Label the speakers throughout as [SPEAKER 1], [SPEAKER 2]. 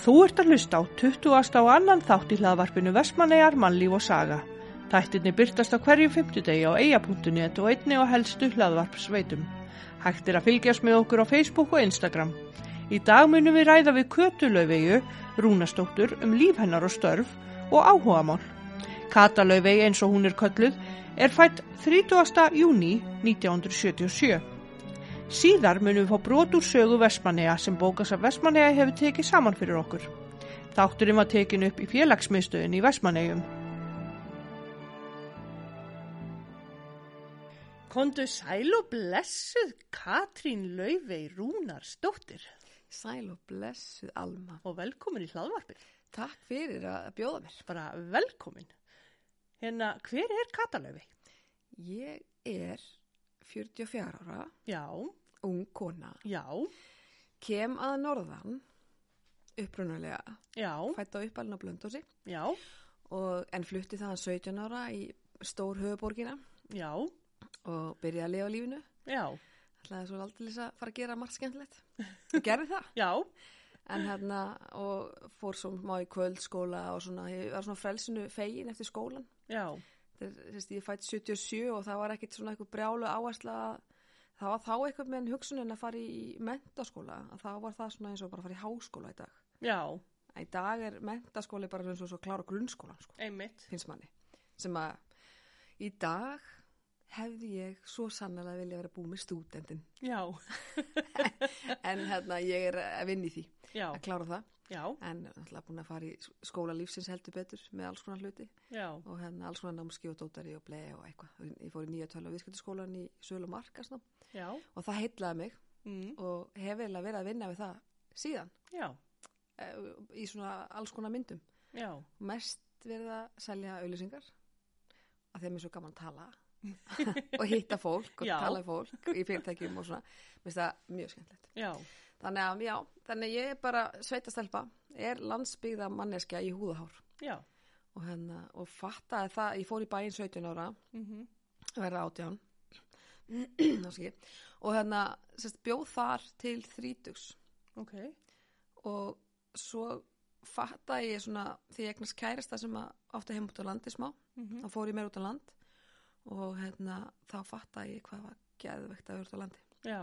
[SPEAKER 1] Þú ert að hlusta á 20. og annan þátt í hlaðvarpinu Vestmannegar, Mannlíf og Saga. Þættinni byrtast á hverju fymtudegi á eia.net og einni og helstu hlaðvarpsveitum. Hægt er að fylgjast með okkur á Facebook og Instagram. Í dag munum við ræða við Kötulauvegu, Rúnastóttur, um líf hennar og störf og áhugamál. Katalauvegi eins og hún er kölluð er fætt 30. júni 1977. Síðar munum við fá brot úr sögu Vestmanneja sem bókas að Vestmanneja hefur tekið saman fyrir okkur. Þátturinn var tekin upp í félagsmiðstöðin í Vestmannejum. Kondu sæl og blessuð Katrín Laufey Rúnarsdóttir
[SPEAKER 2] Sæl og blessuð Alma.
[SPEAKER 1] og velkomin í hlaðvarpið.
[SPEAKER 2] Takk fyrir að að bjóða mér.
[SPEAKER 1] Bara velkomin. Hérna, hver er Katalöfi?
[SPEAKER 2] Ég er 44 ára,
[SPEAKER 1] Já,
[SPEAKER 2] ung kona,
[SPEAKER 1] já,
[SPEAKER 2] kem að norðan, upprunalega,
[SPEAKER 1] já,
[SPEAKER 2] fætt á uppalinn á Blöndósi
[SPEAKER 1] já,
[SPEAKER 2] og, en flutti það 17 ára í stór höfuborgina
[SPEAKER 1] já,
[SPEAKER 2] og byrjaði að lifa lífinu.
[SPEAKER 1] já,
[SPEAKER 2] Ætlaði svo aldrei að fara að gera margt skemmtilegt. Og gerði það.
[SPEAKER 1] já,
[SPEAKER 2] En hérna, og fór svo má í kvöldskóla og svona, ég var svona frelsinu fegin eftir skólan.
[SPEAKER 1] já,
[SPEAKER 2] Þetta er, sérst, ég fætt 77 og það var ekkit svona eitthvað brjálu áhersla að- það var þá eitthvað með hugsunin að fara í mentaskóla að þá var það svona eins og bara að fara í háskóla í dag
[SPEAKER 1] já,
[SPEAKER 2] að í dag er mentaskóli bara eins og svo klára grunnskólan sko,
[SPEAKER 1] einmitt,
[SPEAKER 2] finnst manni sem að í dag hefði ég svo sannlega vilja vera búið með stúdendin
[SPEAKER 1] já,
[SPEAKER 2] en hérna ég er að vinna í því
[SPEAKER 1] já,
[SPEAKER 2] að klára það
[SPEAKER 1] já,
[SPEAKER 2] en náttúrulega búin að fara í skóla lífsins heldur betur með alls konar hluti
[SPEAKER 1] já,
[SPEAKER 2] og hérna alls konar námski og dótari og blei og eitthvað. Ég fór í nýja tölva viðskiptaskólan í Sölu Markasnum
[SPEAKER 1] já,
[SPEAKER 2] og það heitlaði mig
[SPEAKER 1] mm,
[SPEAKER 2] og hef eiginlega verið að vinna við það síðan
[SPEAKER 1] já,
[SPEAKER 2] eh, í svona alls konar myndum.
[SPEAKER 1] já,
[SPEAKER 2] Mest verið að selja auðlýsingar að þeim er svo gaman að tala og hitta fólk og
[SPEAKER 1] Já.
[SPEAKER 2] tala við fólk í fyrirtækjum og svona. Mér finnst það mjög skemmtilegt.
[SPEAKER 1] já,
[SPEAKER 2] Þannig að, já, þannig að ég er bara sveitastelpa, er landsbyggða manneskja í húðahár
[SPEAKER 1] já,
[SPEAKER 2] og hérna, og fattaði það, ég fór í bæinn 17 ára
[SPEAKER 1] mhm,
[SPEAKER 2] verða átján Afsakið. og hérna sérst, bjóð þar til þrítugs
[SPEAKER 1] ok,
[SPEAKER 2] og svo fattaði ég svona því ég egnast kærasta sem að átti heim út á landi smá,
[SPEAKER 1] mhm,
[SPEAKER 2] þá fór ég meir út á land og hérna þá fattaði ég hvað var geðvegt að vera út á landi
[SPEAKER 1] já,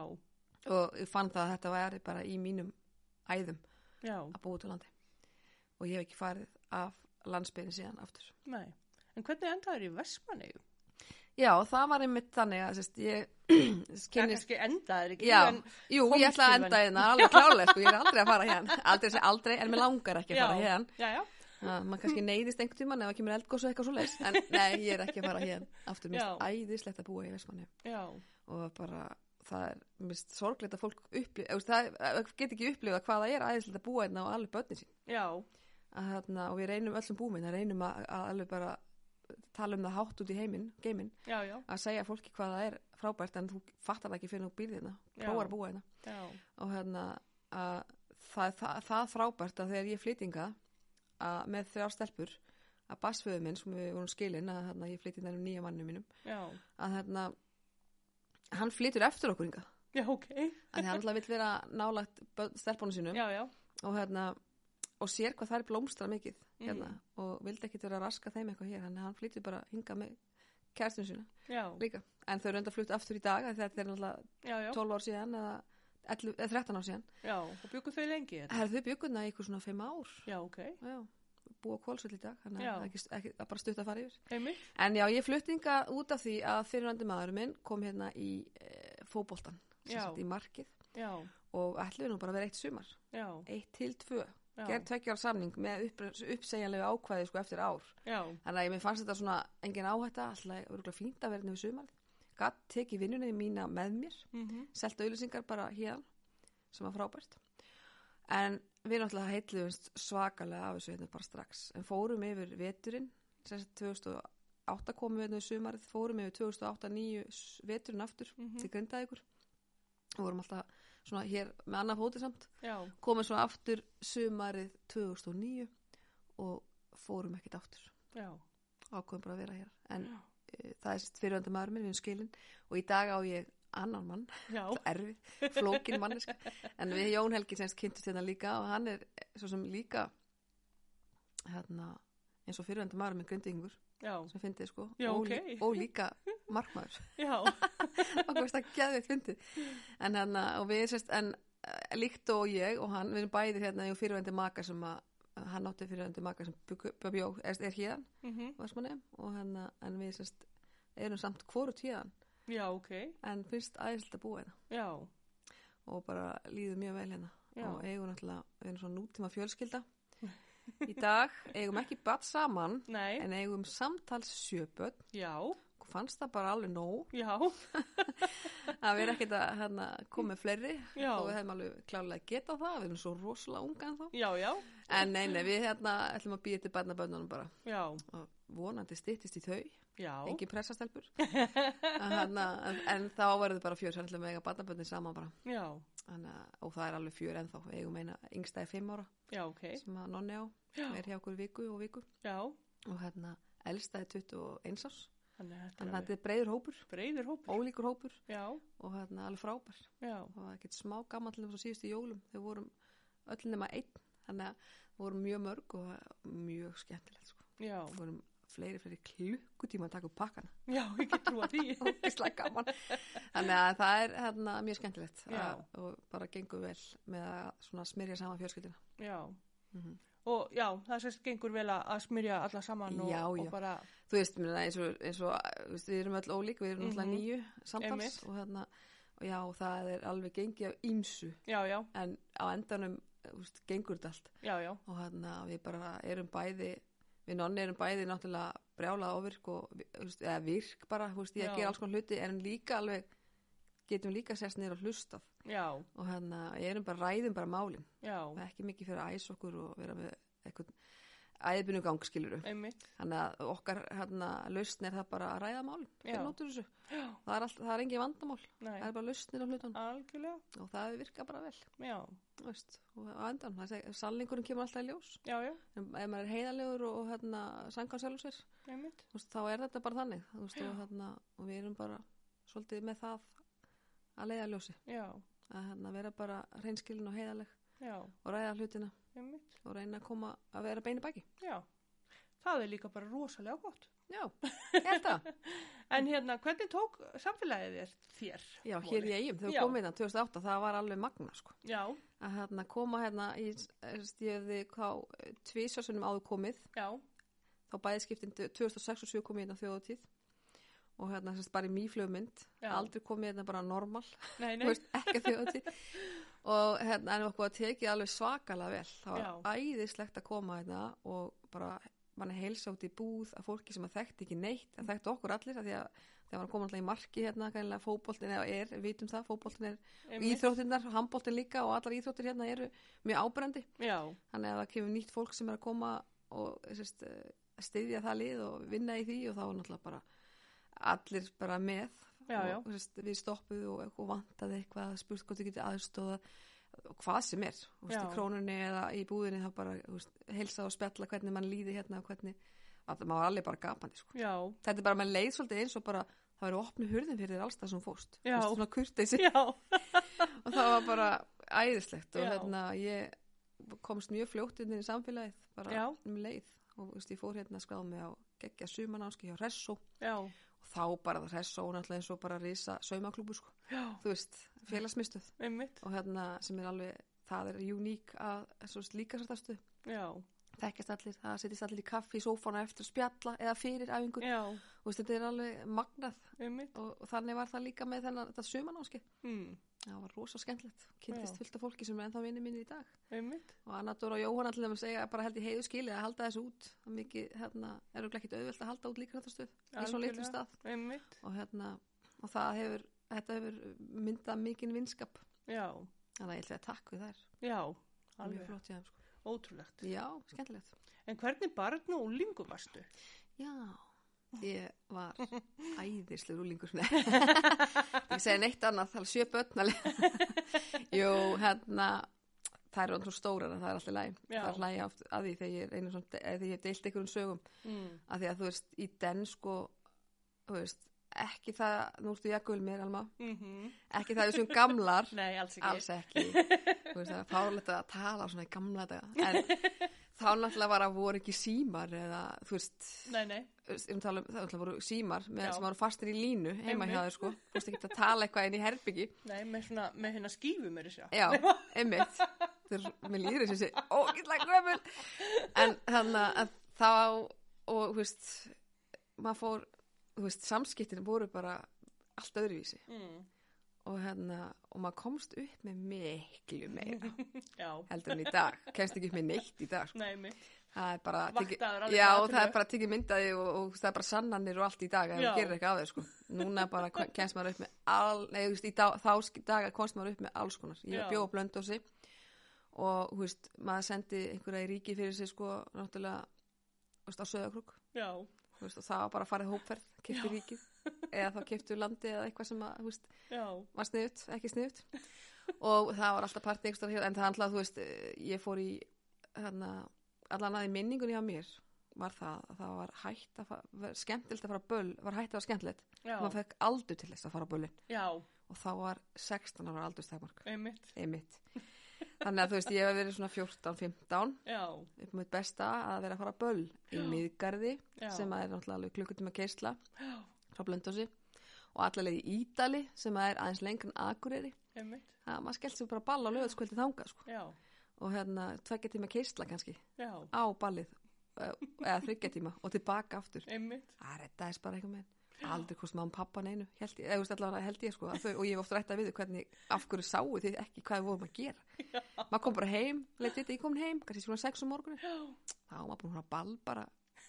[SPEAKER 2] og ég fann það að þetta væri bara í mínum æðum
[SPEAKER 1] já,
[SPEAKER 2] að búa út á landi og ég hef ekki farið af landsbyrðin síðan aftur
[SPEAKER 1] nei. En hvernig endaður í Vestmanneigum?
[SPEAKER 2] Já, það var einmitt þannig að sérst, ég
[SPEAKER 1] Það
[SPEAKER 2] kynnist
[SPEAKER 1] kannski endaður ekki,
[SPEAKER 2] Já,
[SPEAKER 1] en
[SPEAKER 2] jú,
[SPEAKER 1] komst
[SPEAKER 2] ég ætla að
[SPEAKER 1] til
[SPEAKER 2] enda hérna, alveg klálega, sko, ég er aldrei að fara hérna, aldrei sé aldrei, en mér langar ekki að fara
[SPEAKER 1] Já.
[SPEAKER 2] hérna,
[SPEAKER 1] já, já,
[SPEAKER 2] uh, maður kannski neyðist einhvern tímann ef það kemur eldgós og eitthvað svo leys, en nei, ég er ekki að fara hérna, aftur mér finnst
[SPEAKER 1] Já.
[SPEAKER 2] æðislegt að búa í Vestmanni
[SPEAKER 1] já,
[SPEAKER 2] og bara, það er, mér finnst sorglegt að fólk upplifa, veist, það það get ekki upplifa hvað það er æðislegt að búa hérna og alveg börnin sín,
[SPEAKER 1] já,
[SPEAKER 2] að, hérna, og við reynum öllum búminn, að reynum að, að alveg bara tala um það hátt út í heiminn, geiminn,
[SPEAKER 1] já, já,
[SPEAKER 2] að segja fólki hvað það er frábært en þú fattar það ekki fyrir nú býrðina,
[SPEAKER 1] Já.
[SPEAKER 2] prófar að búa hérna
[SPEAKER 1] já,
[SPEAKER 2] og hérna að það, það, það er frábært að þegar ég flytinga að með þrjár stelpur að basföðu minn sem við vorum skilin að hérna, ég flytinga um nýja mannum mínum
[SPEAKER 1] já,
[SPEAKER 2] að hérna hann flytur eftir okkur inga
[SPEAKER 1] já, ok,
[SPEAKER 2] að því hann alltaf vill vera nálagt börn- stelpunum sínum
[SPEAKER 1] já, já,
[SPEAKER 2] og hérna og sér hvað það er blómstra mikið
[SPEAKER 1] Mm. Mhm,
[SPEAKER 2] hérna, og vildi ekkit vera að raska þeim eitthvað hér þannig að hann flytur bara hinga með kærstinu sína
[SPEAKER 1] já,
[SPEAKER 2] líka en þau eru enda flutt aftur í dag af því að þetta er náttúrulega
[SPEAKER 1] já, já,
[SPEAKER 2] 12 ár síðan eða, 11, eða 13 ár síðan
[SPEAKER 1] já, og byggu þau lengi þetta?
[SPEAKER 2] Herðu bjökunna í eitthvað svona fimm ár
[SPEAKER 1] Já, ok,
[SPEAKER 2] já, búa kólsvöld í dag þannig
[SPEAKER 1] Já.
[SPEAKER 2] að það er ekki, ekki, það er bara stutt að fara yfir
[SPEAKER 1] einmitt,
[SPEAKER 2] en já, ég flutninga út af því að fyrirvændi maðurinn minn kom hérna í e, fótboltan, sem
[SPEAKER 1] Já.
[SPEAKER 2] sagt í markið
[SPEAKER 1] já,
[SPEAKER 2] og ætlum við nú bara að vera eitt sumar
[SPEAKER 1] já,
[SPEAKER 2] eitt til tvö,
[SPEAKER 1] já,
[SPEAKER 2] gerð tveggjar samning með upp, uppsegjanlegu ákvæði sko eftir ár
[SPEAKER 1] já,
[SPEAKER 2] þannig að ég mér fannst þetta svona engin áhætta, alltaf örgulega fínt að vera hérna við sumar gatt tekið vinnunni mína með mér
[SPEAKER 1] mhm,
[SPEAKER 2] selt auðlýsingar bara hér sem var frábært en við náttúrulega heitluðumst svakalega af þessu hérna bara strax en fórum yfir veturinn sem sagt 2008 komum við hérna í sumarið fórum yfir 2008-2009 veturinn aftur
[SPEAKER 1] Mhm.
[SPEAKER 2] til grindaði ykkur og vorum alltaf svona hér með annað fóti samt
[SPEAKER 1] já,
[SPEAKER 2] komum svo aftur sumarið 2009 og fórum ekkert aftur
[SPEAKER 1] já,
[SPEAKER 2] ákveðum bara að vera hér en eh,
[SPEAKER 1] Já.
[SPEAKER 2] uh, það er fyrirvandi maður minn við erum skilin og í dag á ég annan mann,
[SPEAKER 1] já,
[SPEAKER 2] erfið, flókin mannesk en við Jón Helgi semst kynntist hérna líka og hann er svo sem líka hérna eins og fyrirvendur maður með grindingur
[SPEAKER 1] já,
[SPEAKER 2] sem fyndið sko
[SPEAKER 1] Já,
[SPEAKER 2] og,
[SPEAKER 1] ok.
[SPEAKER 2] lí- og líka markmaður
[SPEAKER 1] já,
[SPEAKER 2] okkur veist það geðveitt fyndið en hérna og við sérst en eh, líkt og ég og hann við erum bæði hérna í fyrirvendur maka sem að hann átti fyrirvendur maka sem byggu- bjó, er, er hér
[SPEAKER 1] mhm,
[SPEAKER 2] Vestmanni og hérna en við sérst erum samt hvort hér
[SPEAKER 1] já, ok,
[SPEAKER 2] en finnst æðislega að búa hérna
[SPEAKER 1] já,
[SPEAKER 2] og bara líður mjög vel hérna
[SPEAKER 1] já,
[SPEAKER 2] og eigum náttúrulega, við erum svona nútíma fjölskylda í dag eigum ekki bat saman
[SPEAKER 1] nei,
[SPEAKER 2] en eigum samtals sjöböld
[SPEAKER 1] já,
[SPEAKER 2] og fannst það bara alveg nóg
[SPEAKER 1] já,
[SPEAKER 2] að við erum ekkert að hérna, koma með fleiri
[SPEAKER 1] Já.
[SPEAKER 2] og við hefum alveg klárlega geta það við erum svo rosalega unga en
[SPEAKER 1] já, já,
[SPEAKER 2] þá en nei, nei, við hérna ætlum að býja til barnaböndunum bara
[SPEAKER 1] já,
[SPEAKER 2] og vonandi styttist í þau
[SPEAKER 1] já,
[SPEAKER 2] engin pressastelpur en, þarna- en, en þá verður bara fjör sem ætlum við að eiga barnaböndin saman bara
[SPEAKER 1] já,
[SPEAKER 2] Þannig, að- og það er alveg fjör ennþá við eigum eina yngsta í fimm ára
[SPEAKER 1] já, ok,
[SPEAKER 2] sem að nonni á,
[SPEAKER 1] já,
[SPEAKER 2] sem er hjá okkur í viku og viku
[SPEAKER 1] já,
[SPEAKER 2] og hérna elsta er 21 árs
[SPEAKER 1] þannig að
[SPEAKER 2] þannig
[SPEAKER 1] þetta
[SPEAKER 2] að
[SPEAKER 1] er
[SPEAKER 2] þetta er breyður hópur,
[SPEAKER 1] breyður hópur,
[SPEAKER 2] ólíkur hópur
[SPEAKER 1] já,
[SPEAKER 2] og hérna alveg frábær
[SPEAKER 1] já,
[SPEAKER 2] og það er ekkert smá gaman til þess að síðustu jólum þau vorum öll nema einn þannig að við vorum mjög mörg og það var mjög skemmtilegt sko.
[SPEAKER 1] já,
[SPEAKER 2] við vorum fleiri, fleiri klukkutíma að taka upp pakkana
[SPEAKER 1] já, ég get trúa því,
[SPEAKER 2] ógislega gaman þannig að það er hérna, mjög skemmtilegt að,
[SPEAKER 1] Já.
[SPEAKER 2] og bara gengur vel með að svona smyrja saman fjölskyldina
[SPEAKER 1] já,
[SPEAKER 2] Mhm.
[SPEAKER 1] og já, það sérst gengur vel að að smyrja alla saman og,
[SPEAKER 2] Já,
[SPEAKER 1] og
[SPEAKER 2] já.
[SPEAKER 1] bara,
[SPEAKER 2] þú veist, minna, eins og, eins og þú veist, við erum öll ólík, við erum
[SPEAKER 1] Mhm.
[SPEAKER 2] náttúrulega nýju samtals
[SPEAKER 1] Einmitt.
[SPEAKER 2] og hérna, og já, það er alveg gengið af ímsu,
[SPEAKER 1] já, já,
[SPEAKER 2] en á endanum þú veist, gengur þetta allt
[SPEAKER 1] já, já,
[SPEAKER 2] og hérna, við bara erum bæði við nonni erum bæði náttúrulega brjálað ávirk og, vi- þú veist, eða virk bara, þú veist, ég
[SPEAKER 1] Já.
[SPEAKER 2] að gera alls konar hluti en líka alveg, getum líka sérst nýra hlustað
[SPEAKER 1] já,
[SPEAKER 2] og hérna, erum bara, ræðum bara málin
[SPEAKER 1] já,
[SPEAKER 2] það er ekki mikið fyrir að æsa okkur og vera með eitthvað æðbinu gangskiluru
[SPEAKER 1] einmitt,
[SPEAKER 2] Þannig að okkar hérna, lausn er það bara að ræða mál.
[SPEAKER 1] Já.
[SPEAKER 2] Það
[SPEAKER 1] Já.
[SPEAKER 2] er, all, það er engin vandamál.
[SPEAKER 1] nei,
[SPEAKER 2] Það er bara lausnir á hlutunum
[SPEAKER 1] algjörlega,
[SPEAKER 2] og það virka bara vel.
[SPEAKER 1] já,
[SPEAKER 2] þú Veist, og á endan, það seg, sannleikurinn kemur alltaf í ljós.
[SPEAKER 1] já, já,
[SPEAKER 2] En ef maður er heiðalegur og, og hérna, sangan sjálf sér,
[SPEAKER 1] einmitt,
[SPEAKER 2] þú veist, þá er þetta bara þannig. þú Veist, og,
[SPEAKER 1] Já.
[SPEAKER 2] hérna, og við erum bara svolítið með það að leiða ljósi.
[SPEAKER 1] já,
[SPEAKER 2] Að hérna, vera bara reynskilin og heiðaleg
[SPEAKER 1] já,
[SPEAKER 2] og ræða hlutina
[SPEAKER 1] einmitt,
[SPEAKER 2] og reyna að koma að vera beinu baki.
[SPEAKER 1] já, það er líka bara rosalega gott.
[SPEAKER 2] Já, ég held það.
[SPEAKER 1] En hérna, hvernig tók samfélagið þér? þér
[SPEAKER 2] Já,
[SPEAKER 1] Móli?
[SPEAKER 2] hér í eigum, þau
[SPEAKER 1] Já.
[SPEAKER 2] komið hérna 2008, það var alveg magna, sko.
[SPEAKER 1] Já,
[SPEAKER 2] að hérna, koma hérna í stjöði hvað tvísarsunum eh, áður komið
[SPEAKER 1] já,
[SPEAKER 2] þá bæði skiptin 2006 og 2007 komið hérna þjóðatíð og hérna sérst bara í mýflugmynd
[SPEAKER 1] Já.
[SPEAKER 2] aldrei komið hérna bara normal
[SPEAKER 1] nei,
[SPEAKER 2] þú
[SPEAKER 1] nei,
[SPEAKER 2] veist, ekki þjóðatíð og hérna en okkur að tekið alveg svakalega vel það var æðislegt að koma hérna og bara mann er heilsa út í búð að fólki sem að þekkti ekki neitt það þekkti okkur allir að því að þegar maður kom alltaf í marki hérna kannilega fótboltin eða er, við vitum það, fótboltin er
[SPEAKER 1] einmitt,
[SPEAKER 2] íþróttinnar, handbóltin líka og allar íþróttir hérna eru mjög ábrendi
[SPEAKER 1] já,
[SPEAKER 2] þannig að það kemur nýtt fólk sem er að koma og sérst, eh, styðja það lið og vinna í því og þá er náttúrulega bara allir bara með
[SPEAKER 1] Já, já.
[SPEAKER 2] og sérst, við stoppuðu og, og vantaði eitthvað spurt hvort þið getið aðstóða og hvað sem er, þú veist,
[SPEAKER 1] Já.
[SPEAKER 2] í krónunni eða í búðinni þá bara þú veist, heilsa og spjalla hvernig mann líði hérna og hvernig að maður var alveg bara gapandi sko.
[SPEAKER 1] já,
[SPEAKER 2] þetta er bara, maður leið svolítið eins og bara það verið opnu hurðin fyrir þér allstað sem þú fórst Þú
[SPEAKER 1] Já.
[SPEAKER 2] veist, svona kurteisi
[SPEAKER 1] já,
[SPEAKER 2] og það var bara æðislegt og
[SPEAKER 1] Já.
[SPEAKER 2] hérna ég komst mjög fljótt inn í samfélagið bara
[SPEAKER 1] Já.
[SPEAKER 2] um leið og veist, ég fór hérna að skráða mig á geggja sumanánski hjá Ressó
[SPEAKER 1] já,
[SPEAKER 2] og þá bara það Ressó náttúrulega eins og bara risa saumaklúbu sko,
[SPEAKER 1] já,
[SPEAKER 2] þú veist, félagsmyndstöð
[SPEAKER 1] einmitt,
[SPEAKER 2] og hérna sem er alveg, það er uník að svo veist, líka sartastu,
[SPEAKER 1] já,
[SPEAKER 2] þekkjast allir, það setjast allir í kaffi í sófana eftir að spjalla eða fyrir æfingu,
[SPEAKER 1] já,
[SPEAKER 2] þú veist, þetta er alveg magnað
[SPEAKER 1] einmitt,
[SPEAKER 2] og, og þannig var það líka með þennan, þetta sumanánski,
[SPEAKER 1] mm,
[SPEAKER 2] það var rosa skemmtilegt, kynntist
[SPEAKER 1] Já.
[SPEAKER 2] fullt af fólki sem er ennþá vinni minni í dag
[SPEAKER 1] einmitt,
[SPEAKER 2] og Anna Dóra og Jóhanna til þeim að segja bara held ég heiðu skilið að halda þessu út það er mikið, hérna, eru ekki auðvelt að halda út líka þetta stuð í svo litlum
[SPEAKER 1] Algjörlega.
[SPEAKER 2] stað
[SPEAKER 1] einmitt,
[SPEAKER 2] og hérna, og það hefur þetta hefur myndað mikinn vinskap
[SPEAKER 1] já,
[SPEAKER 2] þannig að ég ætla að takk við þær
[SPEAKER 1] já,
[SPEAKER 2] Það er mjög
[SPEAKER 1] alveg,
[SPEAKER 2] flott, já, sko.
[SPEAKER 1] ótrúlegt.
[SPEAKER 2] já, skemmtilegt
[SPEAKER 1] En hvernig barn og úlingu varstu?
[SPEAKER 2] já, ég var æðislegur úlingur Nei. ég segi neitt annað, það er sjö börn alveg. jú, hérna það eru andur stórar en það er alltaf læg
[SPEAKER 1] Já.
[SPEAKER 2] það er læg að því þegar ég, er einu Hmm. svona, eða þegar ég hef deilt einhverjum sögum
[SPEAKER 1] Mm,
[SPEAKER 2] að því að þú veist, í den sko, þú veist, ekki það, nú ertu jakkuvel mér Alma,
[SPEAKER 1] Mm -hmm.
[SPEAKER 2] ekki það við sem gamlar,
[SPEAKER 1] Nei, alls ekki.
[SPEAKER 2] alls ekki, þú veist það er fárlegt að tala svona í gamla daga, en þá náttúrulega var að voru ekki símar eða, þú veist,
[SPEAKER 1] Nei, nei.
[SPEAKER 2] um tala, um- það náttúrulega voru símar með,
[SPEAKER 1] Já.
[SPEAKER 2] sem voru fastir í línu heima
[SPEAKER 1] Einmitt.
[SPEAKER 2] hjá þér sko, þú veist ekki að tala eitthvað inn í herbyggi,
[SPEAKER 1] Nei, með svona, með hérna skífu mér þessu.
[SPEAKER 2] Já, einmitt Þeir, Mér líður þessi þessi ógætlega gömul En þannig að þá og þú veist maður fór, þú veist, samskiptin voru bara allt öðruvísi
[SPEAKER 1] Mm,
[SPEAKER 2] og hérna, og maður komst upp með miklu meira
[SPEAKER 1] já,
[SPEAKER 2] heldur en í dag, kemst ekki upp með neitt í dag sko.
[SPEAKER 1] nei, mitt.
[SPEAKER 2] það er bara tekið-
[SPEAKER 1] Vaktaður alveg
[SPEAKER 2] já,
[SPEAKER 1] bara
[SPEAKER 2] og það er
[SPEAKER 1] atriðu.
[SPEAKER 2] bara að tekið myndaði og, og það er bara sannanir og allt í dag ef
[SPEAKER 1] Já.
[SPEAKER 2] þú gerir eitthvað af þeir sko. núna bara kom- kemst maður upp með all, nei, þú veist, í dag, þá sk- daga komst maður upp með alls konar, ég
[SPEAKER 1] Já.
[SPEAKER 2] bjó á blöndósi og, þú veist, maður sendi einhverja í ríki fyrir sig, sko, náttúrulega þú veist, á Söðakrúk,
[SPEAKER 1] Já,
[SPEAKER 2] þú veist, og það var bara farið hópferð, kiptu ríkið eða þá kiptu landi eða eitthvað sem að, þú veist,
[SPEAKER 1] já,
[SPEAKER 2] var sniðut, ekki sniðut og það var alltaf partí einhverstað hér en það handlaði, þú veist, eh, ég fór í hérna, allan að í minningunni hjá mér var það, að það var hægt að fa- ver- skemmtilegt að fara á böll, var hægt að vera skemmtilegt
[SPEAKER 1] já,
[SPEAKER 2] maður fekk aldur til þess að fara á böllin
[SPEAKER 1] já,
[SPEAKER 2] og þá var 16 ára aldurstakmark
[SPEAKER 1] einmitt,
[SPEAKER 2] einmitt, þannig að þú veist ég hef verið svona 14-15
[SPEAKER 1] já,
[SPEAKER 2] upp á mitt besta að vera að fara á böll í miðgarði
[SPEAKER 1] já,
[SPEAKER 2] sem að er náttúrulega alveg klukkutíma keisla
[SPEAKER 1] Já.
[SPEAKER 2] frá blöndósi og allavega í Ítali sem að er aðeins lengur en Akureyri
[SPEAKER 1] einmitt,
[SPEAKER 2] það, maður skellt sér bara á ball á lögðskvöldi þanga sko.
[SPEAKER 1] já,
[SPEAKER 2] og hérna, tveggja tíma keisla kannski
[SPEAKER 1] já,
[SPEAKER 2] á ballið, eh, eða þryggja tíma og tilbaka aftur,
[SPEAKER 1] einmitt,
[SPEAKER 2] það rettaðist bara eitthvað með aldrei hvort maður pappa neinu held ég, eða, þú veist, allavega held ég sko að þau, og ég hef oft rættað við þau hvernig, af hverju sáu þið ekki hvað við vorum að gera maður kom bara heim, leitt þetta, ég kom heim kannski svona 6 um morgunni
[SPEAKER 1] já,
[SPEAKER 2] þá var maður búin að fara á ball bara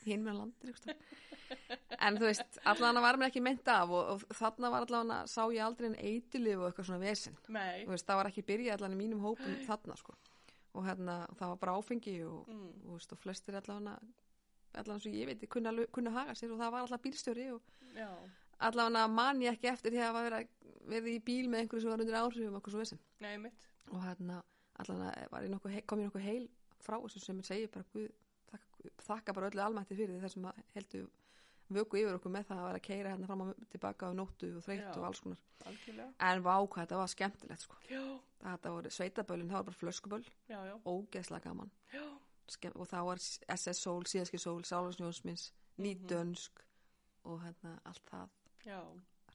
[SPEAKER 2] hinn með landir einhvers staðar. en þú veist, allavega var mér ekki meint af og, og þarna var allavega, sá ég aldrei en eitilif og eitthvað svona vesen
[SPEAKER 1] nei,
[SPEAKER 2] þú veist, það var ekki byrjað allan í mínum hópum þarna sko. og hérna, það var bara áfengi og,
[SPEAKER 1] mm,
[SPEAKER 2] og, veist, og flestir allan allan svo ég veit, kunna, alveg- kunna haga sér og það var alltaf bílstjóri og
[SPEAKER 1] já,
[SPEAKER 2] allan man ég ekki eftir því að vera, verið í bíl með einhverju sem var undir áhrifum okkur svo vesen
[SPEAKER 1] nei, einmitt,
[SPEAKER 2] og hérna, allan var ég nokkuð, he- kom ég nokkuð heil frá þessu sem ég segi bara Guð, þakka, þakka bara öllu almætti fyrir því þessum að heldur vöku yfir okkur með það að vera að keira hérna fram og tilbaka á nóttu og þreytt
[SPEAKER 1] Já.
[SPEAKER 2] og alls konar
[SPEAKER 1] algjörlega,
[SPEAKER 2] en vá hvað þetta var skemmtilegt sko
[SPEAKER 1] já,
[SPEAKER 2] þetta voru sveitaböllin, það var bara flöskuböll
[SPEAKER 1] já, já,
[SPEAKER 2] ógeðslega gaman
[SPEAKER 1] já,
[SPEAKER 2] Skemm, og það var SS Soul, Síðaski Soul, Sálarsnjónsmins
[SPEAKER 1] Mhm.
[SPEAKER 2] Nýdönsk og hérna allt það
[SPEAKER 1] já,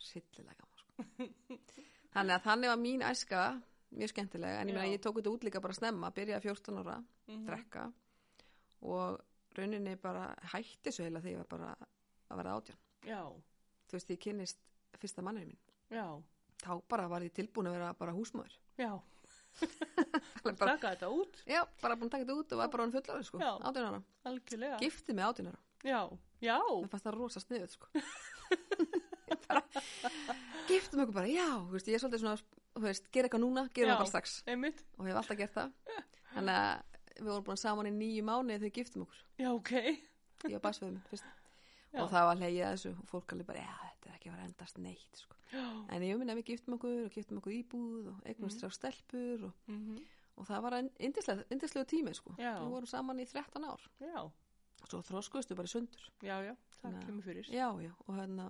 [SPEAKER 2] sillilega gaman sko. þannig að þannig var mín æska mjög skemmtilega, en ég meina
[SPEAKER 1] Já.
[SPEAKER 2] ég tók þetta út líka bara snemma, byrjaði 14 ára
[SPEAKER 1] mhm,
[SPEAKER 2] drekka og rauninni bara hætti svo heila þegar ég var bara að vera átján
[SPEAKER 1] já,
[SPEAKER 2] þú veist, ég kynnist fyrsta manninu mín
[SPEAKER 1] já,
[SPEAKER 2] þá bara var ég tilbúin að vera bara húsmaður
[SPEAKER 1] já,
[SPEAKER 2] Alveg bara,
[SPEAKER 1] taka þetta út,
[SPEAKER 2] já, bara búin að taka þetta út og var bara hann fullari sko,
[SPEAKER 1] Já.
[SPEAKER 2] átján ára
[SPEAKER 1] algjörlega,
[SPEAKER 2] gifti mig átján ára
[SPEAKER 1] já, já,
[SPEAKER 2] Mér fannst það rosa sniðið, sko. Ég bara, giftum okkur bara, já, þú veist, ég er svolítið svona, þú veist, gera eitthvað núna, gera
[SPEAKER 1] Já.
[SPEAKER 2] það bara strax.
[SPEAKER 1] einmitt,
[SPEAKER 2] Og hef alltaf gert það. Þannig að við vorum búin saman í nýju mánuði þegar við giftum okkur.
[SPEAKER 1] já, ok,
[SPEAKER 2] Ég var basföðum minn fyrst.
[SPEAKER 1] Já.
[SPEAKER 2] Og það var hlegið að þessu og fólk alveg bara, já, þetta er ekki að vera að endast neitt, sko.
[SPEAKER 1] já,
[SPEAKER 2] En ég minna að við giftum okkur og giftum okkur íbúð og
[SPEAKER 1] Mm.
[SPEAKER 2] eignumst þrjá stelpur og,
[SPEAKER 1] mhm,
[SPEAKER 2] og það var indislegu tími, sko.
[SPEAKER 1] Já.
[SPEAKER 2] Við vorum saman í 13 ár.
[SPEAKER 1] já,
[SPEAKER 2] Svo þróskuðustu bara í sundur.
[SPEAKER 1] já, já, það
[SPEAKER 2] Þannig að-
[SPEAKER 1] kemur fyrir,
[SPEAKER 2] Já, já, og hérna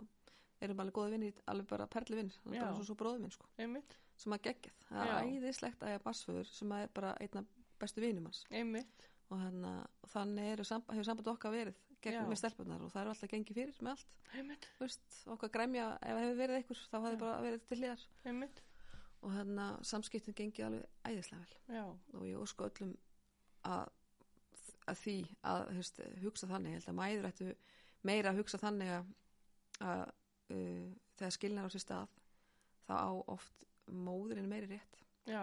[SPEAKER 2] erum alveg góði vinnir, alveg bara perli vinnir hann er bara
[SPEAKER 1] Já.
[SPEAKER 2] svo, svo bróði minn, sko,
[SPEAKER 1] einmitt,
[SPEAKER 2] sem að geggjað það er
[SPEAKER 1] Já.
[SPEAKER 2] æðislegt að ég basföður sem að er bara einna bestu vinnum hans
[SPEAKER 1] einmitt,
[SPEAKER 2] og hérna, þannig eru samb hefur samband okkar verið
[SPEAKER 1] Já.
[SPEAKER 2] gegn með stelpunar og það eru alltaf gengið fyrir með allt,
[SPEAKER 1] einmitt,
[SPEAKER 2] þú veist, okkar græmja ef það hefur verið einhver, þá
[SPEAKER 1] Já.
[SPEAKER 2] hefði bara verið til hliðar
[SPEAKER 1] einmitt,
[SPEAKER 2] og hérna, samskiptin gengið alveg æðislega vel
[SPEAKER 1] já,
[SPEAKER 2] og ég ósku öllum að, að því að þú veist, hugsa þannig, ég held að mæður ættu meira að hugsa þannig að, að uh, þegar skilnar á sér stað þá á oft móðurinn meiri rétt,
[SPEAKER 1] já,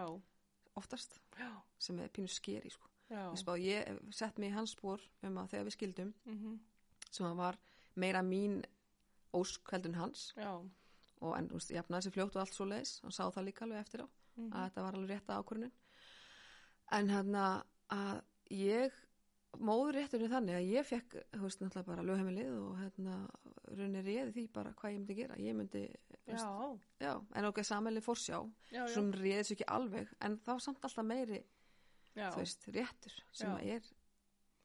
[SPEAKER 2] oftast
[SPEAKER 1] já,
[SPEAKER 2] sem er pínu skeri sko.
[SPEAKER 1] já,
[SPEAKER 2] Ég, spá, ég hef sett mig í hans spór um að þegar við skildum
[SPEAKER 1] mhm,
[SPEAKER 2] sem að var meira mín ósk heldur en hans
[SPEAKER 1] já,
[SPEAKER 2] og en þú veist, jafnaði sér fljótt og allt svo leis og sá það líka alveg eftir á
[SPEAKER 1] mhm,
[SPEAKER 2] að þetta var alveg rétta ákvörðunin en hérna að ég móður rétturinn þannig að ég fekk þú veist náttúrulega bara lögheimilið og hérna runni réði því bara hvað ég myndi gera ég myndi, þú veist,
[SPEAKER 1] já,
[SPEAKER 2] já, en okkar sammeilið fórsjá
[SPEAKER 1] já, já,
[SPEAKER 2] sem réði þessu ekki alveg en þá samt alltaf meiri,
[SPEAKER 1] já,
[SPEAKER 2] þú veist, réttur sem
[SPEAKER 1] Já.
[SPEAKER 2] að er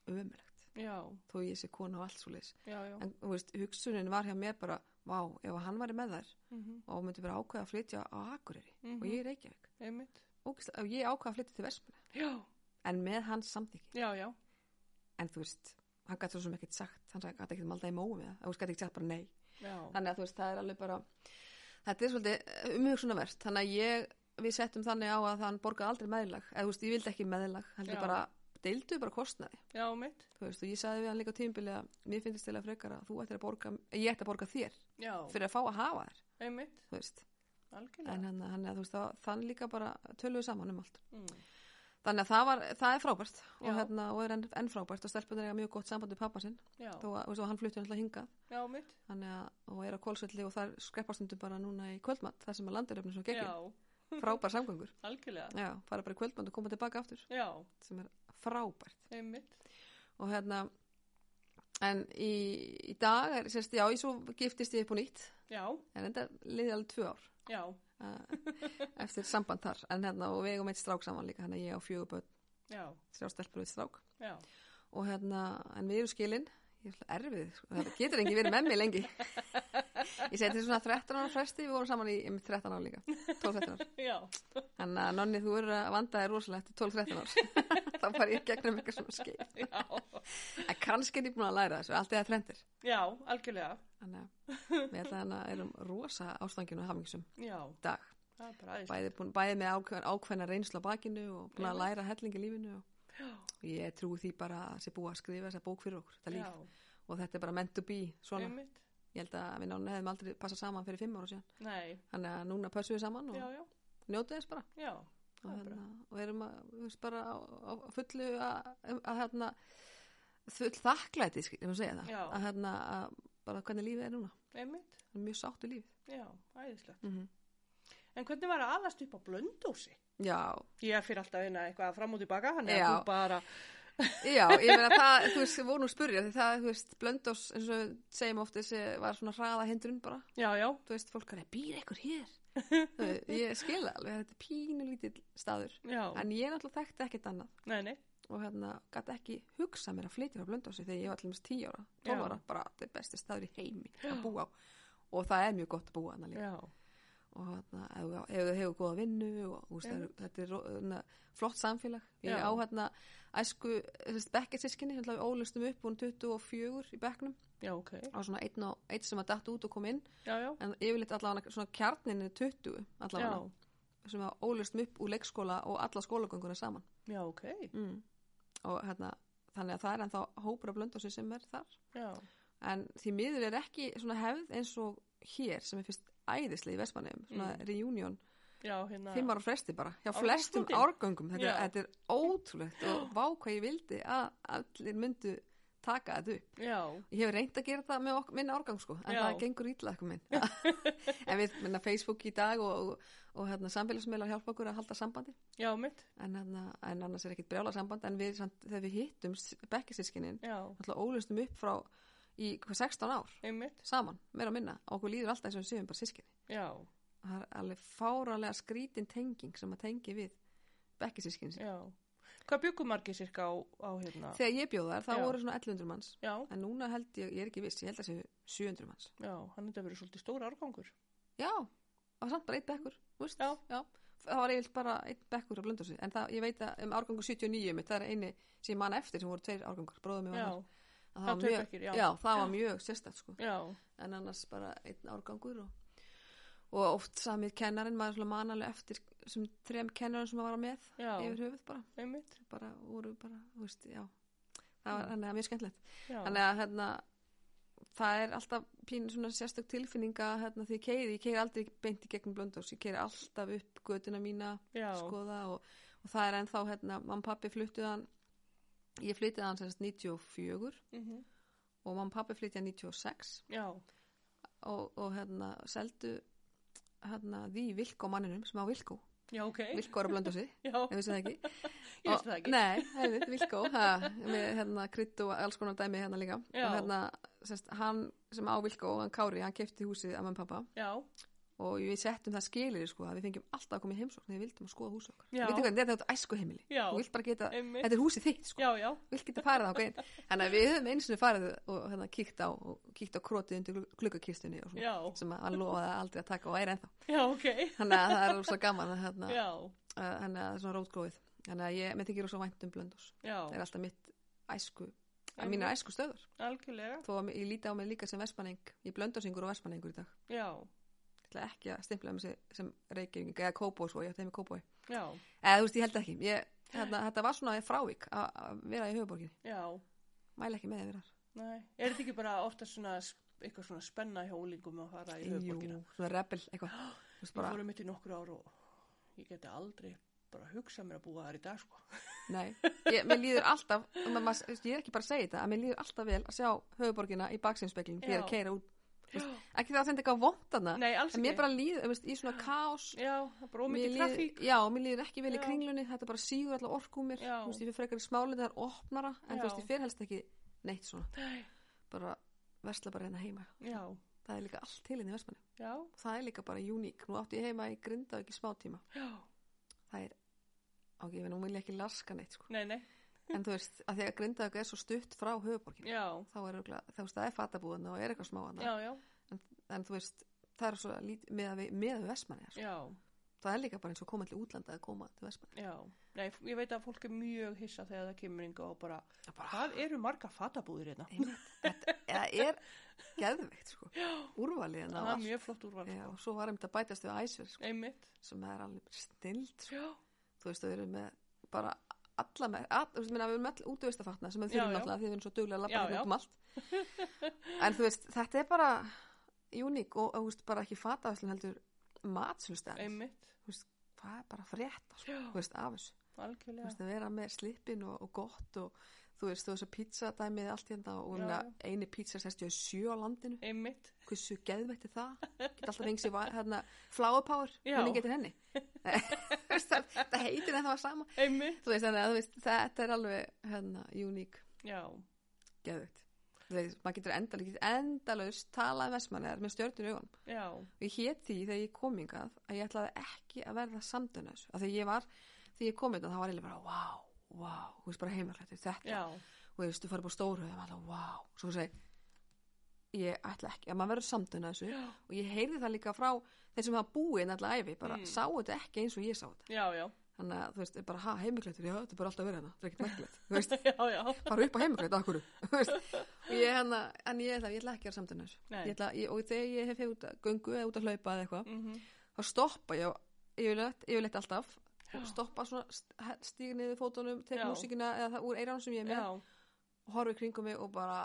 [SPEAKER 2] ömulegt
[SPEAKER 1] já,
[SPEAKER 2] þó ég sé kona og allt svo leis
[SPEAKER 1] já, já,
[SPEAKER 2] en þú veist, hugsunin var hjá mér bara vá, ef hann væri með þær og myndi bara ákveða að flytja á Akureyri
[SPEAKER 1] Mhm.
[SPEAKER 2] og ég í Reykjavík
[SPEAKER 1] einmitt.
[SPEAKER 2] Ógislega, og ég ákveða að flytja til Vestmanna
[SPEAKER 1] Já,
[SPEAKER 2] en með hans samþykki,
[SPEAKER 1] já, já.
[SPEAKER 2] en þú veist hann gæti svo sem ekkert sagt, hann gæti ekkert malda í móum eða, þú veist, gæti ekkert sagt bara nei
[SPEAKER 1] já.
[SPEAKER 2] þannig að þú veist, það er alveg bara þetta er svolítið eh, umhugsunarvert þannig að ég, við settum þannig á að hann borgaði aldrei meðlag, eða þú veist, ég vildi ekki meðlag heldur
[SPEAKER 1] Já.
[SPEAKER 2] bara, deildu bara kostnaði
[SPEAKER 1] Já, mitt.
[SPEAKER 2] þú veist, og ég sagði við hann líka á tímbili að mér finnst til að frekar að þú ættir að borga ég ætti að borga þér
[SPEAKER 1] Já,
[SPEAKER 2] fyrir að fá að hafa þér,
[SPEAKER 1] einmitt.
[SPEAKER 2] þú veist
[SPEAKER 1] Algjörlega.
[SPEAKER 2] en hann, hann, þú veist, það, þann líka bara töluðu saman um allt
[SPEAKER 1] Mm.
[SPEAKER 2] þannig að það, var, það er frábært og,
[SPEAKER 1] Já.
[SPEAKER 2] hérna, og er enn, enn frábært og stelpunir eiga mjög gott samband við pappa sinn
[SPEAKER 1] Já,
[SPEAKER 2] þó að þú veist, og hann flutti náttúrulega hingað
[SPEAKER 1] já, mitt.
[SPEAKER 2] þannig að, og er á kólsvelli og þar skreppastundum bara núna í kvöldmatt þar sem að landiröfnum svo
[SPEAKER 1] Já,
[SPEAKER 2] geggjum, frábær samgöngur
[SPEAKER 1] algjörlega.
[SPEAKER 2] já, fara bara í kvöldmatt og koma tilbaka aftur
[SPEAKER 1] Já,
[SPEAKER 2] sem er frábært
[SPEAKER 1] einmitt.
[SPEAKER 2] og hérna en í, í dag er, sérst, já, ég svo giftist ég upp á nýtt
[SPEAKER 1] Já,
[SPEAKER 2] en enda liði alveg tvö ár
[SPEAKER 1] já,
[SPEAKER 2] uh, eftir samband þar en hérna, og við eigum eitt strák saman líka þannig að ég á fjögur börn,
[SPEAKER 1] já,
[SPEAKER 2] þrjá stelpur og eitt strák
[SPEAKER 1] já.
[SPEAKER 2] og hérna, en við erum skilin ég er erfið, sko, það getur engi verið með mig lengi ég seti svona 13 ára fresti, við vorum saman í um 13 ára líka 12-13 ára,
[SPEAKER 1] Já,
[SPEAKER 2] en að nonni þú eru að vanda þér rosalega eftir 12-13 ára þá fari ég í gegnum eitthvað svona skeið
[SPEAKER 1] já,
[SPEAKER 2] en kannski er ég búin að læra þessu, allt eða þrendir
[SPEAKER 1] já, algjörlega.
[SPEAKER 2] þannig að við ætla hana erum rosa ástanginu og hafingisum
[SPEAKER 1] Já,
[SPEAKER 2] dag
[SPEAKER 1] það er bara aðeins.
[SPEAKER 2] bæði, búin, bæði með ákveðna, ákveðna reynsla á bakinu og búin að læra helling í lífinu og, og ég trúi því bara að sé búið að skrifa þessa bók fyrir okkur, þetta líf og þetta er bara meant to be
[SPEAKER 1] Já,
[SPEAKER 2] svona
[SPEAKER 1] einmitt.
[SPEAKER 2] ég held að við náðum hefðum aldrei passað saman fyrir fimm ára síðan
[SPEAKER 1] Nei,
[SPEAKER 2] þannig að núna pössum við saman og
[SPEAKER 1] já, já,
[SPEAKER 2] njótið þess bara
[SPEAKER 1] já,
[SPEAKER 2] og,
[SPEAKER 1] Það er
[SPEAKER 2] hérna, og erum að, þú veist, bara á, á á fullu að, að hérna, full þakklæti skil- ef maður segja það
[SPEAKER 1] Já.
[SPEAKER 2] að, hérna, að bara hvernig lífið er núna
[SPEAKER 1] einmitt.
[SPEAKER 2] Það er mjög sáttu lífið
[SPEAKER 1] Já, æðislegt.
[SPEAKER 2] mm
[SPEAKER 1] En hvernig var að alast upp á blöndósi?
[SPEAKER 2] já,
[SPEAKER 1] Ég fyrir alltaf eina eitthvað fram og tilbaka, hann er
[SPEAKER 2] Já.
[SPEAKER 1] þú bara,
[SPEAKER 2] já, ég meina það þú veist, voru nú spurja því það, þú veist, blöndós eins og við segjum oft þessi var svona hraða hindrun bara
[SPEAKER 1] já, já,
[SPEAKER 2] þú veist, fólk er að býra ykkur hér Þú veist, ég skil það alveg, þetta er pínu lítill staður
[SPEAKER 1] já,
[SPEAKER 2] en ég náttúrulega þekkti ekkert annað
[SPEAKER 1] nei, nei,
[SPEAKER 2] og hérna gæti ekki hugsa mér að flytja frá blöndósi þegar ég var allir 10 ára, 12
[SPEAKER 1] Já.
[SPEAKER 2] ára, bara þetta er besti staður í heimi að búa á og það er mjög gott að búa hann líka
[SPEAKER 1] já,
[SPEAKER 2] og hérna, ef þú- ef þú hefur góða vinnu og úst, er, þetta er ro- hérna, flott samfélag ég
[SPEAKER 1] Já.
[SPEAKER 2] á hérna æsku bekkesískinni, hérna við ólustum upp hún 24 í bekknum
[SPEAKER 1] já, ok,
[SPEAKER 2] á svona einn, og, einn sem að datt út og kom inn
[SPEAKER 1] já, já,
[SPEAKER 2] en yfirleitt allavega svona kjarninni 20
[SPEAKER 1] já,
[SPEAKER 2] allavega, sem að ólustum upp úr leikskóla og alla skólagönguna saman
[SPEAKER 1] já, ok,
[SPEAKER 2] mm. og hérna þannig að það er ennþá hópur af blöndósi sem er þar
[SPEAKER 1] já,
[SPEAKER 2] en því miður er ekki svona hefð eins og hér sem er fyrst æðislega í Vestmanneum svona
[SPEAKER 1] Mm.
[SPEAKER 2] reunion,
[SPEAKER 1] já, hérna,
[SPEAKER 2] fimm ára fresti bara hjá
[SPEAKER 1] Á
[SPEAKER 2] flestum
[SPEAKER 1] landsmótin?
[SPEAKER 2] árgöngum þetta,
[SPEAKER 1] Já.
[SPEAKER 2] er- þetta er ótrúlegt og vá hvað ég vildi að allir myndu taka þetta upp
[SPEAKER 1] já,
[SPEAKER 2] ég hef reynd að gera það með ok minn árgang sko en
[SPEAKER 1] Já.
[SPEAKER 2] það gengur ítla eitthvað minn en við minna Facebook í dag og, og, og hérna, samfélagsmiðlar hjálpa okkur að halda sambandi
[SPEAKER 1] já, mitt,
[SPEAKER 2] en, hérna, en annars er ekkit brjála samband en við, samt, þegar við hittum bekkisískinin
[SPEAKER 1] já,
[SPEAKER 2] alltaf ólustum upp frá í hvað 16 ár
[SPEAKER 1] einmitt,
[SPEAKER 2] saman, meira og minna og okkur líður alltaf eins og við séum bara sískinni
[SPEAKER 1] já,
[SPEAKER 2] og það er alveg fáralega skrítin tenging sem að tengi við bekkisískinin
[SPEAKER 1] já. Hvað byggum margir sirka á, á hérna?
[SPEAKER 2] þegar ég bjóð þar, það
[SPEAKER 1] Já.
[SPEAKER 2] voru svona 1100 manns
[SPEAKER 1] Já,
[SPEAKER 2] en núna held ég, ég er ekki viss, ég held að það séu 700 manns
[SPEAKER 1] já, hann hefði verið svolítið stóra árgangur.
[SPEAKER 2] já, og samt bara eitt bekkur þú veist?
[SPEAKER 1] Já.
[SPEAKER 2] það var eiginlega bara eitt bekkur að blönda sig en það, ég veit að um árgangu 79 mitt, það er eini sem ég man eftir sem voru tveir árgangur, bróðum ég
[SPEAKER 1] Já,
[SPEAKER 2] það
[SPEAKER 1] það
[SPEAKER 2] var
[SPEAKER 1] tveir
[SPEAKER 2] mjög
[SPEAKER 1] bekkir, já.
[SPEAKER 2] já. það var mjög sérstætt sko
[SPEAKER 1] já,
[SPEAKER 2] en annars bara einn árgangur og, og oft samið kennarinn maður svona man alveg eftir sem þrem kennarinn sem maður var með
[SPEAKER 1] já,
[SPEAKER 2] yfir höfuð bara,
[SPEAKER 1] einmitt,
[SPEAKER 2] bara voru bara, þú veist, já það var
[SPEAKER 1] Mm.
[SPEAKER 2] þannig að mjög skemmtilegt
[SPEAKER 1] já,
[SPEAKER 2] þannig að hérna það er alltaf pínu svona sérstök tilfinninga hérna því ég keiri, ég keiri aldrei beint í gegnum blöndós, ég keiri alltaf upp götuna mína,
[SPEAKER 1] já,
[SPEAKER 2] skoða og, og það er ennþá hérna, mann pappi fluttuð hann ég flyttið hann semst 94
[SPEAKER 1] mhm,
[SPEAKER 2] og mann pappi flyttið hann 96
[SPEAKER 1] já,
[SPEAKER 2] og, og hérna seldu hérna því Vilko manninum sem á Vilko
[SPEAKER 1] já, ok,
[SPEAKER 2] Vilko er að blönda sig,
[SPEAKER 1] já,
[SPEAKER 2] ef við það ekki
[SPEAKER 1] Eh? ég veist það ekki.
[SPEAKER 2] Nei, hefði, Vilko, ha, með hérna krydd og alls konar dæmi hérna líka
[SPEAKER 1] Já.
[SPEAKER 2] og hérna, sérst, hann sem á Vilko, hann Kári, hann kefti húsið af mann pappa
[SPEAKER 1] Já,
[SPEAKER 2] og við settum það skilir sko, að við fengjum alltaf að koma í heimsókn þegar við vildum að skoða hús okkar
[SPEAKER 1] Já.
[SPEAKER 2] Við veitum hvað, þetta er þetta æsku heimili
[SPEAKER 1] Já.
[SPEAKER 2] þú vilt bara geta,
[SPEAKER 1] Einmitt.
[SPEAKER 2] þetta er húsið þitt sko.
[SPEAKER 1] Já, já,
[SPEAKER 2] vilt geta farið á gæn þannig að við höfum eins og farið og hérna, kíkt á og kíkt á krotið undir glugg- gluggakistunni og svona,
[SPEAKER 1] já,
[SPEAKER 2] sem að hann lofaði aldrei að taka og er ennþá
[SPEAKER 1] já, ok,
[SPEAKER 2] þannig að það er rosa gaman að, hérna,
[SPEAKER 1] já,
[SPEAKER 2] að- þannig að það er svona rótgróið þannig að ég, mér þykir rosa vænt um blöndus það
[SPEAKER 1] já,
[SPEAKER 2] er alltaf mitt æsku að
[SPEAKER 1] Einmitt.
[SPEAKER 2] mínar æsku stöður
[SPEAKER 1] algjörlega,
[SPEAKER 2] þó að ég líti á mig líka sem vespaneng ég blöndarsingur og vespanengur í dag
[SPEAKER 1] já,
[SPEAKER 2] ég ætla ekki að stimpla mig sem, sem reykjum eða kópói sko, ég ætti heim í kópói
[SPEAKER 1] já,
[SPEAKER 2] eða þú veist, ég held ekki ég, hérna, þetta var svona frávík að- að vera í höfuborginni
[SPEAKER 1] já,
[SPEAKER 2] mæla ekki með því að vera þar.
[SPEAKER 1] nei, er þetta ekki bara ofta svona, sp- eitthvað svona spenna hjá úlingum að fara í höfuborgina?
[SPEAKER 2] Jú, svona rebel eitthvað Þú veist,
[SPEAKER 1] Við
[SPEAKER 2] bara,
[SPEAKER 1] fórum mitt í nokkur ár og ég geti aldrei bara hugsað mér að búa þar í dag, sko.
[SPEAKER 2] nei, ég, mér líður alltaf og maður- maður- þú veist, ég er ekki bara að segja þetta að mér líður alltaf vel að sjá höfuborgina í baksinspeklin þegar ég er
[SPEAKER 1] Já.
[SPEAKER 2] að keira út
[SPEAKER 1] Já,
[SPEAKER 2] ekki það að þetta eitthvað vont þarna
[SPEAKER 1] nei, alls
[SPEAKER 2] en mér
[SPEAKER 1] ekki.
[SPEAKER 2] bara líður, þú veist, í svona kaos
[SPEAKER 1] Já, það er bara
[SPEAKER 2] Mér
[SPEAKER 1] ómikið
[SPEAKER 2] líður-
[SPEAKER 1] trafík.
[SPEAKER 2] já, mér líður ekki vel í
[SPEAKER 1] Já.
[SPEAKER 2] kringlunni þetta bara sígur alltaf orku úr mér
[SPEAKER 1] Já.
[SPEAKER 2] þú veist, ég fyrir frekar í smálinni þar opnara en
[SPEAKER 1] Já.
[SPEAKER 2] þú veist, ég fyrir helst ekki neitt svona
[SPEAKER 1] Nei,
[SPEAKER 2] bara versla bara hérna heima
[SPEAKER 1] Já,
[SPEAKER 2] það er líka allt til hérna í versmanni
[SPEAKER 1] já,
[SPEAKER 2] það er líka bara uník, nú átti ég heima í grinda ekki smá tíma,
[SPEAKER 1] já,
[SPEAKER 2] það er ok, ég veit, nú vil ég ekki laska neitt sko.
[SPEAKER 1] nei, nei,
[SPEAKER 2] en þú veist, að því að grinda er svo stutt frá höfuborgin
[SPEAKER 1] já,
[SPEAKER 2] þá er örugglega- þá veist, það er fatabúðan og er eitthvað smá
[SPEAKER 1] já,
[SPEAKER 2] hana
[SPEAKER 1] já,
[SPEAKER 2] en þú veist, það er svo lít, með að við, með að versmanni sko.
[SPEAKER 1] já,
[SPEAKER 2] það er líka bara eins og koma til útlanda að koma til versmanni
[SPEAKER 1] já. Nei, f- ég veit að fólk er mjög hissa þegar það kemur yngu og bara,
[SPEAKER 2] Ah.
[SPEAKER 1] hvað eru marga fatabúðir hérna?
[SPEAKER 2] Einmitt, þetta það er geðveikt sko, úrvalið en
[SPEAKER 1] Það
[SPEAKER 2] það
[SPEAKER 1] er
[SPEAKER 2] var
[SPEAKER 1] mjög flott úrval,
[SPEAKER 2] Hérna Já,
[SPEAKER 1] sko.
[SPEAKER 2] og svo var einmitt að bætast við æsver sko,
[SPEAKER 1] Einmitt,
[SPEAKER 2] sem er alveg snild sko.
[SPEAKER 1] já,
[SPEAKER 2] þú veist, þau eru með bara alla með, all, þú veist, minna, við erum öll útvistafatna sem við
[SPEAKER 1] Já,
[SPEAKER 2] þurfum
[SPEAKER 1] já.
[SPEAKER 2] náttúrulega því við erum svo
[SPEAKER 1] Já,
[SPEAKER 2] duglega að lappa hérna
[SPEAKER 1] já.
[SPEAKER 2] út um allt en þú veist, þetta er bara uník og, og þú veist, bara ekki fataðslu heldur matsölstæðis
[SPEAKER 1] einmitt,
[SPEAKER 2] það er bara frétt sko,
[SPEAKER 1] já,
[SPEAKER 2] þú veist, af þessu þú
[SPEAKER 1] algjörlega,
[SPEAKER 2] veist, að vera með slippin og, og gott og þú veist, þú veist að pizza dæmið allt hérna og
[SPEAKER 1] Já,
[SPEAKER 2] já,
[SPEAKER 1] já.
[SPEAKER 2] eini pizza 67 á landinu
[SPEAKER 1] einmitt,
[SPEAKER 2] hversu geðvægt er það geta alltaf fengið sér va- hérna, flower power
[SPEAKER 1] Já.
[SPEAKER 2] hvernig getur henni Þú veist, það, það heitir en það var sama
[SPEAKER 1] einmitt,
[SPEAKER 2] þú veist, þannig að þú veist, þetta er alveg hérna, uník,
[SPEAKER 1] já,
[SPEAKER 2] geðvægt þú veist, maður getur endalaust, endalaust talað vestmanneðar með stjörnur í augunum
[SPEAKER 1] já,
[SPEAKER 2] og ég hét því þegar ég kom hingað að ég ætlaði ekki að verða samdönus af því ég var, þegar ég kom hingað þá var ég bara wow, wow, þú veist bara heimilrættu þetta,
[SPEAKER 1] já,
[SPEAKER 2] og þú veist, þú farið búið stóru og það var alltaf wow, svo þú segi ég ætla ekki, að maður verður samdönus
[SPEAKER 1] já,
[SPEAKER 2] og ég heyrði það líka frá þeir sem hafa búið en alltaf æfi, bara
[SPEAKER 1] Mm.
[SPEAKER 2] sá þetta ekki eins og ég sá þetta,
[SPEAKER 1] já, já,
[SPEAKER 2] þannig að þú veist, bara ha, heimilrættur, já, þetta er bara alltaf verið hana það er ekkert merkilegt, þú veist,
[SPEAKER 1] já, já,
[SPEAKER 2] bara upp á heimilrættu, akkur og ég, hana, en ég, ætla, ég ætla ekki að vera samdönus
[SPEAKER 1] nei,
[SPEAKER 2] Ég ætla, ég, og þegar ég hef út að göngu eða út að hlaupa eða eitthvað
[SPEAKER 1] mhm,
[SPEAKER 2] þá stoppa ég á- yfirleitt, yfirleitt alltaf
[SPEAKER 1] Já.
[SPEAKER 2] stoppa svona, st- stíg niður fótunum tek
[SPEAKER 1] Já.
[SPEAKER 2] músíkina eða það úr eirann sem ég er með
[SPEAKER 1] já,
[SPEAKER 2] horfi í kringum mig og bara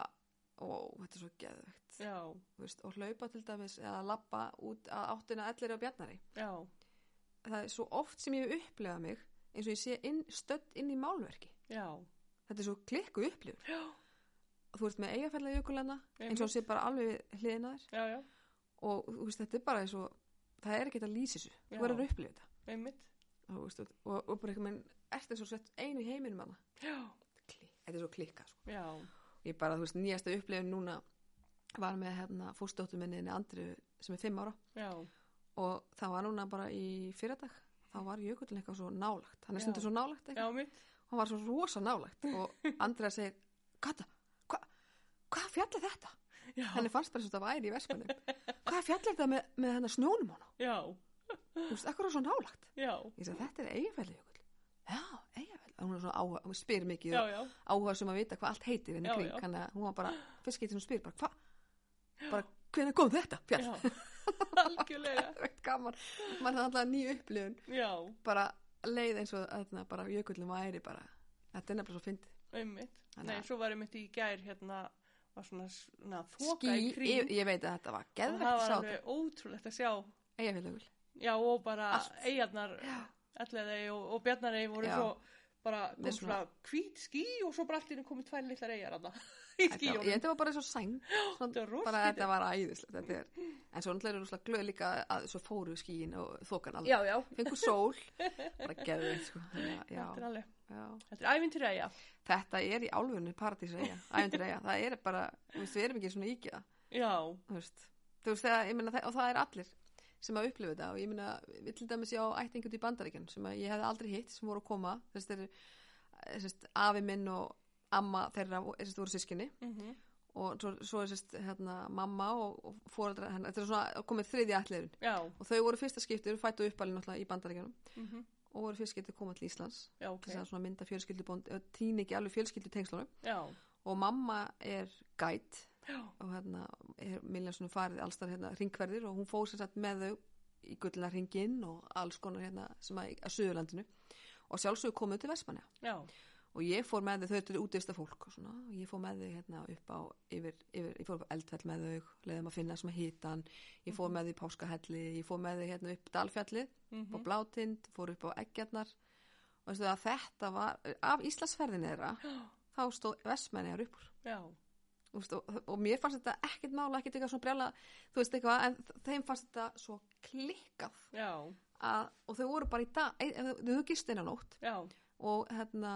[SPEAKER 2] ó, þetta er svo geðvegt
[SPEAKER 1] já,
[SPEAKER 2] Þú veist, og hlaupa til dæmis eða labba út að áttina ellir á bjarnari
[SPEAKER 1] já,
[SPEAKER 2] það er svo oft sem ég hef upplegað mig eins og ég sé inn, stödd inn í málverki
[SPEAKER 1] já,
[SPEAKER 2] þetta er svo klikku upplifur
[SPEAKER 1] já,
[SPEAKER 2] þú ert með eigafælla jökulana eins og
[SPEAKER 1] einmitt,
[SPEAKER 2] sé bara alveg hliðinaður
[SPEAKER 1] já, já,
[SPEAKER 2] og þú veist, þetta er bara eins og það er ekki að lýsa þessu,
[SPEAKER 1] Já.
[SPEAKER 2] þú verður að upplifa þetta
[SPEAKER 1] einmitt,
[SPEAKER 2] og, þú veist, og, og, og bara eitthvað eftir svo sett einu í heiminum hana
[SPEAKER 1] já,
[SPEAKER 2] þetta er svo klikka sko.
[SPEAKER 1] já,
[SPEAKER 2] ég bara, þú veist, nýjasta upplifun núna var með hérna fórstóttum minni andri sem er fimm ára
[SPEAKER 1] já,
[SPEAKER 2] og það var núna bara í fyrradag þá var jökullin eitthvað svo nálagt hann er
[SPEAKER 1] Já.
[SPEAKER 2] stundur svo nálagt eitthvað,
[SPEAKER 1] já, mitt,
[SPEAKER 2] hann var svo rosa nálagt og Andrea segir, Kata hvað hva fjall er þetta?
[SPEAKER 1] já,
[SPEAKER 2] henni fannst bara svo þetta væri í verspanum hvað fjall er þetta með, með hennar snjónum hana?
[SPEAKER 1] já,
[SPEAKER 2] þú veist, ekkur er svo nálagt
[SPEAKER 1] já,
[SPEAKER 2] ég sagði, þetta er eigafæli jökull já, eigafæli, hún er svona áhuga, hún spyr mikið
[SPEAKER 1] já, já,
[SPEAKER 2] áhuga sem að vita hvað allt heitir henni
[SPEAKER 1] Já,
[SPEAKER 2] kring,
[SPEAKER 1] já.
[SPEAKER 2] þannig að hún var bara fyrst getið hún spyr bara hvað, bara hvernig kom þetta fjall,
[SPEAKER 1] já, algjörlega,
[SPEAKER 2] það er eitt gaman maður er alltaf nýju upplifun,
[SPEAKER 1] já,
[SPEAKER 2] bara leið eins og þarna, bara jökullum væri bara, þetta er nefnilega svo fyndið
[SPEAKER 1] einmitt,
[SPEAKER 2] Þannig
[SPEAKER 1] nei,
[SPEAKER 2] að-
[SPEAKER 1] svo var einmitt í gær hérna, var svona, svona þoka í
[SPEAKER 2] ský,
[SPEAKER 1] kring
[SPEAKER 2] ég, ég veit að þetta var
[SPEAKER 1] og það
[SPEAKER 2] geðvegt
[SPEAKER 1] var
[SPEAKER 2] sá þetta,
[SPEAKER 1] alveg ótrúlegt að sjá,
[SPEAKER 2] eigafæli jökull
[SPEAKER 1] já, og bara
[SPEAKER 2] Allt.
[SPEAKER 1] eigarnar,
[SPEAKER 2] Já.
[SPEAKER 1] elleðei og, og bjarnarei voru
[SPEAKER 2] Já.
[SPEAKER 1] svo bara,
[SPEAKER 2] Með
[SPEAKER 1] kom
[SPEAKER 2] svona-
[SPEAKER 1] svona hvít ský og svo bara allt inni komið tvær litlar eigar þarna í
[SPEAKER 2] Þetta var-
[SPEAKER 1] skíjónum,
[SPEAKER 2] ég- þetta var bara svo sæng
[SPEAKER 1] þetta
[SPEAKER 2] svona,
[SPEAKER 1] var rosa
[SPEAKER 2] bara
[SPEAKER 1] skrítið.
[SPEAKER 2] þetta var æðislegt þetta er, en svo náttúrulega er rosalega glöð líka að svo fóru skíin og þokan alveg
[SPEAKER 1] já, já,
[SPEAKER 2] fengur sól bara geðveikt sko. Þannig að,
[SPEAKER 1] þetta er
[SPEAKER 2] já,
[SPEAKER 1] alveg,
[SPEAKER 2] já.
[SPEAKER 1] þetta er ævintýri eiga,
[SPEAKER 2] þetta er í álfunni paradísreia ævendirreia, það er bara þú veist, við erum ekki svona íkja
[SPEAKER 1] já,
[SPEAKER 2] þú veist, þú veist þegar, ég meina, það, og það er allir sem að upplifa þetta og ég meina, við til dæmis ég á ættingi út í bandaríkjan sem að ég hefði aldrei hitt sem voru að koma þess þeir, þess að afi minn og amma þeirra þess að voru sískinni
[SPEAKER 1] Mhm.
[SPEAKER 2] og svo, svo er sérst hérna, mamma og, og fóreldra hennar, þetta er svona komið þriðja ætliðun
[SPEAKER 1] Já,
[SPEAKER 2] og þau voru fyrsta skipti, eru fætt og uppalinn náttúrulega í bandaríkjanum
[SPEAKER 1] mm
[SPEAKER 2] og voru fyrst skipti að koma til Íslands
[SPEAKER 1] já, ok,
[SPEAKER 2] til þess að svona mynda fjölskyldubond, týn ekki alveg fjölskyldutengslunum
[SPEAKER 1] já,
[SPEAKER 2] og mamma er gætt
[SPEAKER 1] já,
[SPEAKER 2] og hérna er Miljanssonu farið allstar hérna ringverðir og hún fór sem sagt með þau í gullina ringinn og alls konar hérna sem að, að Suðurlandinu og sjálfsögur komuð til Vestmanna
[SPEAKER 1] já,
[SPEAKER 2] og ég fór með þau, þau eru útvista fólk og svona, og ég fór með þau hérna upp á yfir, yfir, ég fór upp á eldfell með þau leiðum að finna sem að hýtan, ég fór með þau í Páskahelli, ég fór með þau hérna upp Dalfjallið
[SPEAKER 1] mhm,
[SPEAKER 2] upp á Blátind, fór upp á Eggjarnar og veistu það, þetta var af Íslandsferðin þeirra, þá stóð Vestmannaðar upp úr
[SPEAKER 1] já,
[SPEAKER 2] Þú veist, og, og mér fannst þetta ekkert mála ekkert eitthvað svona brjála, þú veist eitthvað en þeim fannst þetta svo klikkað
[SPEAKER 1] já,
[SPEAKER 2] að, og þau voru bara í dag ei- ef þau, þau gist eina nótt
[SPEAKER 1] já,
[SPEAKER 2] og hérna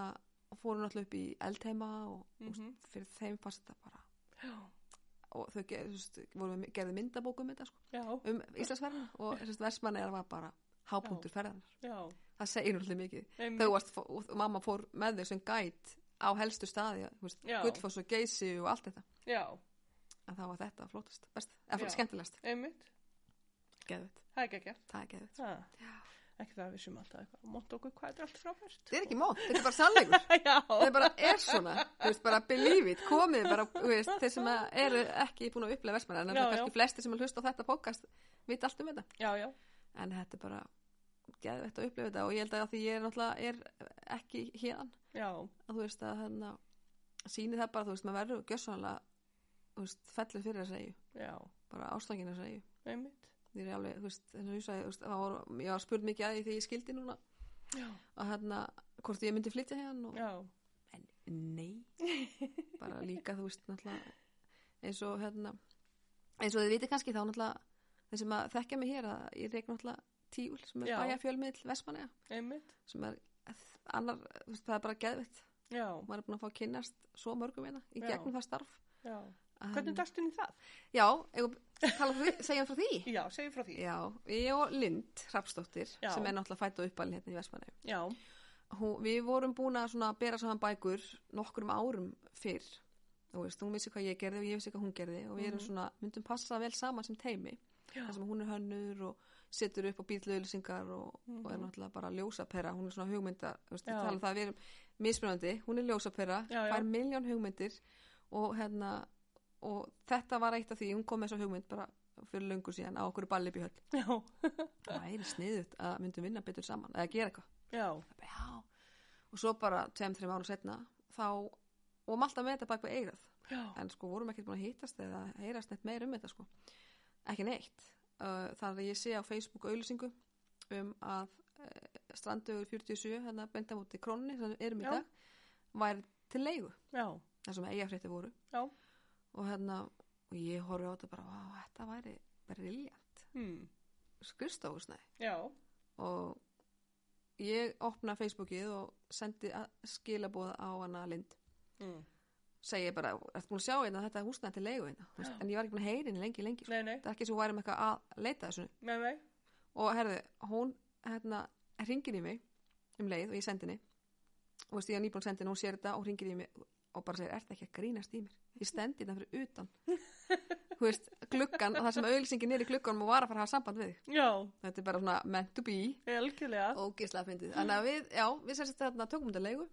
[SPEAKER 2] og fóru náttúrulega upp í eldheima og mm
[SPEAKER 1] Mhm.
[SPEAKER 2] fyrir þeim fannst þetta bara
[SPEAKER 1] já,
[SPEAKER 2] og þau ger, þú veist, voru, með- gerðu myndabók um þetta sko,
[SPEAKER 1] já,
[SPEAKER 2] um Íslandsferðina og versmanni er var bara hápunktur ferðanar
[SPEAKER 1] já, Mhm.
[SPEAKER 2] það segir náttúrulega mikið
[SPEAKER 1] Einmitt.
[SPEAKER 2] þau varst, fó- og mamma fór með þau sem gæt á helstu staði, þú veist,
[SPEAKER 1] Já.
[SPEAKER 2] gullfoss og geysi og allt þetta
[SPEAKER 1] já,
[SPEAKER 2] en þá var þetta flótast, best, eða
[SPEAKER 1] Já.
[SPEAKER 2] skemmtilegast
[SPEAKER 1] einmitt,
[SPEAKER 2] geðvitt,
[SPEAKER 1] það er ekki ekki,
[SPEAKER 2] það er geðvitt
[SPEAKER 1] það,
[SPEAKER 2] Já.
[SPEAKER 1] ekki það að við séum alltaf eitthvað, mótt okkur hvað þetta er allt frábært.
[SPEAKER 2] þetta er ekki mót, þetta er bara sannleikur
[SPEAKER 1] já,
[SPEAKER 2] þetta bara er svona, þú veist, bara believe it komið bara, þú veist, þeir sem að eru ekki búin að upplega versmanar, en
[SPEAKER 1] Já,
[SPEAKER 2] það er
[SPEAKER 1] já.
[SPEAKER 2] kannski flestir sem að hlusta á þetta podcast vita allt um þetta,
[SPEAKER 1] já, já,
[SPEAKER 2] en þetta er bara geðvitt að upplifa þetta og ég held að af því ég er náttúrulega er ekki héðan
[SPEAKER 1] já,
[SPEAKER 2] að þú veist að hérna síni það bara, þú veist, maður verður gjössanlega þú veist, fellur fyrir þess að eigu
[SPEAKER 1] já,
[SPEAKER 2] bara ástangin þess að eigu
[SPEAKER 1] einmitt,
[SPEAKER 2] ég er alveg, þú veist, þess að ég sagði, þú veist, það var, ég var spurð mikið að því þegar ég skildi núna
[SPEAKER 1] já,
[SPEAKER 2] að hérna, hvort ég myndi flytja hérna og,
[SPEAKER 1] já,
[SPEAKER 2] en nei bara líka, þú veist, náttúrulega eins og hérna eins og þið vitið kannski þá náttúrulega þeir sem að þekkja mig hér að ég reik náttúrulega tíul sem er
[SPEAKER 1] Já.
[SPEAKER 2] bæjarfjölmiðl Vestmanega
[SPEAKER 1] einmitt,
[SPEAKER 2] sem er annar, þú veist, það er bara geðvitt
[SPEAKER 1] já,
[SPEAKER 2] maður er búin að fá að kynnast svo mörgum hérna í
[SPEAKER 1] Já.
[SPEAKER 2] gegnum það starf
[SPEAKER 1] já,
[SPEAKER 2] Að
[SPEAKER 1] hvernig
[SPEAKER 2] hérna-
[SPEAKER 1] dæstu niður það?
[SPEAKER 2] Já, eigum- tala frá því- segja frá því
[SPEAKER 1] Já, segjum frá því,
[SPEAKER 2] Já, ég og Lind Hrafsdóttir
[SPEAKER 1] Já.
[SPEAKER 2] sem er náttúrulega fætt og uppalinn hérna í Vestmanni
[SPEAKER 1] já,
[SPEAKER 2] hún, við vorum búin að svona bera saman bækur nokkrum árum fyrr þú veist, hún vissi hvað ég gerði og ég vissi hvað hún gerði og við erum
[SPEAKER 1] Mhm.
[SPEAKER 2] svona, myndum passa vel saman sem teimi
[SPEAKER 1] já,
[SPEAKER 2] þar sem hún er hönnur og setur upp á bílauðlýsingar og, og er
[SPEAKER 1] Mhm.
[SPEAKER 2] náttúrulega bara ljósapera hún er svona hugmynda, þú veist, við
[SPEAKER 1] Já.
[SPEAKER 2] tala um það að við erum mismunandi, hún er ljósapera
[SPEAKER 1] Já, já.
[SPEAKER 2] fær miljón hugmyndir og hérna, og þetta var eitt af því, hún kom með þessa hugmynd bara fyrir löngu síðan á okkur ballibíhöll
[SPEAKER 1] já,
[SPEAKER 2] það væri sniðut að myndum vinna betur saman eða gera eitthvað
[SPEAKER 1] já,
[SPEAKER 2] Ég bara, já, og svo bara tveim, þreim árum setna þá vorum alltaf með þetta bak við eigað
[SPEAKER 1] já,
[SPEAKER 2] en sko vorum ekkert búin að hittast eða heyrast neitt meir um þetta sko ekki neitt uh, þannig að ég sé á Facebook auðlýsingu um að uh, strandugur 47 hérna benda múti krónni sem við erum í
[SPEAKER 1] Já.
[SPEAKER 2] dag væri til leigu
[SPEAKER 1] já,
[SPEAKER 2] þar sem eigafrétti voru
[SPEAKER 1] Já.
[SPEAKER 2] og hérna og ég horfi á þetta bara, vá, þetta væri briljant
[SPEAKER 1] hmm,
[SPEAKER 2] skrifstofusnæði
[SPEAKER 1] já,
[SPEAKER 2] og ég opna Facebookið og sendi skilabóð á hana Lind
[SPEAKER 1] mm.
[SPEAKER 2] segi ég bara, ertu búin að sjá hérna þetta húsnæði til leigu hérna, Þú veist, en ég var ekki búin að heyri henni lengi, lengi, sko.
[SPEAKER 1] nei, nei,
[SPEAKER 2] það er ekki svo væri með eitthvað að leita þessu,
[SPEAKER 1] nei, nei,
[SPEAKER 2] og herðu hún, hérna, ringir í mig um leið og ég sendi henni og veist, ég er nýbúin að sendi henni, hún sér þetta og ringir í mig og bara segir, ertu ekki að grínast í mér ég stendi þetta fyrir utan þú veist, gluggan, og það sem auðlýsingin er í glugganum og var að fara að hafa samband við þig.
[SPEAKER 1] já,
[SPEAKER 2] þetta er bara svona meant to be
[SPEAKER 1] algjörlega,
[SPEAKER 2] ógeðslega fyndið
[SPEAKER 1] Mm.
[SPEAKER 2] þannig að við, já, við sem sagt þarna tökum þetta leigu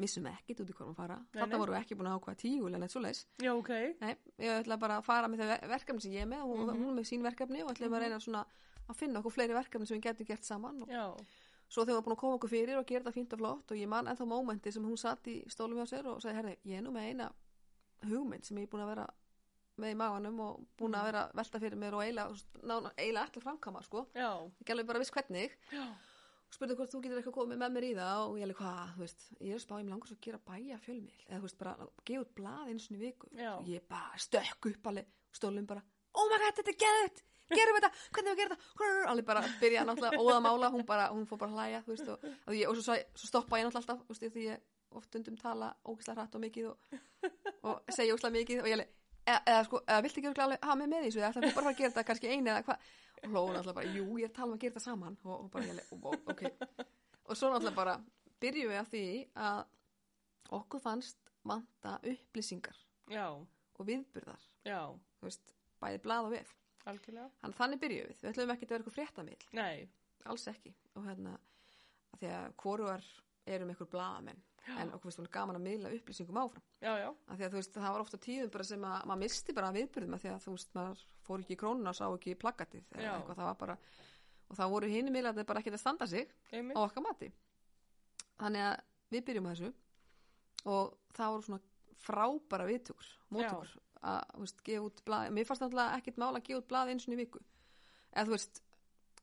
[SPEAKER 2] vissum ekkit út í hvað við fara
[SPEAKER 1] Nei,
[SPEAKER 2] þarna
[SPEAKER 1] nei.
[SPEAKER 2] vorum við ekki búin að ákvaða tíu eða neitt svoleiðis,
[SPEAKER 1] já, ok,
[SPEAKER 2] nei, ég ætla bara að fara með þau ver- verkefni sem ég er með og hún,
[SPEAKER 1] Mhm.
[SPEAKER 2] hún er með sín verkefni og ætlaðum að reyna svona að finna okkur fleiri verkefni sem við getum gert saman og
[SPEAKER 1] já,
[SPEAKER 2] svo þegar við varum búin að koma okkur fyrir og gera þetta fínt og flott og ég man ennþá mómenti sem hún satt í stólum hjá sér og sagði, herri, ég er nú með eina hugmynd sem ég er búin að vera með í maganum og búin
[SPEAKER 1] Mhm.
[SPEAKER 2] að vera að velta fyrir mér og eiginlega eiginlega ætla að framkama sko,
[SPEAKER 1] já,
[SPEAKER 2] ekki alveg bara viss hvernig
[SPEAKER 1] já,
[SPEAKER 2] spurði hvort þú getur eitthvað komið með mér í það og ég alveg hvað, þú veist, ég er að spá, ég mig langar svo að gera bæja fjölmiðl, eða þú veist, bara gefa út blað einu sinni í viku,
[SPEAKER 1] Já.
[SPEAKER 2] og ég bara stökk upp alveg, stólum bara oh my god, þetta er geðut, gerum þetta hvernig við gerum þetta, Grrr, alveg bara byrja náttúrulega óðamála, hún bara, hún fór bara að hlæja þú veist, og, og, ég, og svo, svo- svo stoppa ég náttúrulega alltaf, þú veist, því ég oft undum tala ógislega hratt og mikið og, og "E-, segja ógislega mikið og ég alveg, eða, eða sko, eða viltu ekki örugglega alveg hafa mig með í þessu, eða ætlar þú bara að fara að gera þetta kannski einu eða hvað, og hlóðu náttúrulega bara, jú, ég er að tala um að gera þetta saman og, og bara, ég, og, ok og svo náttúrulega bara byrjum við að því að okkur fannst vanta upplýsingar
[SPEAKER 1] já,
[SPEAKER 2] og viðburðar,
[SPEAKER 1] já,
[SPEAKER 2] þú veist, bæði blað og vef
[SPEAKER 1] algjörlega.
[SPEAKER 2] hann þannig byrjum við, við ætlum ekki að vera eitthvað fréttamill
[SPEAKER 1] Nei,
[SPEAKER 2] alls ekki og hérna, að því að hvorugar erum eitthvað blaðamenn en okkur finnst svona gaman að miðla upplýsingum áfram
[SPEAKER 1] já, já,
[SPEAKER 2] að því að þú veist, það var ofta tíðum bara sem að maður misti bara viðbyrðum að því að þú veist, maður fór ekki í krónuna og sá ekki plakatið eða
[SPEAKER 1] Já.
[SPEAKER 2] eitthvað, það var bara og það voru hinum miðlarnir bara ekkert að standa sig á
[SPEAKER 1] einmitt.
[SPEAKER 2] okkar mati þannig að við byrjum á þessu og það voru svona frábæra viðtökur, móttökur að, þú veist, gefa út blað, mér fannst náttúrulega ekkert mála að gefa út blað eins og í viku eða þú veist,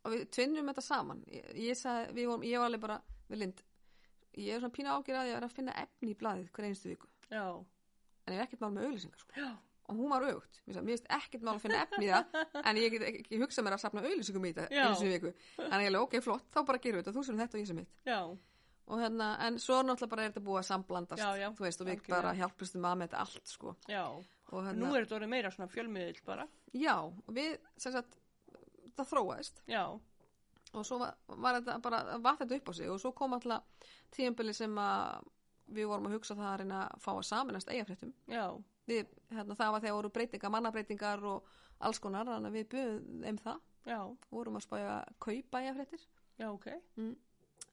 [SPEAKER 2] og við tvinnum þetta saman ég, ég sagði, við vorum, ég var alveg bara við lind, ég er svona pína ágjur að ég er að finna efni í blaðið hver einstu viku
[SPEAKER 1] Já,
[SPEAKER 2] en ég er ekkert mál með auðlýsingar sko.
[SPEAKER 1] já,
[SPEAKER 2] og hún var auðvögt, mér sagði, mér finnst ekkert mál að finna efni í það en ég get ekki, ekki hugsað mér að safna auðlýsingum í þetta
[SPEAKER 1] Já.
[SPEAKER 2] einu sinni í viku þannig ég alveg, ok, flott, þá bara gerum við þetta, þú sem þetta og ég sem mitt
[SPEAKER 1] já,
[SPEAKER 2] og hérna, en svo náttúrulega bara er þetta búið að samblandast
[SPEAKER 1] Já, já,
[SPEAKER 2] þú veist, og við
[SPEAKER 1] algjörlega.
[SPEAKER 2] bara hjálpustum að með þetta allt sko.
[SPEAKER 1] já. Nú
[SPEAKER 2] og hérna,
[SPEAKER 1] er þetta orðið meira svona fjölmiðil bara.
[SPEAKER 2] já, og við sem sagt, það þróaðist
[SPEAKER 1] Já,
[SPEAKER 2] og svo var, var þetta bara vat þetta upp á sig og svo kom alltaf tíðanbili sem að við vorum að hugsa það að reyna að fá að saminast eigafréttum
[SPEAKER 1] já,
[SPEAKER 2] við, hérna, það var þegar voru breytingar, mannabreitingar og alls konar, þannig að við buðum um það,
[SPEAKER 1] já,
[SPEAKER 2] vorum að spája að kaupa eigafréttir,
[SPEAKER 1] já, ok.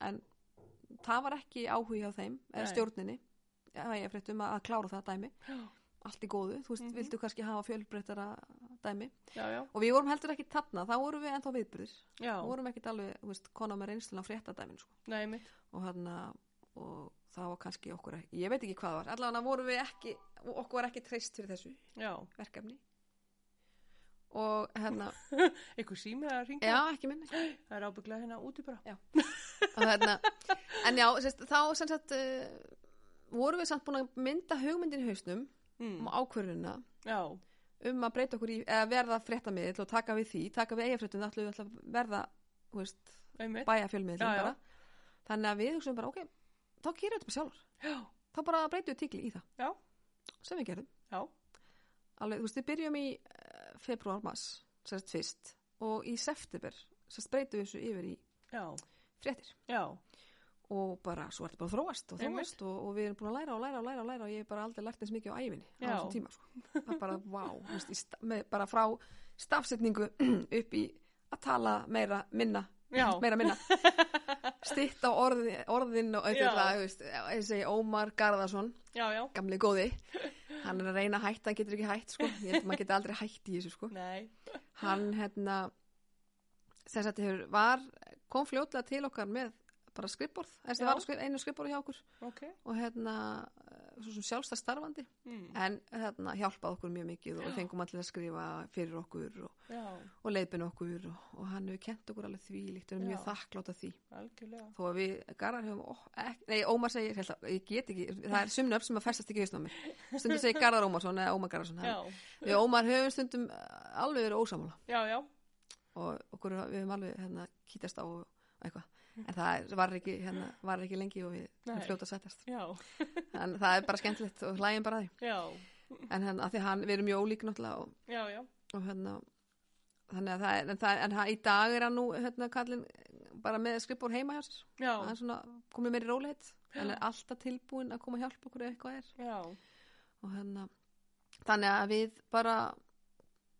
[SPEAKER 2] en það var ekki áhugi á þeim, eða
[SPEAKER 1] Nei.
[SPEAKER 2] stjórninni eigafréttum að, að klára það dæmi
[SPEAKER 1] Já,
[SPEAKER 2] allt í góðu, þú veist,
[SPEAKER 1] Mhm.
[SPEAKER 2] vildu kannski hafa fjölbreytara dæmi,
[SPEAKER 1] já, já,
[SPEAKER 2] og við vorum heldur ekki tanna, þá vorum við ennþá viðbyrðir
[SPEAKER 1] já,
[SPEAKER 2] þá vorum ekki alveg, þú veist, kona með reynslun á fréttadæmin, sko,
[SPEAKER 1] nei, einmitt.
[SPEAKER 2] og hann og það var kannski okkur, ekki- ég veit ekki hvað var allavega vorum við ekki, okkur var ekki treyst fyrir þessu
[SPEAKER 1] Já,
[SPEAKER 2] verkefni og hérna,
[SPEAKER 1] einhver sími að ringja.
[SPEAKER 2] já, ekki minni
[SPEAKER 1] Það er ábygglega hérna úti bara.
[SPEAKER 2] og hérna, en já, sérst, þá sem sagt, uh, vorum við samt búin að mynda hugmyndin í hausnum
[SPEAKER 1] Mm.
[SPEAKER 2] um ákvörðuna
[SPEAKER 1] Já,
[SPEAKER 2] um að breyta okkur í, eða verða fréttamiðl og taka við því, taka við eigafréttum, það ætlum við ætla að verða, þú veist,
[SPEAKER 1] einmitt.
[SPEAKER 2] bæjarfjölmiðl
[SPEAKER 1] Já, já.
[SPEAKER 2] bara, þannig að við hugsaum bara, ok, þá gerum við þetta bara sjálfur
[SPEAKER 1] Já,
[SPEAKER 2] þá bara breytum við tíkli í það,
[SPEAKER 1] já,
[SPEAKER 2] sem við gerum
[SPEAKER 1] já,
[SPEAKER 2] alveg, þú veist, við byrjum í uh, februar, mars, sérst fyrst og í september, sérst breytum við þessu yfir í
[SPEAKER 1] já,
[SPEAKER 2] fréttir
[SPEAKER 1] já,
[SPEAKER 2] og bara, svo er þetta bara að þróast og
[SPEAKER 1] Einmitt.
[SPEAKER 2] þróast og, og við erum búin að læra og læra og læra og læra og ég hef bara aldrei lært eins mikið á æfinni á
[SPEAKER 1] Já.
[SPEAKER 2] þessum tíma, sko. það er bara, vá wow, veist, í sta- með, bara frá stafsetningu upp í að tala meira, minna
[SPEAKER 1] já,
[SPEAKER 2] meira minna stitt á orði, orðin og
[SPEAKER 1] Já.
[SPEAKER 2] auðvitað, þú veist, ég segi Ómar Garðarsson
[SPEAKER 1] já, já.
[SPEAKER 2] gamli góði, hann er að reyna að hætta hann getur ekki hætt, sko, ég held að maður getur aldrei hætt í þessu, sko,
[SPEAKER 1] Nei,
[SPEAKER 2] hann hérna sem sagt hefur, var kom fljótlega til okkar með bara skrippborð, þess
[SPEAKER 1] Já.
[SPEAKER 2] að var skri- einu skrippborð hjá okkur
[SPEAKER 1] ok.
[SPEAKER 2] og hérna eh, svo sem sjálfstæð starfandi,
[SPEAKER 1] Mm.
[SPEAKER 2] en hérna hjálpaði okkur mjög mikið og við fengum allir að skrifa fyrir okkur og,
[SPEAKER 1] Já,
[SPEAKER 2] og leiðbin okkur og, og hann hefur kent okkur alveg því líkt, erum mjög
[SPEAKER 1] Já.
[SPEAKER 2] þakklátt að því
[SPEAKER 1] algjörlega.
[SPEAKER 2] þó að við garðar höfum ó, ek, nei, Ómar segir, held að, ég get ekki það er sumnöfn sem að festast ekki í hausnum á mér stundum segir Garðar Ómarsson eða Ómar Garðarsson hann-
[SPEAKER 1] Já,
[SPEAKER 2] við Ómar höfum stundum eh, alveg verið ósamála
[SPEAKER 1] já, já,
[SPEAKER 2] og okkur, við höfum alveg hérna, kýtast á og og eitthvað en það er- var ekki, hérna, var ekki lengi og við
[SPEAKER 1] Mm. Nei.
[SPEAKER 2] erum fljóta að setjast
[SPEAKER 1] já,
[SPEAKER 2] en það er bara skemmtilegt og hlægjum bara að
[SPEAKER 1] já,
[SPEAKER 2] því en hérna, af því hann, við erum mjög ólík náttúrulega og,
[SPEAKER 1] já, já,
[SPEAKER 2] og hérna þannig að það er, en, það, en það, í dag er hann nú hérna kallin bara með skrippur heima hjá sér hann
[SPEAKER 1] já,
[SPEAKER 2] er svona komið meiri róleitt hann er alltaf tilbúin að koma að hjálpa okkur ef eitthvað er
[SPEAKER 1] já,
[SPEAKER 2] og hérna þannig að við bara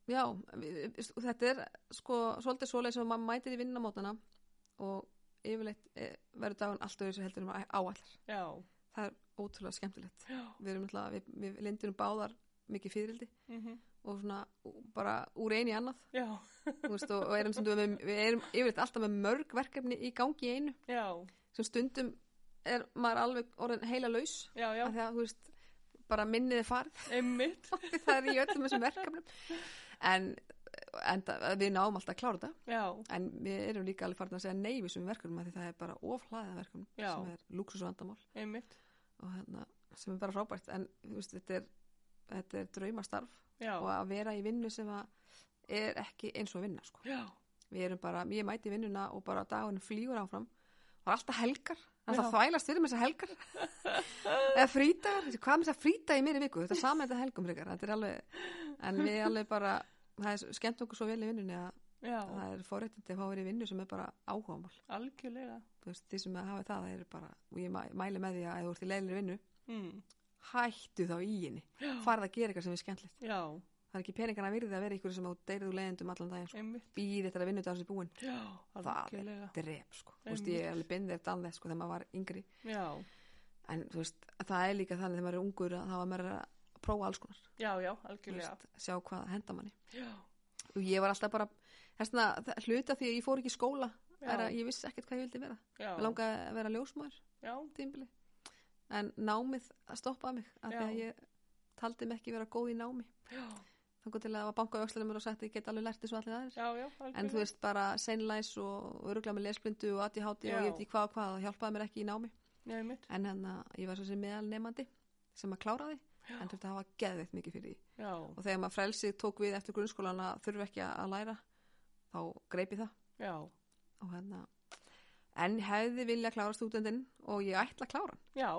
[SPEAKER 2] já, við, við- þetta er sko svolítið svoleið sem maður mætir í vinnamótana og yfirleitt eh, verður daginn alltaf þessu heldur um áallar
[SPEAKER 1] já,
[SPEAKER 2] það er ótrúlega skemmtilegt
[SPEAKER 1] já,
[SPEAKER 2] við erum alltaf, við, við lindurum báðar mikið fyririldi
[SPEAKER 1] mhm,
[SPEAKER 2] og svona ú- bara úr einu í annað
[SPEAKER 1] já,
[SPEAKER 2] þú veist, og, og erum sem við, við erum yfirleitt alltaf með mörg verkefni í gangi í einu
[SPEAKER 1] já,
[SPEAKER 2] sem stundum er maður alveg orðin heila laus
[SPEAKER 1] já, já,
[SPEAKER 2] af því að þú veist bara minnið er farið
[SPEAKER 1] einmitt,
[SPEAKER 2] það er í öllum þessum verkefnum en, en það- við náum alltaf að klára þetta
[SPEAKER 1] já,
[SPEAKER 2] en við erum líka alveg farin að segja nei við þessum verkefnum af því það er bara ofhlaðið af verkefnum
[SPEAKER 1] Já.
[SPEAKER 2] sem er lúksusvandamál
[SPEAKER 1] einmitt,
[SPEAKER 2] og hérna, sem er bara frábært en þú veist, þetta er, þetta er draumastarf og
[SPEAKER 1] já,
[SPEAKER 2] að vera í vinnu sem að er ekki eins og að vinna sko.
[SPEAKER 1] já,
[SPEAKER 2] við erum bara, ég mæti í vinnuna og bara dagurinn flýgur áfram það er alltaf helgar, það er
[SPEAKER 1] Já.
[SPEAKER 2] alltaf þvælast fyrir með þessar helgar eða frítagar, hvað með þessar frítagar í mér í viku þetta er saman þetta helgum frekar, þetta er alveg en við alveg bara, það er skemmt okkur svo vel í vinnunni að,
[SPEAKER 1] já,
[SPEAKER 2] það er forréttindi að fá verið vinnu sem er bara áhugamál
[SPEAKER 1] algjörlega
[SPEAKER 2] Þú veist, því sem að hafa það, það er bara og ég mæ- mæli með því að ef þú ert í leiðinni vinnu
[SPEAKER 1] mm.
[SPEAKER 2] hættu þá í henni farð að gera eitthvað sem er skemmtilegt
[SPEAKER 1] já,
[SPEAKER 2] það er ekki peningana virði að vera ykkur sem á deyrið úr leiðendum allan daginn sko.
[SPEAKER 1] einmitt
[SPEAKER 2] býð þetta að vinna þetta á þessu búin
[SPEAKER 1] já,
[SPEAKER 2] það er
[SPEAKER 1] algjörlega
[SPEAKER 2] drep sko. Þú veist, ég er alveg bindið eftir annað sko, þegar maður var yngri
[SPEAKER 1] já,
[SPEAKER 2] en þú veist, það er líka þannig þegar maður er ungur að þá var maður að prófa alls konar
[SPEAKER 1] já, já,
[SPEAKER 2] Þú
[SPEAKER 1] algjörlega
[SPEAKER 2] veist, sjá hvað henda manni
[SPEAKER 1] já,
[SPEAKER 2] og ég var alltaf bara þessna, hluta því að ég fór ekki í skóla er að ég vissi ekkert hvað ég vildi vera
[SPEAKER 1] já,
[SPEAKER 2] ég langaði að vera ljósmaður
[SPEAKER 1] já,
[SPEAKER 2] tímbili en námið stoppaði mig af því að
[SPEAKER 1] Já.
[SPEAKER 2] ég taldi mig ekki vera góð í námi
[SPEAKER 1] já,
[SPEAKER 2] þannig til að það var bankað öxlanum og sagt ég get alveg lært þessu allir aðeins
[SPEAKER 1] já, já algjörlega.
[SPEAKER 2] en þú veist bara seinlæs og öruglega með lesblindu og aðti háti og
[SPEAKER 1] Já.
[SPEAKER 2] ég veit í hvað og hvað það hjálpaði mér ekki í námi
[SPEAKER 1] já, einmitt
[SPEAKER 2] en hérna ég var svo sem meðal nefandi sem að kláraði
[SPEAKER 1] Já.
[SPEAKER 2] en þurfti að hafa geðveitt mikið fyrir því
[SPEAKER 1] já,
[SPEAKER 2] og þegar maður frelsið tók við eftir grunnskólan að þurfa ekki að læra þá greipi það
[SPEAKER 1] já,
[SPEAKER 2] og hérna en hefði vilja klára stúdendinn og ég ætla að klára hann.
[SPEAKER 1] já,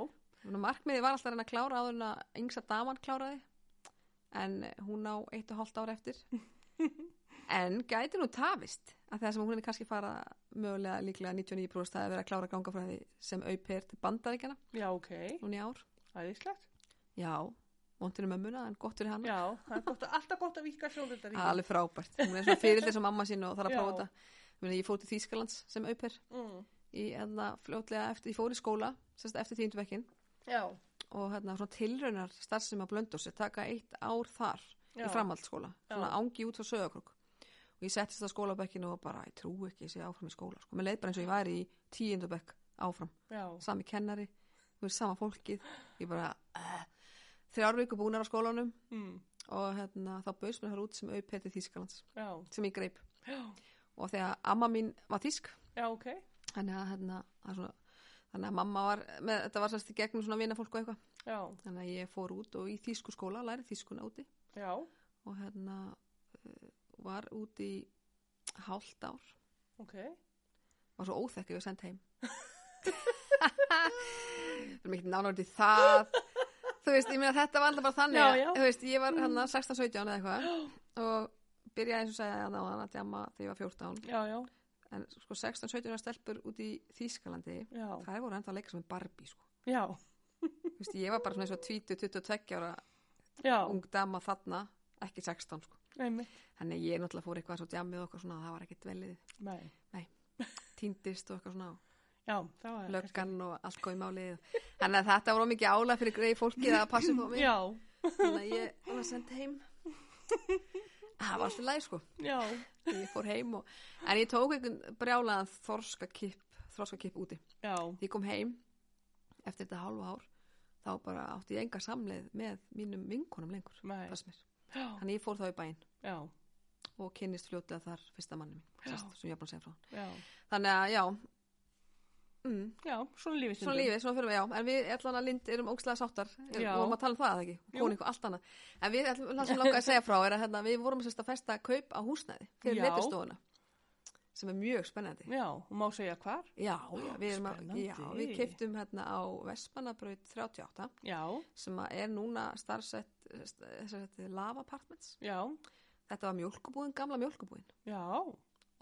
[SPEAKER 2] Þannig að markmiðið var alltaf að reyna að klára áður en að yngsta daman kláraði en hún á eitt og hálft ár eftir en gæti nú tafist að það sem hún er kannski fara mögulega líklega 99% að vera að klára gangafræði sem auper til bandaríkjana
[SPEAKER 1] já, ok
[SPEAKER 2] núna í ár
[SPEAKER 1] æðislegt,
[SPEAKER 2] já, vondinu mömmuna en gott fyrir hann
[SPEAKER 1] já, það er gott, að- alltaf gott að vika sjóðundar í
[SPEAKER 2] alveg frábært, hún er svona fyrirlega sem mamma sín og þarf að
[SPEAKER 1] Já.
[SPEAKER 2] prófa þetta Ég meina, ég fór til Þýskalands sem auper
[SPEAKER 1] mm.
[SPEAKER 2] í, hérna, fljótlega eftir, ég fór í skóla sérst eftir tíundvekkin
[SPEAKER 1] já,
[SPEAKER 2] og hérna, svona tilraunar starfsema blöndursi taka eitt ár þar
[SPEAKER 1] já,
[SPEAKER 2] í framhaldsskóla, svona
[SPEAKER 1] Já.
[SPEAKER 2] ángi út frá sögakrúk og ég settist að skólabekkinu og bara, ég trú ekki að ég sé áfram í skóla sko. mér leið bara eins og ég væri í tíundabekk áfram,
[SPEAKER 1] já,
[SPEAKER 2] sami kennari þú veist, sama fólkið, ég bara uh, þrjár viku búnar á skólanum
[SPEAKER 1] mm.
[SPEAKER 2] og hérna, þá bauðs mér þar út sem auðpeti Þýskalands,
[SPEAKER 1] já,
[SPEAKER 2] sem ég greip
[SPEAKER 1] já,
[SPEAKER 2] og þegar amma mín var þýsk
[SPEAKER 1] já, ok
[SPEAKER 2] þannig að, hérna, það er svona, þannig að mamma var með, þetta var sérst í gegnum svona vinafólk og eitthvað
[SPEAKER 1] já,
[SPEAKER 2] þannig að ég fór út og í þýsku skóla læri þýskuna úti
[SPEAKER 1] já,
[SPEAKER 2] og hérna uh, var úti í hálft ár
[SPEAKER 1] ok
[SPEAKER 2] var svo óþekki við send heim við erum ekkert nánorti það þú veist, ég meina þetta var alltaf bara þannig
[SPEAKER 1] Já,
[SPEAKER 2] að-
[SPEAKER 1] já. Mm.
[SPEAKER 2] þú veist, ég var hérna 16-17 eða eitthvað og byrjaði eins og segja að það var að djama þegar ég var 14
[SPEAKER 1] já, já,
[SPEAKER 2] en sko 16-17 var stelpur úti í Þýskalandi
[SPEAKER 1] já,
[SPEAKER 2] þær voru enda að leika sem en Barbie sko
[SPEAKER 1] já,
[SPEAKER 2] Þú veist, ég var bara svona eins og 20-22 ára
[SPEAKER 1] já,
[SPEAKER 2] ung dama þarna, ekki 16 sko.
[SPEAKER 1] einmitt
[SPEAKER 2] Þannig að ég náttúrulega fór eitthvað svo djamið og eitthvað svona, það var ekkert velið,
[SPEAKER 1] nei,
[SPEAKER 2] týndist og eitthvað svona, og
[SPEAKER 1] já, það var
[SPEAKER 2] löggan og allt góði málið. Þannig að þetta var of mikið álæg fyrir greið fólkið að passa upp á mig.
[SPEAKER 1] já,
[SPEAKER 2] Þannig að ég var sendt heim. Það var alltaf læg sko.
[SPEAKER 1] já,
[SPEAKER 2] Ég fór heim og, en ég tók einhvern brjálaðan þorskakipp, þorskakipp úti.
[SPEAKER 1] já,
[SPEAKER 2] Því ég kom heim eftir þetta hálfa ár, þá bara átti ég enga samleið með mínum vinkonum lengur.
[SPEAKER 1] nei
[SPEAKER 2] fannst mér.
[SPEAKER 1] já,
[SPEAKER 2] Þannig ég fór þá í bæinn
[SPEAKER 1] já,
[SPEAKER 2] og kynnist fljótlega þar fyrsta manni mín,
[SPEAKER 1] Já.
[SPEAKER 2] sest, sem ég er búin að segja frá.
[SPEAKER 1] já,
[SPEAKER 2] Þannig að, já, mm,
[SPEAKER 1] já, svona lífið
[SPEAKER 2] svona lífið, svona fyrir mig, já, en við allan að lind erum ógslega sáttar, er,
[SPEAKER 1] Já.
[SPEAKER 2] vorum að tala um það eða ekki,
[SPEAKER 1] Jú.
[SPEAKER 2] konu eitthvað allt annað. En við, ætlum- það sem langaði að segja frá er að hérna, við vorum sérst að festa kaup á húsnæði fyrir
[SPEAKER 1] Já.
[SPEAKER 2] leturstofuna, sem er mjög spennandi.
[SPEAKER 1] já, og má segja hvar
[SPEAKER 2] Já, já, við, erum að,
[SPEAKER 1] Spennandi.
[SPEAKER 2] já, við keiptum hérna á Vespanabraut 38
[SPEAKER 1] já,
[SPEAKER 2] sem að er núna starfsett, eh, starfsett lava apartments.
[SPEAKER 1] já,
[SPEAKER 2] Þetta var mjólkubúin, gamla mjólkubúin
[SPEAKER 1] já,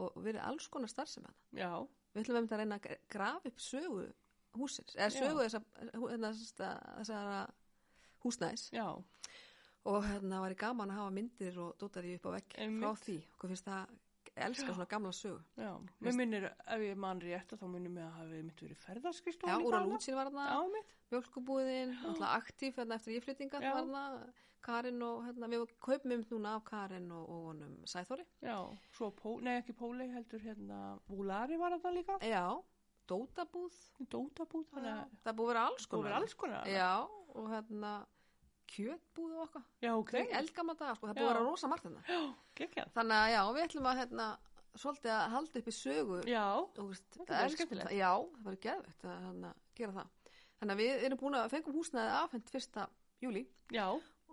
[SPEAKER 2] og verið alls konar starfsemi hana.
[SPEAKER 1] já
[SPEAKER 2] Við ætlum einmitt að reyna að gra- grafa upp sögu húsins, eða
[SPEAKER 1] Já.
[SPEAKER 2] sögu þessa, hérna, þessa, þessara húsnæðis
[SPEAKER 1] já,
[SPEAKER 2] og hérna væri gaman að hafa myndir og dótar ég upp á vegg frá
[SPEAKER 1] Einmitt.
[SPEAKER 2] því. Hvað finnst það, ég elska svona gamla sögu.
[SPEAKER 1] já mér minnir, ef ég man rétt að þá minnir mig að hafi mitt verið ferðarskristóð
[SPEAKER 2] Já, úr á lútsin var
[SPEAKER 1] já,
[SPEAKER 2] þarna,
[SPEAKER 1] mitt,
[SPEAKER 2] mjölkubúðin, alltaf aktíf hérna eftir íflutninga
[SPEAKER 1] Já.
[SPEAKER 2] var þarna, Karin og hérna, við kaupum um núna af Karin og, og honum Sæþóri.
[SPEAKER 1] já, svo pó, nei ekki Pólei heldur hérna, Vúlari var þetta líka
[SPEAKER 2] Já, dótabúð,
[SPEAKER 1] Dótabúð, þannig að
[SPEAKER 2] það er búið að vera alls
[SPEAKER 1] það
[SPEAKER 2] konar.
[SPEAKER 1] verið alls konar
[SPEAKER 2] Já, og hérna kjötbúð og okkar
[SPEAKER 1] já ok,
[SPEAKER 2] okay. eldgama dag, sko, það er búið
[SPEAKER 1] Já.
[SPEAKER 2] að vera rosa margt hérna
[SPEAKER 1] geggjað
[SPEAKER 2] þannig að já, við ætlum að hérna, svolítið að halda upp í sögu
[SPEAKER 1] já,
[SPEAKER 2] Þú veist,
[SPEAKER 1] Þetta er
[SPEAKER 2] elsku-
[SPEAKER 1] skemmtilegt.
[SPEAKER 2] Já, það verður geðvægt að hérna, gera það þannig að við erum búin að fengum húsnaðið afhend fyrsta júli
[SPEAKER 1] já,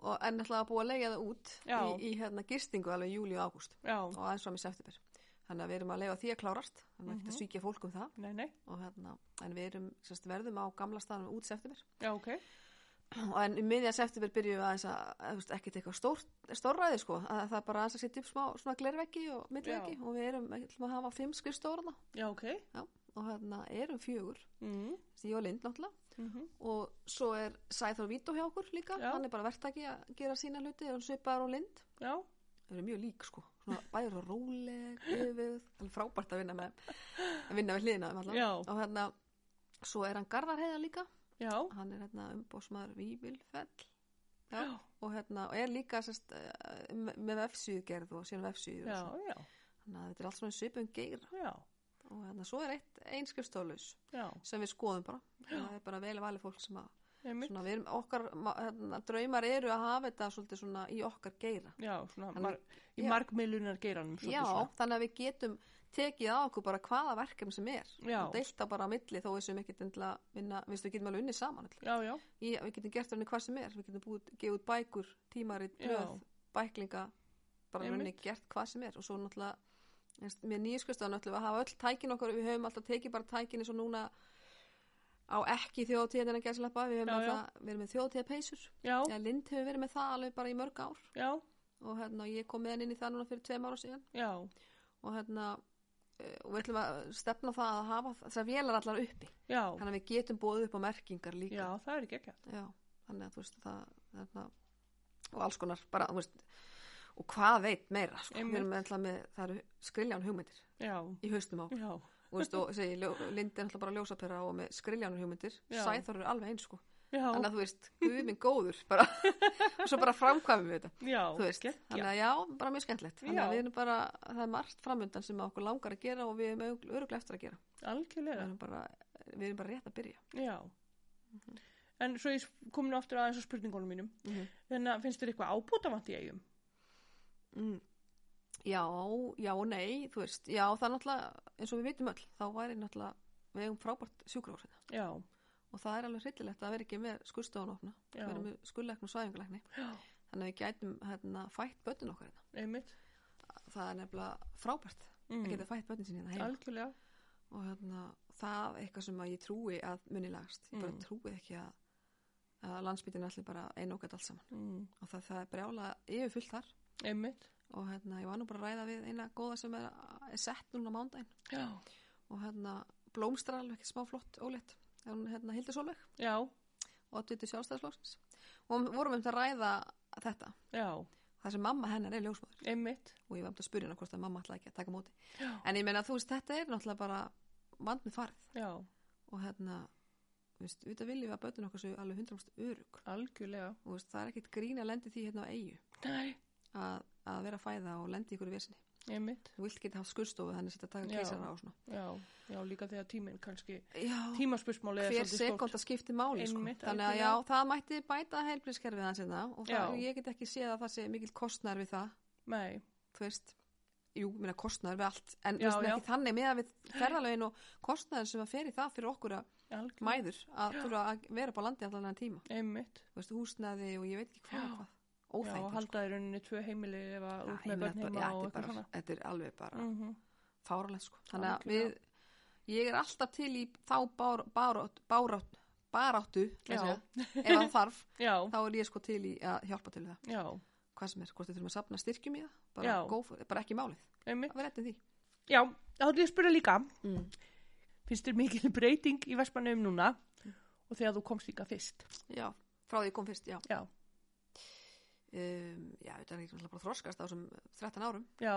[SPEAKER 2] og en ætlaði að búa að leiga það út
[SPEAKER 1] Já.
[SPEAKER 2] í, í hérna, gistingu alveg í júli og ágúst
[SPEAKER 1] já
[SPEAKER 2] og aðeins fram í september þannig að við erum að leiga því að klárast þannig að ekki að
[SPEAKER 1] Mhm.
[SPEAKER 2] svíkja fólk um það
[SPEAKER 1] nei, nei,
[SPEAKER 2] og, hérna, en við erum, sérst, verðum á gamla staðanum út september
[SPEAKER 1] já ok
[SPEAKER 2] og en í miðja september byrjuðum við aðeins að, að veist, ekki teka stórt, stórræði sko að það er bara aðeins að setja upp smá svona glerveggi og millveggi
[SPEAKER 1] Já.
[SPEAKER 2] og við erum, við ætlum að hafa fimm skrifstórna
[SPEAKER 1] Já, ok.
[SPEAKER 2] og hérna erum fjögur,
[SPEAKER 1] Mm.
[SPEAKER 2] Þessi, ég og Lind náttúrulega
[SPEAKER 1] Mm -hmm.
[SPEAKER 2] og svo er Sæþór Vító hjá okkur líka,
[SPEAKER 1] Já.
[SPEAKER 2] hann er bara verktaki að gera sína hluti og hann svipaður og Lind
[SPEAKER 1] Já,
[SPEAKER 2] þau eru mjög lík sko, svona bæður og róleg yfirveguð, það er frábært að vinna með að vinna við hliðina um allan
[SPEAKER 1] já,
[SPEAKER 2] og hérna, svo er hann Garðarheiða líka
[SPEAKER 1] já.
[SPEAKER 2] hann er hérna umbósmaður Vívilfell já,
[SPEAKER 1] Já.
[SPEAKER 2] og hérna, og er líka sest, eh, me- með vefsíðugerð og síðan vefsíður
[SPEAKER 1] Já,
[SPEAKER 2] og svona.
[SPEAKER 1] já,
[SPEAKER 2] þannig að þetta er allt svona svipum geir
[SPEAKER 1] já,
[SPEAKER 2] og hérna, svo er eitt einskjöfstólus
[SPEAKER 1] já,
[SPEAKER 2] sem við skoðum bara það er bara vel valið fólk sem að
[SPEAKER 1] einmitt,
[SPEAKER 2] svona, við erum, okkar ma- hérna, draumar eru að hafa þetta svolítið svona í okkar geira
[SPEAKER 1] já, svona
[SPEAKER 2] Þannig-
[SPEAKER 1] mar, í
[SPEAKER 2] já.
[SPEAKER 1] margmiðlunar geiranum,
[SPEAKER 2] Já,
[SPEAKER 1] svona.
[SPEAKER 2] þannig að við getum tekið á okkur bara hvaða verkefni sem er
[SPEAKER 1] Já.
[SPEAKER 2] og deilt á bara á milli þó við sem ekkit endilega vinna, við sem við getum alveg unnið saman öll.
[SPEAKER 1] Já, já,
[SPEAKER 2] Í, við getum gert henni hvað sem er, við getum búið, gefið út bækur, tímarit,
[SPEAKER 1] Já.
[SPEAKER 2] blöð, bæklinga, bara
[SPEAKER 1] Einmitt.
[SPEAKER 2] henni gert hvað sem er og svo náttúrulega, eins, með nýjaskustan ætlum við að hafa öll tækin okkur, við höfum alltaf tekið bara tækin eins og núna á ekki þjóðtíðan en gæslappa, við höfum
[SPEAKER 1] Já, já.
[SPEAKER 2] alltaf verið með þjóðtíða peysur,
[SPEAKER 1] já,
[SPEAKER 2] ja, Lind hefur verið með það alveg bara í mörg ár
[SPEAKER 1] já,
[SPEAKER 2] og hérna, ég kom með henni inn í það núna fyrir tveim ára síðan
[SPEAKER 1] já,
[SPEAKER 2] og hérna eh, og við ætlum að stefna á það að hafa þessar vélar allar uppi
[SPEAKER 1] já,
[SPEAKER 2] þannig að við getum bóðið upp á merkingar líka
[SPEAKER 1] já, það er ekki ekki.
[SPEAKER 2] Já, þannig að þú veist það, það og alls konar bara, þú veist og hvað veit meira sko.
[SPEAKER 1] Einmitt.
[SPEAKER 2] við erum alltaf með, það eru skrilján hugmyndir
[SPEAKER 1] Já,
[SPEAKER 2] í haustum á
[SPEAKER 1] já,
[SPEAKER 2] og, veist, og segi, Lind er alltaf bara ljósapera og með skrilján hugmyndir
[SPEAKER 1] Já.
[SPEAKER 2] Sæþór er alveg eins sko
[SPEAKER 1] já,
[SPEAKER 2] þannig að þú veist, guð minn góður bara, og svo bara framkvæmum við þetta
[SPEAKER 1] já,
[SPEAKER 2] þú veist,
[SPEAKER 1] geggjað.
[SPEAKER 2] þannig að já, bara mjög skemmtilegt þannig
[SPEAKER 1] Já.
[SPEAKER 2] að við erum bara, það er margt framöndan sem okkur langar að gera og við erum öruglega eftir að gera við
[SPEAKER 1] algjörlega,
[SPEAKER 2] erum bara, við erum bara rétt að byrja
[SPEAKER 1] já. En svo ég komin aftur aðeins á spurningunum mínum.
[SPEAKER 2] Mhm.
[SPEAKER 1] Þannig að finnst þér eitthvað ábútavant í eigum?
[SPEAKER 2] mm. já, já og nei þú veist, já það er náttúrulega eins og við vitum öll, þá væri náttúrulega við eigum frábært sjúkrós
[SPEAKER 1] Já,
[SPEAKER 2] og það er alveg hryllilegt að vera ekki með skurðstofan opna,
[SPEAKER 1] Já.
[SPEAKER 2] við erum með skurðleikn og svæðinguleikni
[SPEAKER 1] já,
[SPEAKER 2] þannig að við gætum hérna, fætt bötnin okkar hérna.
[SPEAKER 1] einmitt.
[SPEAKER 2] það er nefnilega frábært að
[SPEAKER 1] Mm.
[SPEAKER 2] geta fætt bötnin sinni hérna heima
[SPEAKER 1] Algjörlega,
[SPEAKER 2] og hérna, það er eitthvað sem að ég trúi að muni lagast, ég bara
[SPEAKER 1] Mm.
[SPEAKER 2] trúi ekki að, að landsbytin allir bara einókat allt saman
[SPEAKER 1] mm.
[SPEAKER 2] og það, það er brjála yfirfullt þar
[SPEAKER 1] einmitt,
[SPEAKER 2] og hérna, ég var nú bara að ræða við eina góða sem er, er sett núna á mándaginn
[SPEAKER 1] já,
[SPEAKER 2] og hérna blómstrar alveg ekki smá flott ólétt Það er hún hérna Hildur Solveig
[SPEAKER 1] já,
[SPEAKER 2] og oddviti sjálfstæðisflóksins og við vorum um þetta að ræða þetta
[SPEAKER 1] já,
[SPEAKER 2] það sem mamma hennar er ljósmaður
[SPEAKER 1] einmitt,
[SPEAKER 2] og ég var um að spyrja hana hvort að mamma ætlaði ekki að taka á móti
[SPEAKER 1] já,
[SPEAKER 2] en ég meina þú veist þetta er náttúrulega bara vandmið farið
[SPEAKER 1] já,
[SPEAKER 2] og hérna þú veist, auðvitað viljum við að bötun okkar séu alveg 100% örug
[SPEAKER 1] algjörlega.
[SPEAKER 2] og þú veist, það er ekkit grín að lendi því hérna á eigu
[SPEAKER 1] Nei,
[SPEAKER 2] að, að vera að fæða og lendi ykkur í vesinni
[SPEAKER 1] einmitt,
[SPEAKER 2] þú vilt geta haft skurstofu þannig að þetta taka
[SPEAKER 1] Já.
[SPEAKER 2] keisara á svona
[SPEAKER 1] já, já, líka þegar tíminn kannski,
[SPEAKER 2] já,
[SPEAKER 1] tímaspursmáli er
[SPEAKER 2] hver
[SPEAKER 1] svolítið stórt.
[SPEAKER 2] sekund að skipti máli sko.
[SPEAKER 1] Einmitt,
[SPEAKER 2] þannig að já,
[SPEAKER 1] algjörlega.
[SPEAKER 2] það mætti bæta heilbrískerfið hans hérna og það,
[SPEAKER 1] Já.
[SPEAKER 2] ég get ekki séð að það sé mikill kostnar við það
[SPEAKER 1] Nei,
[SPEAKER 2] þú veist, jú, minna kostnar við allt en
[SPEAKER 1] Já,
[SPEAKER 2] þú veist,
[SPEAKER 1] já.
[SPEAKER 2] ekki þannig með að við ferðalögin og kostnar sem að fer í það fyrir okkur að
[SPEAKER 1] algjörlega,
[SPEAKER 2] mæður að þurfa að vera upp á landi allan en tíma
[SPEAKER 1] einmitt.
[SPEAKER 2] þú veist, húsnaði og ég veit ekki hvað
[SPEAKER 1] Já.
[SPEAKER 2] og hvað.
[SPEAKER 1] Já,
[SPEAKER 2] Óþægilegt,
[SPEAKER 1] og halda í rauninni tvö heimili ef að
[SPEAKER 2] sko.
[SPEAKER 1] út
[SPEAKER 2] Já, ég
[SPEAKER 1] með
[SPEAKER 2] meina
[SPEAKER 1] börn
[SPEAKER 2] bara-
[SPEAKER 1] heima
[SPEAKER 2] já,
[SPEAKER 1] og
[SPEAKER 2] þetta er
[SPEAKER 1] eitthvað
[SPEAKER 2] bara-
[SPEAKER 1] svona.
[SPEAKER 2] Þetta er alveg bara mm.
[SPEAKER 1] Mm
[SPEAKER 2] fáralegt sko. Þannig að
[SPEAKER 1] Algjörlega.
[SPEAKER 2] við, ég er alltaf til í þá bár, bárát, bárát, baráttu,
[SPEAKER 1] Já.
[SPEAKER 2] segja, ef það þarf,
[SPEAKER 1] Já,
[SPEAKER 2] þá er ég sko til í að hjálpa til við það.
[SPEAKER 1] já,
[SPEAKER 2] Hvað sem er, hvort við þurfum að safna styrkjum í það, bara,
[SPEAKER 1] Já.
[SPEAKER 2] go, for- bara ekki málið,
[SPEAKER 1] einmitt.
[SPEAKER 2] að við rettum því.
[SPEAKER 1] Já, þá ætlum ég að spyrja líka,
[SPEAKER 2] Mm.
[SPEAKER 1] finnst þér mikil breyting í Vestmannum núna
[SPEAKER 2] Mm.
[SPEAKER 1] og þegar þú komst líka fyrst?
[SPEAKER 2] Já, frá því ég kom fyrst, já.
[SPEAKER 1] Já,
[SPEAKER 2] Um, já, þetta er ekki náttúrulega bara að þroskast á þessum 13 árum
[SPEAKER 1] já,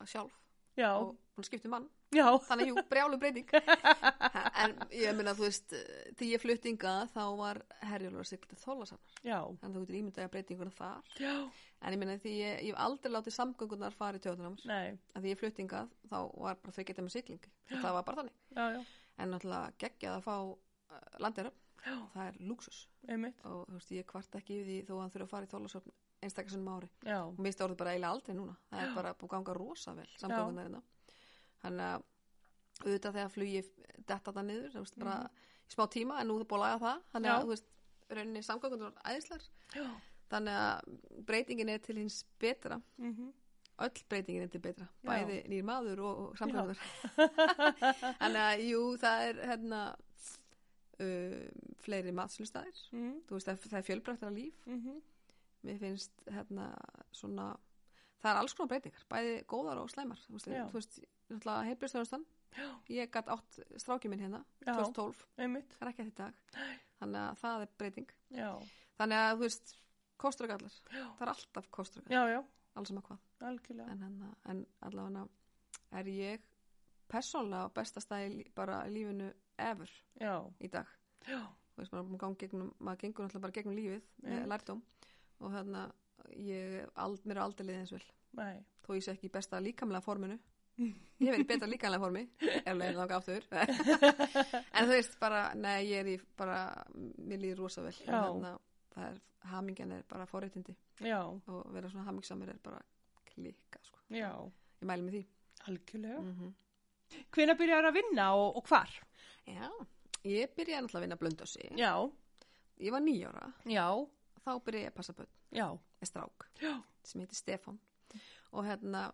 [SPEAKER 2] að sjálf
[SPEAKER 1] já,
[SPEAKER 2] og hún skipti um mann.
[SPEAKER 1] já,
[SPEAKER 2] þannig jú, brjálu breyting en ég meina þú veist eh, því ég flutt inga þá var herjólfur að sigla til þólasamnar
[SPEAKER 1] já,
[SPEAKER 2] þannig þú getur ímyndaði að breytinguna þar
[SPEAKER 1] já,
[SPEAKER 2] en ég meina því ég, ég hef aldrei látið samgöngunar fara í tjóðunar mér
[SPEAKER 1] nei,
[SPEAKER 2] að því ég flutt inga þá var bara þau getið með sigling og það var bara þannig
[SPEAKER 1] já, já,
[SPEAKER 2] en náttúrulega geggjað að fá uh, landera
[SPEAKER 1] já,
[SPEAKER 2] það er luxus
[SPEAKER 1] einmitt,
[SPEAKER 2] og þú veist ég kvart ekki yfir því þó að hann þurfa að fara í þólasöfn einstakar sem ári
[SPEAKER 1] já,
[SPEAKER 2] og minnst orðið bara eiginlega aldrei núna það er bara búið að ganga rosa vel samgöngunar hérna þannig að auðvitað þegar flugi detta það niður þú veist, bara í smá tíma en nú er búið að laga það
[SPEAKER 1] Mm.
[SPEAKER 2] þannig
[SPEAKER 1] Já.
[SPEAKER 2] að þú veist, rauninni samgöngunar er æðislar
[SPEAKER 1] já,
[SPEAKER 2] þannig að breytingin er til hins betra
[SPEAKER 1] mhm,
[SPEAKER 2] öll breytingin er til betra,
[SPEAKER 1] Já.
[SPEAKER 2] bæði nýr maður og, og samgöngunar þannig að jú, það er hérna uh, fleiri matslustæðir
[SPEAKER 1] Mm,
[SPEAKER 2] þú veist, það, það er fjölbreyttara líf
[SPEAKER 1] mhm.
[SPEAKER 2] mér finnst hérna svona það er alls konar breytingar, bæði góðar og slæmar þú veist,
[SPEAKER 1] Já.
[SPEAKER 2] þú veist náttúrulega heilbrigðstjónustan ég gætt átt strákið minn hérna
[SPEAKER 1] Já.
[SPEAKER 2] 2012,
[SPEAKER 1] Einmitt.
[SPEAKER 2] það er ekki eftir dag þannig að það er breyting
[SPEAKER 1] Já,
[SPEAKER 2] þannig að þú veist, kostur og gallar það er alltaf kostur og gallar,
[SPEAKER 1] já, já,
[SPEAKER 2] alls um að hvað
[SPEAKER 1] algjörlega.
[SPEAKER 2] en, hérna, en allavega er ég persónlega á besta stæði bara í lífinu ever
[SPEAKER 1] Já,
[SPEAKER 2] í dag
[SPEAKER 1] já,
[SPEAKER 2] þú veist, maður, gang gegnum, maður gengur náttúrulega bara gegnum lífið með
[SPEAKER 1] Einmitt.
[SPEAKER 2] lærdóm og þannig að ég, ald, mér er aldrei liðið eins vel
[SPEAKER 1] nei.
[SPEAKER 2] þó ég sé ekki í besta líkamlega forminu ég hef verið í betra líkamlega formi ef leiðin þá gaftur en þú veist bara, nei ég er í bara mér líður rosa vel
[SPEAKER 1] Já.
[SPEAKER 2] að það er, hamingjan er bara forréttindi
[SPEAKER 1] Já,
[SPEAKER 2] og vera svona hamingsamir er bara klikka sko,
[SPEAKER 1] já,
[SPEAKER 2] ég mæli með því
[SPEAKER 1] algjörlega.
[SPEAKER 2] mm
[SPEAKER 1] Hvena byrjar að vinna og, og hvar?
[SPEAKER 2] já, ég byrjaði náttúrulega að vinna blöndösi
[SPEAKER 1] Já,
[SPEAKER 2] ég var nýjára,
[SPEAKER 1] já,
[SPEAKER 2] þá byrjaði ég að passa börn
[SPEAKER 1] já,
[SPEAKER 2] eða strák
[SPEAKER 1] já,
[SPEAKER 2] sem heitir Stefan og hérna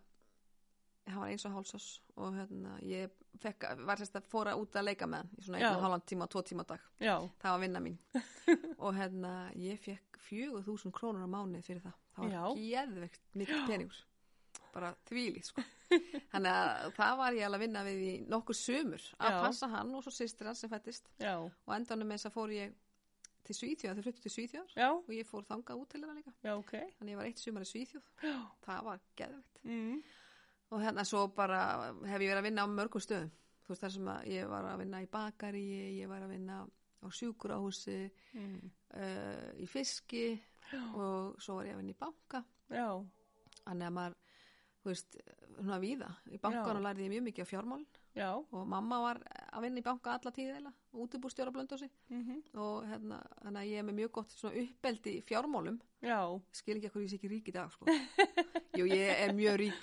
[SPEAKER 2] hann var eins og hálsás og hérna ég fekk, var sérst að fóra út að leika með hann í svona
[SPEAKER 1] Já.
[SPEAKER 2] einu og hálfan tíma, tvo tíma á dag
[SPEAKER 1] já,
[SPEAKER 2] það var vinna mín og hérna ég fekk 4000 krónur á mánuð fyrir það, það var geðvegt mikið peningur bara þvílið sko þannig að það var ég alveg að vinna við í nokkur sömur að
[SPEAKER 1] Já.
[SPEAKER 2] passa hann og svo sýstir hann sem fættist
[SPEAKER 1] já,
[SPEAKER 2] og endanum með þess að fór ég til Svíþjóð, þau fluttu til Svíþjóðar
[SPEAKER 1] já,
[SPEAKER 2] og ég fór þangað út til þeirra líka
[SPEAKER 1] já, ok.
[SPEAKER 2] þannig að ég var eitt sumar í Svíþjóð
[SPEAKER 1] Já,
[SPEAKER 2] það var geðvegt
[SPEAKER 1] mm,
[SPEAKER 2] og hérna svo bara hef ég verið að vinna á mörgum stöðum þú veist þar sem að ég var að vinna í bakari ég var að vinna á sjúkurahúsi
[SPEAKER 1] mm,
[SPEAKER 2] uh, í fiski og svo var ég að vinna í banka
[SPEAKER 1] já,
[SPEAKER 2] þannig að maður þú veist, svona víða í bankanum
[SPEAKER 1] Já.
[SPEAKER 2] lærði ég mjög mikið á fjármál
[SPEAKER 1] já,
[SPEAKER 2] og mamma var að vinna í banka alla tíð eða útibúrstjóra blöndósi
[SPEAKER 1] mhm,
[SPEAKER 2] og hérna, þannig að ég er með mjög gott svona uppbeldi í fjármálum
[SPEAKER 1] já,
[SPEAKER 2] skil ekki að hverju ég sé ekki rík í dag sko. Jú, ég er mjög rík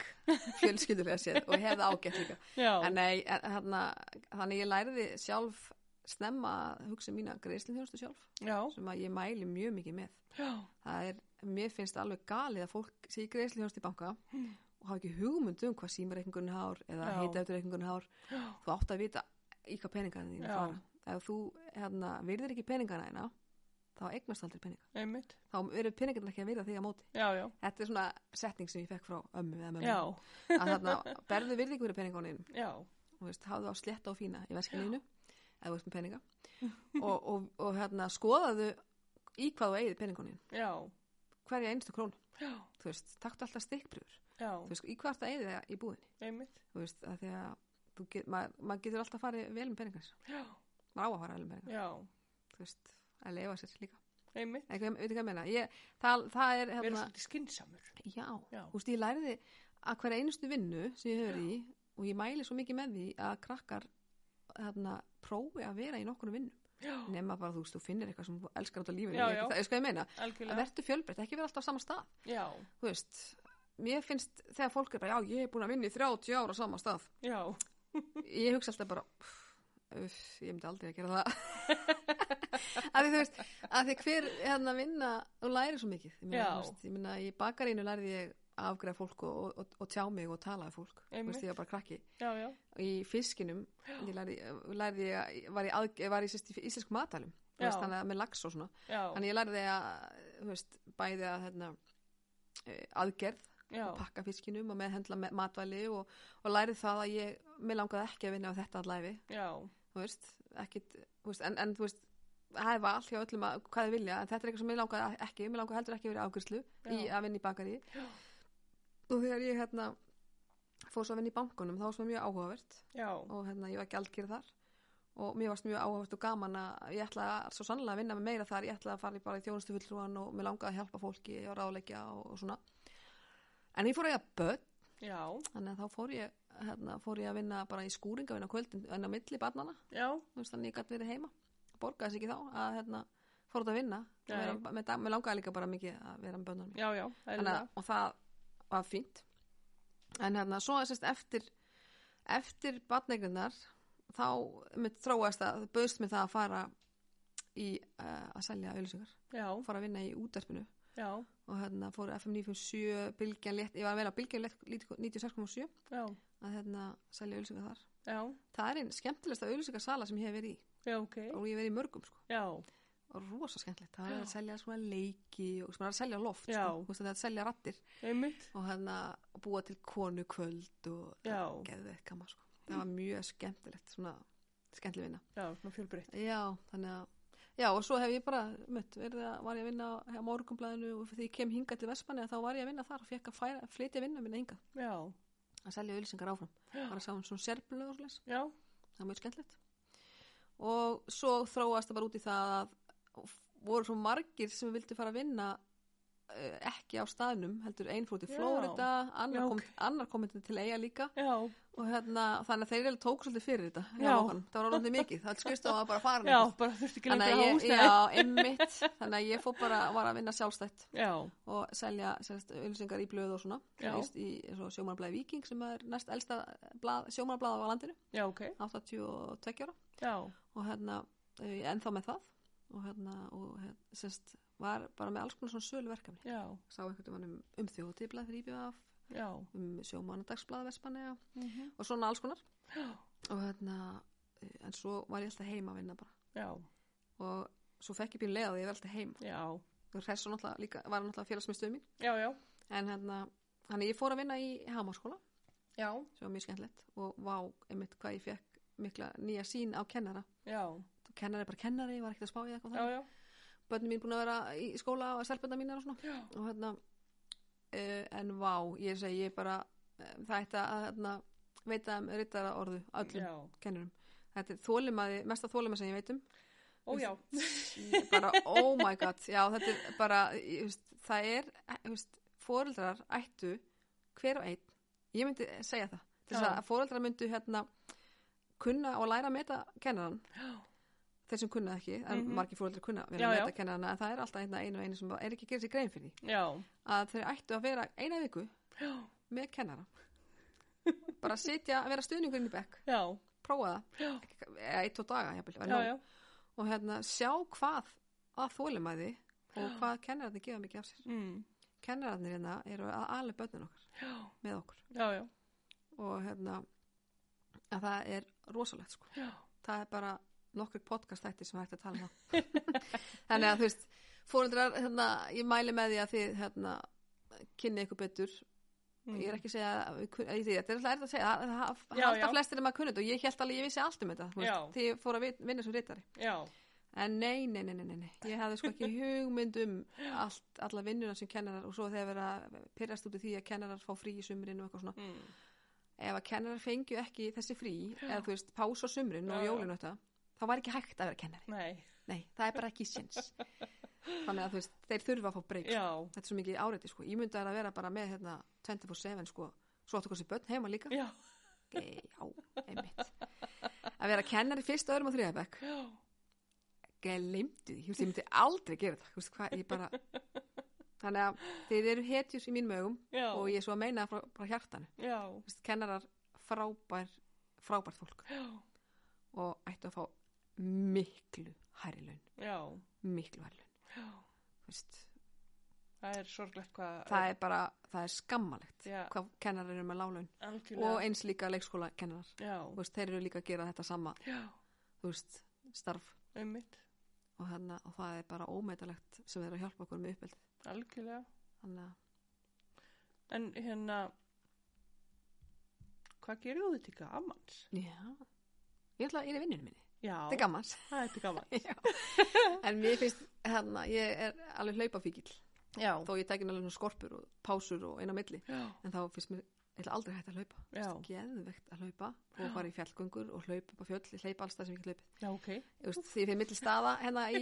[SPEAKER 2] fjölskyldulega séð og hef það ágætt líka
[SPEAKER 1] já,
[SPEAKER 2] en nei, en, þarna, þannig ég læriði sjálf snemma að hugsa um mína greiðslinþjónustu sjálf
[SPEAKER 1] já,
[SPEAKER 2] sem að ég mæli mjög mikið með
[SPEAKER 1] já,
[SPEAKER 2] það er, mér finnst alveg galið að fólk sé í greiðslinþjónustu í banka og hafa ekki hugmynd um hvað símareikningunni hár eða
[SPEAKER 1] Já.
[SPEAKER 2] hitaefturreikningunni hár
[SPEAKER 1] já,
[SPEAKER 2] þú átt að vita í hvað peningana þín
[SPEAKER 1] Já.
[SPEAKER 2] fara ef þú hérna, virðir ekki peningana þína þá eignast aldrei peninga
[SPEAKER 1] einmitt.
[SPEAKER 2] þá eru peningarnir ekki að virða þig á móti
[SPEAKER 1] Já, já,
[SPEAKER 2] Þetta er svona setning sem ég fekk frá ömmu eða mömmu.
[SPEAKER 1] já,
[SPEAKER 2] Að þarna berðu virðingu fyrir peningunum.
[SPEAKER 1] já,
[SPEAKER 2] Þú veist, hafðu á sletta og fína í verskilinu, eða þú veist með peninga. Og, og, og hérna, skoðaðu í hvað þú eigið peningunum.
[SPEAKER 1] já,
[SPEAKER 2] Hverja einstu krónu.
[SPEAKER 1] já,
[SPEAKER 2] Þú veist, taktu alltaf stikkpröfur.
[SPEAKER 1] já,
[SPEAKER 2] Þú veist, í hvað það eigið það í búðinni.
[SPEAKER 1] einmitt.
[SPEAKER 2] Þú veist, að því að þú get, maður mað getur alltaf farið vel um peningar.
[SPEAKER 1] Já,
[SPEAKER 2] Maður á að fara vel um peningar.
[SPEAKER 1] já,
[SPEAKER 2] Þú veist, að leifa sér líka.
[SPEAKER 1] einmitt.
[SPEAKER 2] En hvað, veitir hvað ég meina? Ég, það, það er,
[SPEAKER 1] Verður
[SPEAKER 2] hérna,
[SPEAKER 1] svolítið skynnsamur.
[SPEAKER 2] já,
[SPEAKER 1] Já,
[SPEAKER 2] Þú veist, ég læriði að hverja einustu vinnu sem ég hefur í og ég mæli svo mikið með því að krakkar þarna, prófi að vera í nokkru vinnum
[SPEAKER 1] já,
[SPEAKER 2] nema bara þú veist, þú finnir eitthvað sem þú elskar út á lífinu
[SPEAKER 1] Já,
[SPEAKER 2] Ég-
[SPEAKER 1] já.
[SPEAKER 2] það er sko ég meina, að
[SPEAKER 1] algjörlega.
[SPEAKER 2] verður fjölbreytt ekki vera alltaf á sama stað,
[SPEAKER 1] Já,
[SPEAKER 2] þú veist mér finnst þegar fólk er bara, já, ég er búin að vinna í 30 ára á sama stað,
[SPEAKER 1] já,
[SPEAKER 2] ég hugsa alltaf bara uff, ég myndi aldrei að gera það að því þú veist að því hver hérna vinna og læri svo mikið ég meina,
[SPEAKER 1] Já.
[SPEAKER 2] þú veist, ég meina í bakarínu lærði ég að afgreða fólk og, og, og, og tjá mig og tala af fólk Þú
[SPEAKER 1] Einmitt.
[SPEAKER 2] veist, ég var bara krakki
[SPEAKER 1] já, já,
[SPEAKER 2] í fiskinum ég lærði, lærði ég að- var í, að, ég var í, sérst, í íslensk matalum Þú
[SPEAKER 1] Já.
[SPEAKER 2] veist, þannig að með lax og svona
[SPEAKER 1] já,
[SPEAKER 2] þannig ég lærði að þú veist, bæði að hérna, eh, aðgerð
[SPEAKER 1] já,
[SPEAKER 2] og pakka fiskinum og meðhendla me- matvæli og, og lærið það að ég, mér langaði ekki að vinna á þetta allæfi,
[SPEAKER 1] já,
[SPEAKER 2] þú veist, ekkit, þú veist, en, en þú veist, það er val hjá öllum að, hvað þið vilja, en þetta er eitthvað sem mér langaði ekki, mér langaði heldur ekki að vera ágjörslu í
[SPEAKER 1] Já.
[SPEAKER 2] að vinna í bakari og þegar ég hérna fór svo að vinna í bankunum, þá var svo mjög áhugavert
[SPEAKER 1] já,
[SPEAKER 2] og hérna ég var gjaldkýr þar og mér varst mjög áhugavert og gaman að ég ætla svo sannlega að vinna með meira þar ég ætla að fara í bara í þjónustu fulltrúan og mér langaði að hjálpa fólki og ráðleggja og, og svona en ég fór að eiga börn
[SPEAKER 1] já,
[SPEAKER 2] þannig að þá fór ég, hérna, fór ég að vinna bara í skúringa vinna kvöldin en á milli barnana
[SPEAKER 1] já,
[SPEAKER 2] þú veist, þannig að ég gæti verið heima borgaði sér ekki þá að hérna, fór út að vinna
[SPEAKER 1] Nei.
[SPEAKER 2] vera, með, dag- mér langaði líka bara mikið að vera með bönnum
[SPEAKER 1] já, já, eðlilega.
[SPEAKER 2] og það var fínt en hérna, svo sérst, eftir eftir barnegrinnar þá mitt þróast að bauðst mér það að fara í uh, að selja auðlýsingar
[SPEAKER 1] já,
[SPEAKER 2] fór að vinna í útarpinu
[SPEAKER 1] já,
[SPEAKER 2] og hérna fór FM 957 bylgjan létt, ég var að vera bylgjan létt 96,7
[SPEAKER 1] já,
[SPEAKER 2] að hérna selja auðlýsingar þar.
[SPEAKER 1] já,
[SPEAKER 2] Það er einn skemmtilegsta auðlýsingarsala sem ég hef verið í.
[SPEAKER 1] já, ok,
[SPEAKER 2] og ég verið í mörgum sko
[SPEAKER 1] já,
[SPEAKER 2] og rosa skemmtilegt, það
[SPEAKER 1] Já.
[SPEAKER 2] er að selja svona leiki og sem er að selja loft
[SPEAKER 1] Já.
[SPEAKER 2] sko, Þú veist, það er að selja rattir
[SPEAKER 1] einmitt,
[SPEAKER 2] og hérna að búa til konu kvöld og
[SPEAKER 1] já,
[SPEAKER 2] geðu eitt kama sko. það var mjög skemmtilegt svona skemmtileg vinna
[SPEAKER 1] já, svona fjölbreytt,
[SPEAKER 2] já, þannig að Já, og svo hef ég bara, mitt, verið að, var ég að vinna á- á morgunblæðinu og þegar ég kem hingað til Vestmanni þá var ég að vinna þar og fekk að færa, flytja vinna minna hingað,
[SPEAKER 1] já,
[SPEAKER 2] að selja auðlýsingar áfram.
[SPEAKER 1] Já.
[SPEAKER 2] Bara sá hún svona serblu og svoleiðis
[SPEAKER 1] já,
[SPEAKER 2] það er mjög skemmtilegt og svo þróast það bara út í það að voru svo margir sem vildi fara að vinna eh, ekki á staðnum, heldur einn fór til
[SPEAKER 1] Já.
[SPEAKER 2] Flórida, annar,
[SPEAKER 1] Já,
[SPEAKER 2] kom,
[SPEAKER 1] ok.
[SPEAKER 2] annar komið til eiga líka
[SPEAKER 1] já,
[SPEAKER 2] og hérna, þannig að þeir eiginlega tók svolítið fyrir þetta hjá
[SPEAKER 1] Já.
[SPEAKER 2] lokanum. það var orðið mikið, það skrifst það var bara farin
[SPEAKER 1] já,
[SPEAKER 2] eitthvað.
[SPEAKER 1] bara þurfti ekki
[SPEAKER 2] þannig
[SPEAKER 1] lengur
[SPEAKER 2] að
[SPEAKER 1] að
[SPEAKER 2] ég,
[SPEAKER 1] húsnaði,
[SPEAKER 2] já, einmitt þannig að ég fór bara, var að vinna sjálfstætt
[SPEAKER 1] já,
[SPEAKER 2] og selja sérst, ölsingar í blöð og svona
[SPEAKER 1] Já.
[SPEAKER 2] Víst í sjómanablaði Viking sem er næst elsta sjómanablaði á landinu
[SPEAKER 1] já, ok,
[SPEAKER 2] 82 ára
[SPEAKER 1] já,
[SPEAKER 2] og hérna, eh, ég er ennþá með það og hérna, og hérna, sérst var bara með alls konar svona söluverkefni
[SPEAKER 1] já,
[SPEAKER 2] sá einhvern veginn um, um þjóðtíblað fyrir IBF,
[SPEAKER 1] já,
[SPEAKER 2] um sjómanadagsblað Vespanega
[SPEAKER 1] mhm,
[SPEAKER 2] og svona alls konar
[SPEAKER 1] já,
[SPEAKER 2] og hérna, eh, en svo var ég alltaf heima að vinna bara
[SPEAKER 1] já,
[SPEAKER 2] og svo fekk ég býr leið að ég var alltaf heima
[SPEAKER 1] já,
[SPEAKER 2] og hressu náttúrulega líka, var náttúrulega félagsmyndstöð mín
[SPEAKER 1] já, já,
[SPEAKER 2] en hérna, hann ég fór að vinna í Hamarskóla,
[SPEAKER 1] já,
[SPEAKER 2] sem var mjög skemmtilegt og vá, einmitt hvað ég fekk mikla nýja sín á kennara
[SPEAKER 1] já,
[SPEAKER 2] kennari er bara kennari, ég var ekkert að spá í eitthvað
[SPEAKER 1] já,
[SPEAKER 2] þannig.
[SPEAKER 1] já,
[SPEAKER 2] börnin mín búin að vera í skóla og stelpunna mín og svona
[SPEAKER 1] já,
[SPEAKER 2] og hérna uh, en vá, ég segi ég bara uh, það ætti að hérna, veita um rittara orðu öllum
[SPEAKER 1] já,
[SPEAKER 2] kennurum þetta er þólimaði, mesta þólima sem ég veit um
[SPEAKER 1] ó já,
[SPEAKER 2] Ég bara oh my god, já þetta er bara ég, veist, það er, ég veist, foreldrar ættu hver og einn ég myndi segja það til þess
[SPEAKER 1] Já.
[SPEAKER 2] að foreldrar myndu hérna kunna og læra að meta kennaran
[SPEAKER 1] já,
[SPEAKER 2] þeir sem kunna ekki, en
[SPEAKER 1] Mhm.
[SPEAKER 2] margir fóreldri kunna vel
[SPEAKER 1] Já,
[SPEAKER 2] að
[SPEAKER 1] já.
[SPEAKER 2] meta kennarana, en það er alltaf einna einu og einu sem er ekki að gera sér grein fyrir því
[SPEAKER 1] já,
[SPEAKER 2] að þeir ættu að vera eina viku
[SPEAKER 1] já,
[SPEAKER 2] með kennara bara sitja, vera stuðningurinn í bekk
[SPEAKER 1] já,
[SPEAKER 2] prófa
[SPEAKER 1] Já.
[SPEAKER 2] það, Ekki- eða eitt og daga jafnvel, væri
[SPEAKER 1] já,
[SPEAKER 2] nóg.
[SPEAKER 1] já,
[SPEAKER 2] og hérna sjá hvað að þólimaði og hvað kennararnir gefa mikið af sér
[SPEAKER 1] mm,
[SPEAKER 2] kennararnir hérna eru að alveg börnin okkar
[SPEAKER 1] já,
[SPEAKER 2] með okkur
[SPEAKER 1] já, já,
[SPEAKER 2] og hérna að það er rosalegt sko
[SPEAKER 1] já,
[SPEAKER 2] það er bara nokkur podcast þættir sem er hægt að tala um það þannig að þú veist fóreldrar, hérna, ég mæli með því að þið hérna, kynni ykkur betur ég er ekki að segja að við kun- að ég- þetta er alltaf erfitt að segja, það- það
[SPEAKER 1] Mm. Já,
[SPEAKER 2] halda
[SPEAKER 1] já.
[SPEAKER 2] flestir um að kunna þetta og ég held alveg að ég vissi allt um þetta þú veist,
[SPEAKER 1] Já.
[SPEAKER 2] því ég fór að vit- vinna sem rítari
[SPEAKER 1] já,
[SPEAKER 2] en nei, nei, nei, nei, nei, nei. ég hefði sko ekki hugmynd um allt, alla vinnuna sem kennarar og svo þegar verið að pyrrast út í því að kennarar fá frí í sumrin og eitthvað svona
[SPEAKER 1] mm,
[SPEAKER 2] ef að kennarar fengju ekki þessi frí eða þú veist, pása á sumrin og
[SPEAKER 1] Já, já.
[SPEAKER 2] jólinu þetta þá var ekki hægt að vera kennari
[SPEAKER 1] nei,
[SPEAKER 2] Nei, það er bara ekki séns Þannig að þú veist, þeir þurfa að fá breyk
[SPEAKER 1] já,
[SPEAKER 2] Þetta er svo mikið áreiti sko Ég myndi að vera bara með hérna 24-7 sko Svo áttu hversu börn heima líka
[SPEAKER 1] já,
[SPEAKER 2] Ge- Já, einmitt Að vera kennari fyrst og öðrum og þriðabæk
[SPEAKER 1] já,
[SPEAKER 2] Gleimdu því, Þú veist, ég myndi aldrei gera þetta Þú veist hvað, ég bara Þannig að þeir eru hetjus í mínum augum
[SPEAKER 1] já,
[SPEAKER 2] Og ég er svo að meina það frá, frá hjartanu
[SPEAKER 1] já,
[SPEAKER 2] Þú veist, Kennarar frábær, frábært fólk
[SPEAKER 1] já,
[SPEAKER 2] Og ættu að fá miklu hærri laun
[SPEAKER 1] já,
[SPEAKER 2] Miklu hærri laun
[SPEAKER 1] já,
[SPEAKER 2] Þú veist,
[SPEAKER 1] það er sorglegt hvað,
[SPEAKER 2] það er bara, það er skammalegt
[SPEAKER 1] Já.
[SPEAKER 2] hvað kennarar eru með lálaun
[SPEAKER 1] algjörlega,
[SPEAKER 2] og eins líka leikskóla kennarar
[SPEAKER 1] já,
[SPEAKER 2] veist, þeir eru líka að gera þetta sama
[SPEAKER 1] já,
[SPEAKER 2] þú veist, starf
[SPEAKER 1] einmitt,
[SPEAKER 2] og, hérna, og það er bara ómætalegt sem er að hjálpa okkur með uppeldi
[SPEAKER 1] algjörlega,
[SPEAKER 2] þannig að
[SPEAKER 1] en hérna, hvað gerir þú þetta í gamans?
[SPEAKER 2] já. ég ætla að ég er í vinnunum minni
[SPEAKER 1] Já,
[SPEAKER 2] þetta er gammans
[SPEAKER 1] það er til gamans,
[SPEAKER 2] en mér finnst, hérna, ég er alveg hlaupafíkil
[SPEAKER 1] já,
[SPEAKER 2] þó ég tekið alveg svona skorpur og pásur og eina milli
[SPEAKER 1] já,
[SPEAKER 2] en þá finnst mér, ég ætla aldrei hægt að hlaupa
[SPEAKER 1] já,
[SPEAKER 2] geðvegt að hlaupa og fara í fjallgöngur og hlaupa upp á fjöll, ég hlaupa alls það sem ég get hlaupið
[SPEAKER 1] já, ok,
[SPEAKER 2] Þú veist, því ég fyrir milli staða hérna í,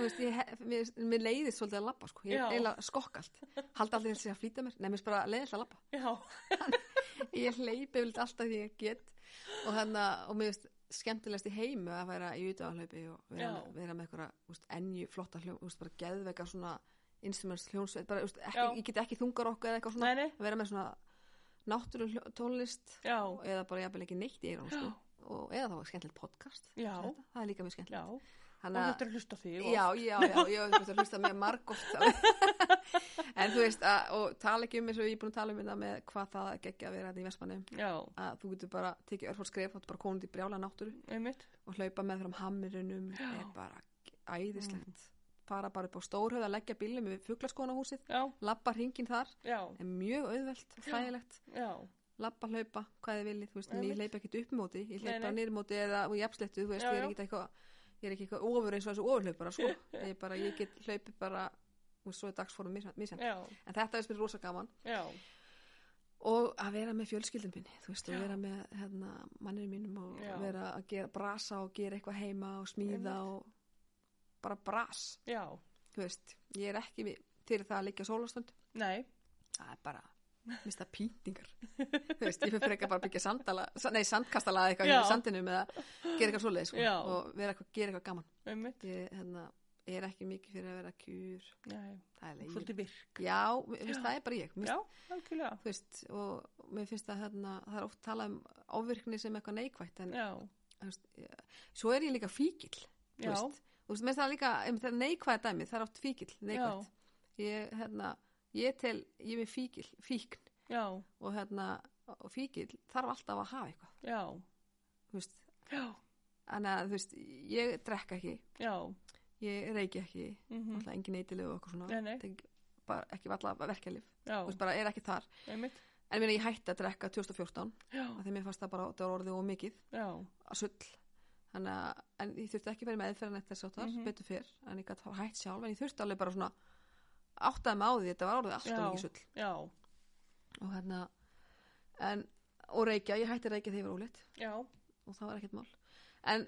[SPEAKER 2] þú veist, ég, he- mér, mér leiðist svolítið að labba sko, ég
[SPEAKER 1] Já.
[SPEAKER 2] er eiginlega skokk allt haldi allir þessi að flýta mér, nefnist bara leiðist að labba
[SPEAKER 1] já,
[SPEAKER 2] ég hleypi vilt alltaf því ég get og þannig að, og mér veist, skemmtilegast í heimu að vera í utáðalaupi og vera,
[SPEAKER 1] Já.
[SPEAKER 2] vera með einhverja, þú veist, ennju flotta hljón, þú veist, bara geðveika svona instruments hljónsveit, bara, þú veist, ekki,
[SPEAKER 1] Já.
[SPEAKER 2] ég get ekki þungar okkur eða eitthvað svona,
[SPEAKER 1] nei, nei,
[SPEAKER 2] vera með svona náttúrulega tónlist
[SPEAKER 1] já,
[SPEAKER 2] eða bara jafnvel ekki neitt í eyrun,
[SPEAKER 1] Já.
[SPEAKER 2] sko. og eða þá skemmtilegt podcast
[SPEAKER 1] Já.
[SPEAKER 2] Þetta- það er líka mjög skemmtilegt
[SPEAKER 1] já, og
[SPEAKER 2] Hanna,
[SPEAKER 1] þetta er að hlusta á þig og
[SPEAKER 2] Já, já, já, já, ég þurfti að hlusta með margótt en þú veist, að, og tala ekki um eins og ég er búin að tala um þetta með hvað það geggja að vera þetta í Vestmanni
[SPEAKER 1] já,
[SPEAKER 2] að þú getur bara tekið örfór skref þá ertu bara konund í brjála náttúru
[SPEAKER 1] einmitt
[SPEAKER 2] og hlaupa með fram hammirunum er bara æðislegt
[SPEAKER 1] Mm.
[SPEAKER 2] fara bara upp á stórhauð að leggja bílum við fuglaskónahúsið,
[SPEAKER 1] já,
[SPEAKER 2] labba hringin þar
[SPEAKER 1] já,
[SPEAKER 2] er mjög auðvelt, þægilegt
[SPEAKER 1] já,
[SPEAKER 2] labba, hlaupa, hvað þið viljið, þú veist, en ég
[SPEAKER 1] Einmitt.
[SPEAKER 2] hleypa ekkert upp móti, ég
[SPEAKER 1] Nei,
[SPEAKER 2] hleypa
[SPEAKER 1] nei.
[SPEAKER 2] niður móti eða úr jafnslettu, þú veist,
[SPEAKER 1] Já,
[SPEAKER 2] ég er
[SPEAKER 1] já.
[SPEAKER 2] ekkert eitthvað ég er ekki eitthvað ofur eins og þessu ofurhlaupara sko, ég bara, ég get hlaupið bara og svo er dagsfórum misjant,
[SPEAKER 1] já,
[SPEAKER 2] en þetta er spyrir rosa gaman
[SPEAKER 1] já,
[SPEAKER 2] og að vera með fjölskyldum minni, þú veist,
[SPEAKER 1] Já.
[SPEAKER 2] og vera með hérna, mannir mínum og
[SPEAKER 1] Já.
[SPEAKER 2] vera að gera brasa og gera eitthvað heima og smíða og bara bras,
[SPEAKER 1] já,
[SPEAKER 2] þú veist, ég er ekki við- fyrir það að liggja sólastönd,
[SPEAKER 1] nei,
[SPEAKER 2] það er bara mista pýtingar þú veist, ég fyrir frekar bara að byggja sandala sa- nei, sandkastala eða eitthvað
[SPEAKER 1] Já.
[SPEAKER 2] hérna í sandinum eða gera eitthvað svoleið, sko,
[SPEAKER 1] Já.
[SPEAKER 2] og vera eitthvað, gera eitthvað gaman
[SPEAKER 1] einmitt,
[SPEAKER 2] ég, hérna, ég er ekki mikið fyrir að vera kjur
[SPEAKER 1] nei,
[SPEAKER 2] það er leið,
[SPEAKER 1] svolítið virk,
[SPEAKER 2] já, mér finnst það er bara ég mér
[SPEAKER 1] já, algjörlega,
[SPEAKER 2] þú veist, og mér finnst að hérna, það er oft talað um ofvirkni sem eitthvað neikvætt en
[SPEAKER 1] já,
[SPEAKER 2] þú veist, ég, svo er ég líka fíkil þú
[SPEAKER 1] já,
[SPEAKER 2] veist, þú veist, mér finnst það líka um, það er neikvætt dæmi, það er oft fíkil neikvætt, ég, hérna, ég tel ég er með fíkil, fíkn
[SPEAKER 1] já,
[SPEAKER 2] og hérna, og fíkil þarf alltaf að hafa eitthvað,
[SPEAKER 1] já,
[SPEAKER 2] þú veist
[SPEAKER 1] já,
[SPEAKER 2] þannig að, þú veist, ég drekka ekki
[SPEAKER 1] já,
[SPEAKER 2] ég reyki ekki,
[SPEAKER 1] mhm,
[SPEAKER 2] alltaf engin eitilegu og eitthvað
[SPEAKER 1] Nei,
[SPEAKER 2] svona
[SPEAKER 1] nei.
[SPEAKER 2] Tek bara, ekki alltaf verkjalif,
[SPEAKER 1] já,
[SPEAKER 2] þú veist, bara er ekki þar
[SPEAKER 1] einmitt,
[SPEAKER 2] en ég meina, ég hætti að drekka 2014
[SPEAKER 1] já,
[SPEAKER 2] af því mér fannst það bara, það var orðið og mikið
[SPEAKER 1] já,
[SPEAKER 2] að sull þannig að, en ég þurfti ekki að vera með eðferðan eftir þess áttar,
[SPEAKER 1] Mhm.
[SPEAKER 2] betur fyrr en ég gæti þá hætt sjálf, en ég þurfti alveg bara svona áttaði mig á því, þetta var orðið alltaf
[SPEAKER 1] Já.
[SPEAKER 2] mikið sull
[SPEAKER 1] já,
[SPEAKER 2] og hérna en, og reykja, ég hætti að reykja þegar ég var óleitt
[SPEAKER 1] já,
[SPEAKER 2] og það var ekkert mál en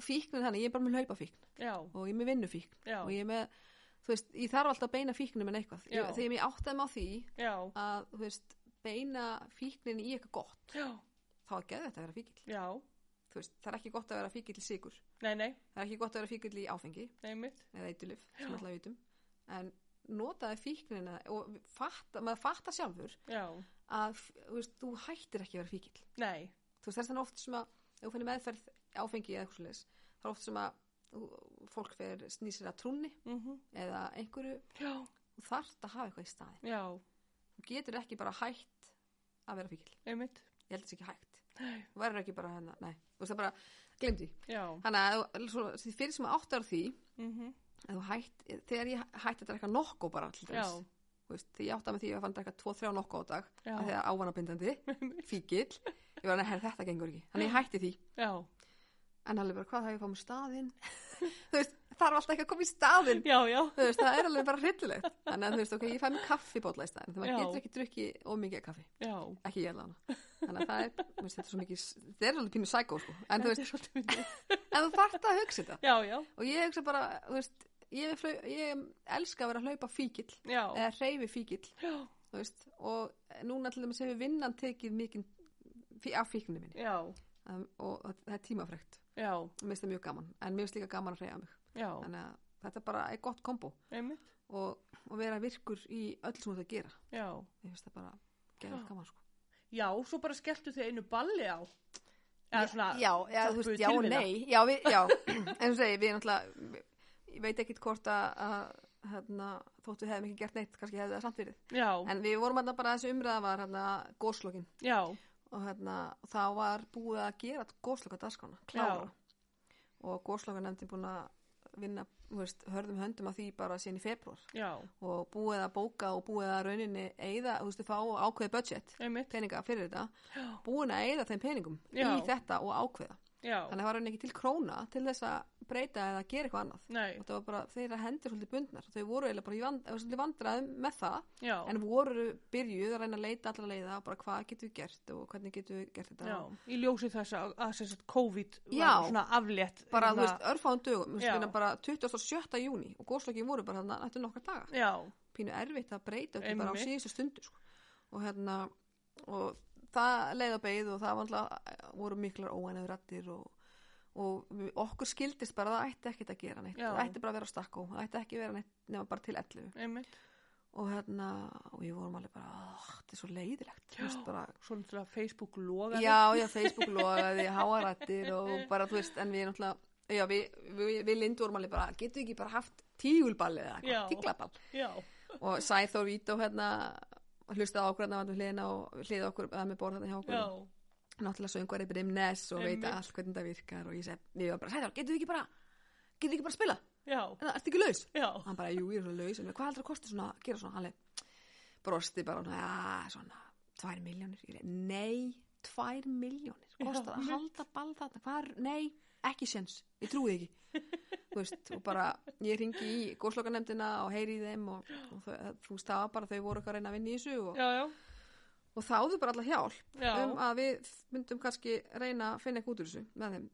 [SPEAKER 2] fíknin þannig, ég er bara með hlaupafíkn
[SPEAKER 1] já,
[SPEAKER 2] og ég er með vinnufíkn
[SPEAKER 1] já,
[SPEAKER 2] og ég er með, þú veist, ég þarf alltaf að beina fíknum en eitthvað,
[SPEAKER 1] Já.
[SPEAKER 2] ég, þegar ég áttaði mig á því
[SPEAKER 1] já,
[SPEAKER 2] að, þú veist, beina fíknin í eitthvað gott,
[SPEAKER 1] já,
[SPEAKER 2] þá er geðvægt að vera fíkil
[SPEAKER 1] já,
[SPEAKER 2] þú veist, það er ekki gott að vera fíkil í sigur
[SPEAKER 1] nei, nei,
[SPEAKER 2] það er ekki gott að vera fíkil í áfengi
[SPEAKER 1] einmitt,
[SPEAKER 2] eða eitulif, sem alltaf vitum en notaði fíknina og fatta, maður fatta sjálfur
[SPEAKER 1] já,
[SPEAKER 2] að þú, veist, þú hættir ekki að vera fíkil
[SPEAKER 1] nei,
[SPEAKER 2] þú veist, það er þannig oft sem að ef þú finnir meðferð áfengi eða eitthvað svoleiðis það er oft sem að þú- fólk fer snýsir að trúnni
[SPEAKER 1] mhm,
[SPEAKER 2] eða einhverju
[SPEAKER 1] já,
[SPEAKER 2] þú þarft að hafa eitthvað í staðin
[SPEAKER 1] já,
[SPEAKER 2] þú getur ekki bara hætt að vera fíkil
[SPEAKER 1] einmitt,
[SPEAKER 2] ég held þess ekki hægt
[SPEAKER 1] Nei.
[SPEAKER 2] þú verður ekki bara hérna, nei, þú veist það bara glemdi,
[SPEAKER 1] já,
[SPEAKER 2] þannig að þú- svo, því fyrir sem að áttar því
[SPEAKER 1] mhm,
[SPEAKER 2] að þú hætt, þegar ég hætti að drekka nokko bara til
[SPEAKER 1] já,
[SPEAKER 2] dæmis, þú veist, því ég átti að með því að ég fann að drekka 2-3 nokko á dag,
[SPEAKER 1] Já.
[SPEAKER 2] af því að ávanabindandi fíkil, ég var að herra þetta gengur ekki þannig ég hætti því,
[SPEAKER 1] já,
[SPEAKER 2] en alveg bara hvað það ég fá mér staðinn þú veist, þarf alltaf ekki að koma í staðinn
[SPEAKER 1] já, já,
[SPEAKER 2] þú veist, það er alveg bara hryllilegt þannig að þú veist, ok, ég fæ mér kaffibólla í staðinn þannig að
[SPEAKER 1] Já.
[SPEAKER 2] maður getur ekki drukki of mikið af kaffi
[SPEAKER 1] já,
[SPEAKER 2] ekki ég alveg þannig að það er, þú veist, þetta er svo mikið þetta er alveg pínu sækó, sko, en
[SPEAKER 1] þetta
[SPEAKER 2] þú veist
[SPEAKER 1] er svolítið myndið,
[SPEAKER 2] en þú þarft að hugsa þetta
[SPEAKER 1] já, já,
[SPEAKER 2] og ég hugsa bara, þú veist ég, flau, ég elska að vera að hlaupa fíkil
[SPEAKER 1] já,
[SPEAKER 2] eða reyfi fíkil
[SPEAKER 1] já,
[SPEAKER 2] þú veist, og núna til dæmis hefur vinnan tekið mikið fí- af fíknu minni
[SPEAKER 1] já,
[SPEAKER 2] um, og það- það er tímafrekt
[SPEAKER 1] já,
[SPEAKER 2] og mér finnst það mjög gaman, en mér finnst líka gaman að reyja mig
[SPEAKER 1] já,
[SPEAKER 2] þannig að þetta bara er gott kombo
[SPEAKER 1] einmitt,
[SPEAKER 2] og, og vera virkur í öll sem þú ert að gera
[SPEAKER 1] já,
[SPEAKER 2] mér finnst það bara geðvægt gaman sko.
[SPEAKER 1] já, svo bara skelltu þið einu balli á, eða svona,
[SPEAKER 2] já, já,
[SPEAKER 1] Takk
[SPEAKER 2] þú
[SPEAKER 1] fyrir
[SPEAKER 2] veist, já og
[SPEAKER 1] tilviljun.
[SPEAKER 2] nei já, við, já, en þú segir, við náttúrulega ég veit ekkit hvort að, að hérna, þótt við hefum ekki gert neitt kannski hefði það samt verið,
[SPEAKER 1] já,
[SPEAKER 2] en við vorum hérna bara þessi umræða var hérna góslokin
[SPEAKER 1] já,
[SPEAKER 2] og hérna, þá var búið að gera gósloka dagskona, klára og gósloka nefndi búin að vinna, þú veist, hörðum höndum að því bara síðan í februar
[SPEAKER 1] já,
[SPEAKER 2] og búið að bóka og búið að rauninni eigða, þú veist, fá ákveði budget
[SPEAKER 1] einmitt,
[SPEAKER 2] peninga fyrir þetta,
[SPEAKER 1] já,
[SPEAKER 2] búin að eigða þeim peningum
[SPEAKER 1] Já.
[SPEAKER 2] í þetta og ákveða
[SPEAKER 1] já,
[SPEAKER 2] þannig að það var henni ekki til króna til þess að breyta eða gera eitthvað annað
[SPEAKER 1] nei,
[SPEAKER 2] og það var bara þeirra hendur svolítið bundnar þau voru eiginlega bara í vand, eða svolítið vandræðum með það
[SPEAKER 1] já,
[SPEAKER 2] en voru byrjuð að reyna að leita allra leiða bara hvað getum við gert og hvernig getum við gert þetta
[SPEAKER 1] já, í ljósi þess að, að sem sagt COVID var
[SPEAKER 2] Já.
[SPEAKER 1] svona aflétt,
[SPEAKER 2] bara þú
[SPEAKER 1] hérna,
[SPEAKER 2] veist örfáðum dögum þú veist,
[SPEAKER 1] Já.
[SPEAKER 2] minna bara 27. júni og góðslokkin voru bara þannig eftir nokkra daga
[SPEAKER 1] já,
[SPEAKER 2] pínu erfitt að breyta okkur bara á
[SPEAKER 1] Einmitt.
[SPEAKER 2] síðustu stundu sko. og hérna og það leið að beið og það var alltaf voru miklar óænöður rættir og, og við- okkur skildist bara að það ætti ekkert að gera neitt
[SPEAKER 1] Já.
[SPEAKER 2] það ætti bara að vera á stakkó, það ætti ekki að vera neitt nema bara til 11
[SPEAKER 1] einmitt,
[SPEAKER 2] og hérna, og ég vorum alveg bara "Ah, þetta er svo leiðilegt þú veist, bara,
[SPEAKER 1] svona Facebook logaði,
[SPEAKER 2] já, já, Facebook logaði háarættir og bara, þú veist, en við náttúrulega já, við, við, við Lindu vorum alveg bara, getum við ekki bara haft tígulball eða
[SPEAKER 1] Já.
[SPEAKER 2] eitthvað, tíglaball
[SPEAKER 1] já,
[SPEAKER 2] og Sæþór Vító hérna hlustaði á okkur hérna vandum hliðina og hliða okkur að með borð hérna hjá okkur
[SPEAKER 1] já,
[SPEAKER 2] náttúrulega söngvar yfir Imnes og veit
[SPEAKER 1] Einmitt.
[SPEAKER 2] allt hvernig það virkar og ég segi, ég var bara, Sæþór, getum við ekki bara getum við ekki bara að spila,
[SPEAKER 1] já,
[SPEAKER 2] en það ertu ekki laus
[SPEAKER 1] já,
[SPEAKER 2] og hann bara, jú, ég er svo laus, en hvað heldur að kosti svona að gera svona, hann leið brosti bara, svona, já, svona, tvær miljónir ég leið, nei, tvær miljónir kostar að
[SPEAKER 1] einmitt.
[SPEAKER 2] halda ball þarna hvað er, nei, ekki séns, ég trúi því ekki þú veist, og bara ég ringi í góðslokanemdina og heyri í þeim og, og þau, þú veist, það var bara þau voru eitthvað að reyna að vinna í þessu og,
[SPEAKER 1] já, já,
[SPEAKER 2] og þáðu bara alla hjálp
[SPEAKER 1] já,
[SPEAKER 2] um að við myndum kannski reyna að finna eitthvað út úr þessu með þeim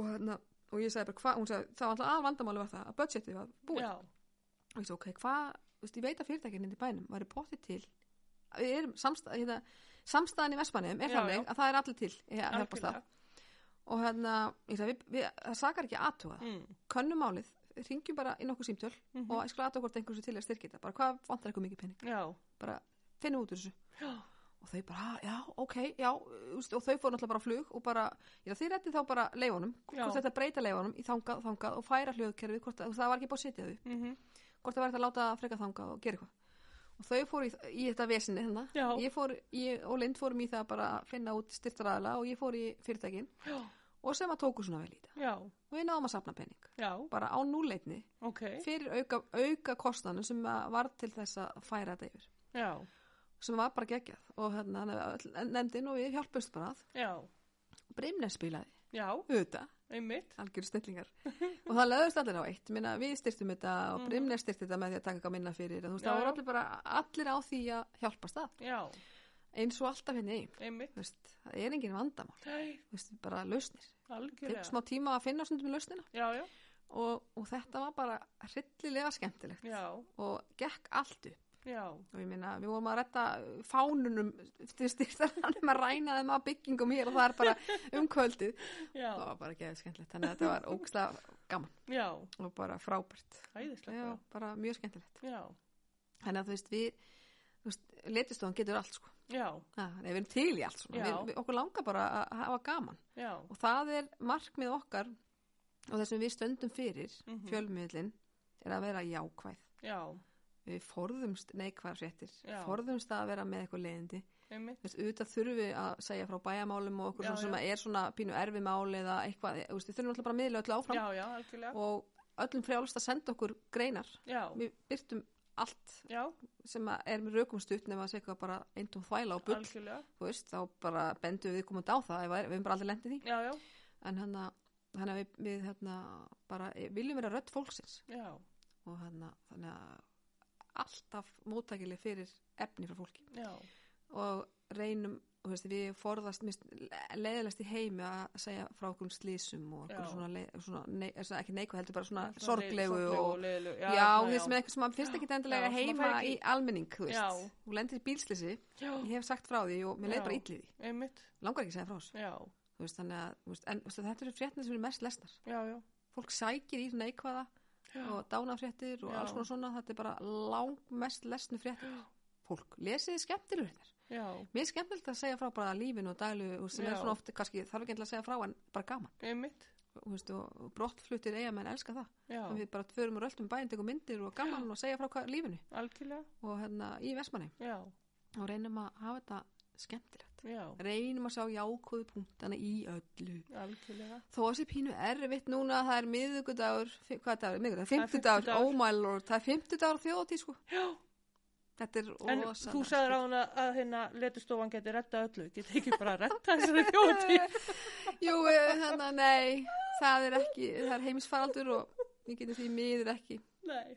[SPEAKER 2] og, hérna, og ég sagði bara hvað, hún sagði, það var alltaf að vandamáli var það að budgetið var búið
[SPEAKER 1] já,
[SPEAKER 2] og ég svo, ok, hvað, þú veist, ég veit að fyrirtækinn í bænum væri pottið til að við erum samstæð, hérna, samstæðan í Vestmanum er
[SPEAKER 1] Já,
[SPEAKER 2] þannig
[SPEAKER 1] já.
[SPEAKER 2] að það er allir til í að hjálpast
[SPEAKER 1] algjörlega.
[SPEAKER 2] það og hérna, ég sagði, við, við, það sakar ekki aðtuga
[SPEAKER 1] Mm,
[SPEAKER 2] könnum málið, ringjum bara í nokkuð símtöl
[SPEAKER 1] mhm,
[SPEAKER 2] og ég skal aðtuga hvort einhversu til að styrkja þetta bara hvað vantar eitthvað mikið pening,
[SPEAKER 1] já,
[SPEAKER 2] bara finnum út úr þessu
[SPEAKER 1] já,
[SPEAKER 2] og þau bara, "Ah, já, ok, já þú veist, og þau fóru náttúrulega bara á flug og bara, ég það þið rétti þá bara leifunum
[SPEAKER 1] Já.
[SPEAKER 2] hvort þetta breyta leifunum í þangað, þangað og færa hljóðkerfi, hvort að- þú veist, það var ekki búið að setja þau
[SPEAKER 1] mhm,
[SPEAKER 2] hvort það var hægt að láta það freka þangað og gera eitthvað og þau fóru í, í þetta vesinni hérna
[SPEAKER 1] Já.
[SPEAKER 2] ég fór, ég og Lind fórum í það bara að finna út styrtaræðala og ég fór í fyrirtækin
[SPEAKER 1] já,
[SPEAKER 2] og sem að tóku svona vel í þetta
[SPEAKER 1] já,
[SPEAKER 2] og við náðum að safna pening
[SPEAKER 1] já,
[SPEAKER 2] bara á núleitni
[SPEAKER 1] ok,
[SPEAKER 2] fyrir auka, auka kostnanum sem að varð til þess að færa þetta yfir
[SPEAKER 1] já,
[SPEAKER 2] sem var bara geggjað og hérna nefndin og við hjálpumst bara að
[SPEAKER 1] já,
[SPEAKER 2] Brimnes spilaði,
[SPEAKER 1] já,
[SPEAKER 2] auðvitað
[SPEAKER 1] einmitt,
[SPEAKER 2] algjör snillingar og það löðust allir á eitt Minna, við styrtum þetta og
[SPEAKER 1] Mhm.
[SPEAKER 2] Brimnes styrti þetta með því að taka eitthvað minna fyrir þú veist,
[SPEAKER 1] Já,
[SPEAKER 2] það voru
[SPEAKER 1] já.
[SPEAKER 2] allir bara allir á því að hjálpast að
[SPEAKER 1] já,
[SPEAKER 2] eins og alltaf hérna í eigum,
[SPEAKER 1] einmitt,
[SPEAKER 2] þú veist, það er engin vandamál
[SPEAKER 1] nei,
[SPEAKER 2] þú veist, bara lausnir,
[SPEAKER 1] algjörlega,
[SPEAKER 2] tekur smá tíma að finna stundum í lausnina
[SPEAKER 1] já, já,
[SPEAKER 2] og, og þetta var bara hryllilega skemmtilegt
[SPEAKER 1] já,
[SPEAKER 2] og gekk allt upp
[SPEAKER 1] já,
[SPEAKER 2] og ég meina, við vorum að retta fánunum til styrstaranum að ræna þeim að byggingum hér og það er bara um kvöldið það
[SPEAKER 1] já,
[SPEAKER 2] var bara geðið skemmtilegt, þannig að þetta var ógslag gaman
[SPEAKER 1] já,
[SPEAKER 2] og bara frábært
[SPEAKER 1] æðislega,
[SPEAKER 2] Já,
[SPEAKER 1] já,
[SPEAKER 2] bara mjög skemmtilegt
[SPEAKER 1] já,
[SPEAKER 2] þannig að þú veist, við þú veist, letistofan getur allt sko
[SPEAKER 1] já,
[SPEAKER 2] Ja, nei, við erum til í allt svona,
[SPEAKER 1] Já.
[SPEAKER 2] við, við, okkur langar bara að hafa gaman
[SPEAKER 1] já,
[SPEAKER 2] og það er markmið okkar og það sem við stöndum fyrir mm
[SPEAKER 1] Mhm.
[SPEAKER 2] er að vera jákvæð
[SPEAKER 1] já,
[SPEAKER 2] við forðumst neikvæðar fréttir
[SPEAKER 1] Já.
[SPEAKER 2] forðumst að vera með eitthvað leiðindi
[SPEAKER 1] einmitt,
[SPEAKER 2] Þú veist, auðvitað þurfum við að segja frá bæjamálum og okkur
[SPEAKER 1] Já,
[SPEAKER 2] svona sem er svona pínu erfi máli eða eitthvað, þú veist, við þurfum alltaf bara að miðla öllu áfram
[SPEAKER 1] já, já, algjörlega,
[SPEAKER 2] og öllum frjálst að senda okkur greinar
[SPEAKER 1] já,
[SPEAKER 2] við byrtum allt
[SPEAKER 1] já,
[SPEAKER 2] sem að er með rökum stutt nema að segja eitthvað bara eintum þvæla og bull,
[SPEAKER 1] algjörlega,
[SPEAKER 2] þú veist, þá bara bendum við komandi á það, ef að- við erum bara aldrei lendið því
[SPEAKER 1] já, já,
[SPEAKER 2] en hann að hann að við, við hérna bara eh, viljum vera rödd fólksins
[SPEAKER 1] já,
[SPEAKER 2] og hann að þannig að alltaf móttækileg fyrir efni frá fólki
[SPEAKER 1] já,
[SPEAKER 2] og reynum, þú veist, við forðast mist, leiðilegst í heimi að segja frá okkur slísum og okkur
[SPEAKER 1] Já.
[SPEAKER 2] svona, leið, svona, nei, svona ekki neikvæð heldur bara svona
[SPEAKER 1] Svona
[SPEAKER 2] Ah, sorglegu
[SPEAKER 1] leiðilegu
[SPEAKER 2] og
[SPEAKER 1] leiðilegu,
[SPEAKER 2] Já,
[SPEAKER 1] svona,
[SPEAKER 2] þú veist, með eitthvað sem að finnst ekki endilega
[SPEAKER 1] Já, sem að
[SPEAKER 2] heima
[SPEAKER 1] fær ekki-
[SPEAKER 2] í almenning, þú
[SPEAKER 1] Já.
[SPEAKER 2] veist, þú lendir í bílslisi,
[SPEAKER 1] já,
[SPEAKER 2] ég hef sagt frá því og mér
[SPEAKER 1] Já.
[SPEAKER 2] leið bara illið því,
[SPEAKER 1] einmitt,
[SPEAKER 2] langar ekki að segja frá þessu,
[SPEAKER 1] já,
[SPEAKER 2] þú veist, þannig að, þú veist, en þú veist, þetta eru frétnir sem eru mest lesnar,
[SPEAKER 1] já, já,
[SPEAKER 2] fólk sækir í neikvæða
[SPEAKER 1] já,
[SPEAKER 2] og dánafréttir og
[SPEAKER 1] Já.
[SPEAKER 2] alls konar svona þetta er bara langmest lesnu fréttir fólk, lesið skemmtilegur hérna
[SPEAKER 1] já,
[SPEAKER 2] mér er skemmtilegt að segja frá bara lífinu og dælu og sem
[SPEAKER 1] Já.
[SPEAKER 2] er svona oft, kannski þarf ekki endilega að segja frá en bara gaman,
[SPEAKER 1] einmitt,
[SPEAKER 2] og, veist, og og brottfluttir eiga menn elska það,
[SPEAKER 1] já,
[SPEAKER 2] þannig við bara förum og röltum bæinn, tekum myndir og gaman og segja frá hvað, lífinu
[SPEAKER 1] algjörlega,
[SPEAKER 2] og hérna í Vestmanni
[SPEAKER 1] já,
[SPEAKER 2] og reynum að hafa þetta skemmtilegt
[SPEAKER 1] já,
[SPEAKER 2] reynum að sjá jákóðu punktana í öllu
[SPEAKER 1] algjörlega,
[SPEAKER 2] Þó að sé pínu erfitt núna, það er miðugudagur, hvað dagur, miðugudagur,
[SPEAKER 1] er
[SPEAKER 2] fimmtudagur,
[SPEAKER 1] fimmtudagur.
[SPEAKER 2] oh my lord, það er fimmtudagur þjóðatíð sko.
[SPEAKER 1] já,
[SPEAKER 2] Þetta er
[SPEAKER 1] en
[SPEAKER 2] rosalega
[SPEAKER 1] þú sagðir á hana að hérna letustofan geti retta öllu, geti ekki bara retta þessari hjóti,
[SPEAKER 2] skemmtilegt. Jú, eh, þannig að nei, það er ekki, það er heimsfaraldur og ég geti því miður ekki
[SPEAKER 1] nei.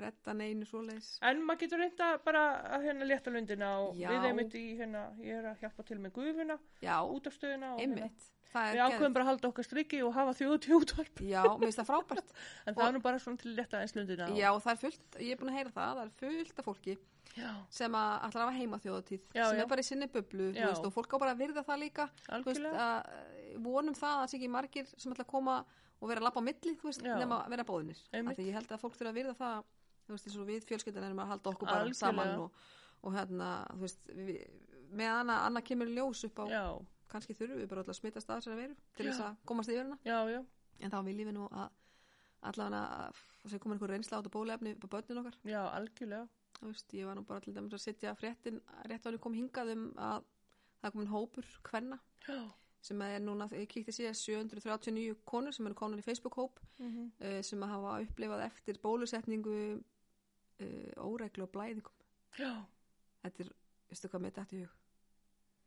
[SPEAKER 2] retta neinu svoleiðis.
[SPEAKER 1] En maður getur reynda bara að hérna létta lundina og
[SPEAKER 2] Já.
[SPEAKER 1] við einmitt í hérna, ég er að hjálpa til með gufuna,
[SPEAKER 2] Já,
[SPEAKER 1] útastöðuna og hérna
[SPEAKER 2] einmitt. Það
[SPEAKER 1] Við
[SPEAKER 2] er
[SPEAKER 1] ákveðum bara að halda okkar strikki og hafa þjóðutíu útvarp.
[SPEAKER 2] Já, mér finnst það frábært.
[SPEAKER 1] En það er nú bara svona til að letta eins lundina.
[SPEAKER 2] Já, það er fullt, ég er búin að heyra það, það er fullt af fólki
[SPEAKER 1] já,
[SPEAKER 2] sem að ætlar að hafa heima þjóðatíð,
[SPEAKER 1] Já,
[SPEAKER 2] sem
[SPEAKER 1] já.
[SPEAKER 2] er bara í sinni bublu, þú
[SPEAKER 1] Já.
[SPEAKER 2] veist, og fólk á bara að virða það líka. þú veist,
[SPEAKER 1] algjörlega.
[SPEAKER 2] að eh, vonum það að það sé ekki margir sem ætla að koma og vera að labba á milli, þú veist,
[SPEAKER 1] Já.
[SPEAKER 2] nema að vera bóðinir.
[SPEAKER 1] Einmitt.
[SPEAKER 2] Því ég held að fólk þurfa að virða það, þú veist, eins og við fjölskyldan erum að halda okkur bara
[SPEAKER 1] Algjörlega.
[SPEAKER 2] saman og, og hérna, þú veist, við, með hana, annað kemur í ljós upp á,
[SPEAKER 1] Já,
[SPEAKER 2] kannski þurfum við bara öll að smita staðar sem að veru til
[SPEAKER 1] Já.
[SPEAKER 2] þess að komast yfir hana.
[SPEAKER 1] já, já,
[SPEAKER 2] en þá viljum við nú að allavega að það sé komin einhver reynsla á þetta bólefni upp á börnin okkar
[SPEAKER 1] Já, algjörlega.
[SPEAKER 2] Þú veist, ég var nú bara til dæmis að setja fréttin rétt á hann kom hingað um að það er komin hópur kvenna
[SPEAKER 1] Já.
[SPEAKER 2] sem er núna, ég kíkti síðan 739 konur sem eru konar í Facebook-hóp
[SPEAKER 1] Mm -hmm.
[SPEAKER 2] uh, sem að hafa upplifað eftir bólusetningu uh, óreglu og blæðingum
[SPEAKER 1] Já.
[SPEAKER 2] þetta er, veistu hvað með þetta í hug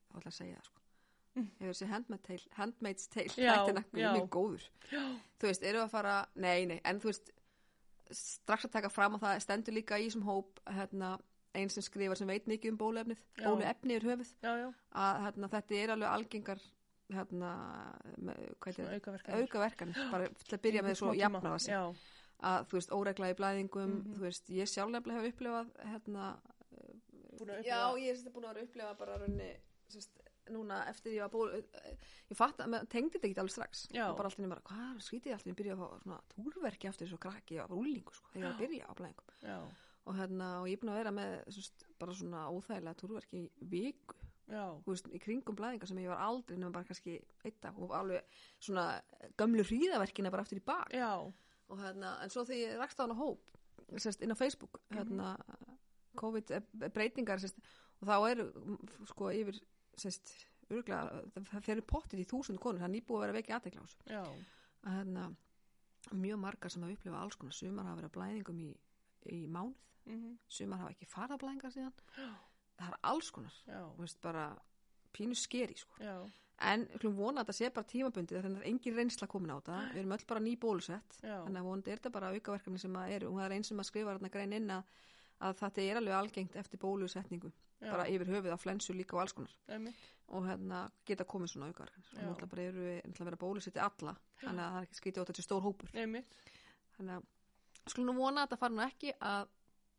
[SPEAKER 2] þá ætla að segja það sko
[SPEAKER 1] Mm.
[SPEAKER 2] hefur þessi handmaid's tale, handmaid's tale
[SPEAKER 1] Já,
[SPEAKER 2] þættina, guð
[SPEAKER 1] já.
[SPEAKER 2] minn góður
[SPEAKER 1] Já.
[SPEAKER 2] þú veist, eru að fara, nei, nei, en þú veist strax að taka fram að það stendur líka í sem hóp, hérna einn sem skrifar sem veit mikið um bóluefnið
[SPEAKER 1] Já.
[SPEAKER 2] bóluefni er höfuð,
[SPEAKER 1] Já, já.
[SPEAKER 2] að hérna, þetta er alveg algengar hérna, með, hvað heitir
[SPEAKER 1] Aukaverkanir.
[SPEAKER 2] þetta aukaverkanir, bara til að byrja með svo jafna það sig
[SPEAKER 1] Já.
[SPEAKER 2] að þú veist, óregla í blæðingum
[SPEAKER 1] Mhm.
[SPEAKER 2] þú veist, ég sjálf nefnilega hef upplifað hérna,
[SPEAKER 1] Búin að
[SPEAKER 2] já,
[SPEAKER 1] upplifa-
[SPEAKER 2] ég er sérst búin að vera að upplifa bara raunni, sérst, núna eftir ég var búin ég fatt að, maður tengdi þetta ekki alveg strax
[SPEAKER 1] Já.
[SPEAKER 2] og bara alltaf bara, hvað, skítið ég alltaf ég byrja að fá svona túrverki aftur þessu krakki ég var úlingu, sko, þegar ég var að byrja á blæðingum
[SPEAKER 1] Já.
[SPEAKER 2] og hérna, og ég er búin að vera með sérst, bara svona óþægilega túrverki í viku
[SPEAKER 1] Já.
[SPEAKER 2] þú veist, í kringum blæðingar sem ég var aldrei nema bara kannski eitt dag og alveg svona gömlu hríðaverkina bara aftur í bak
[SPEAKER 1] Já.
[SPEAKER 2] og hérna, en svo þegar ég rakst á hana hóp sérst, inn á Facebook hérna, COVID eh, breytingar sérst, og þá eru mm, sko yfir sérst, örgulega, það fer pottir í þúsund konur, það er nýbúið að vera vekja aðtekla á þessu
[SPEAKER 1] Já.
[SPEAKER 2] Að hérna, mjög margar sem hafa upplifað alls konar sumar hafa verið á blæðingum í, í mánuð,
[SPEAKER 1] Mm -hmm.
[SPEAKER 2] sumar hafa ekki farið á blæðingar síðan,
[SPEAKER 1] Já.
[SPEAKER 2] það er alls konar
[SPEAKER 1] Já.
[SPEAKER 2] þú veist, bara pínu skeri sko.
[SPEAKER 1] Já.
[SPEAKER 2] en við skulum vona að þetta sé bara tímabundið þannig að engin reynsla komin á þetta, við erum öll bara ný bólusett
[SPEAKER 1] Já.
[SPEAKER 2] þannig að vonandi er þetta bara aukaverkefni sem að eru og það er eins sem að skrifa þarna grein inn að, að þetta er alveg algengt eftir bólusetningu
[SPEAKER 1] Já.
[SPEAKER 2] bara yfir höfuð á flensu líka og alls konar
[SPEAKER 1] Einmitt.
[SPEAKER 2] og hérna geta komið svona aukaverkefni og
[SPEAKER 1] Já.
[SPEAKER 2] náttúrulega bara eru náttúrulega verið að bólusetja alla þannig að það er ekki skrítið á þetta sé stór hópur
[SPEAKER 1] Einmitt.
[SPEAKER 2] þannig að skulum nú vona að þetta fari nú ekki að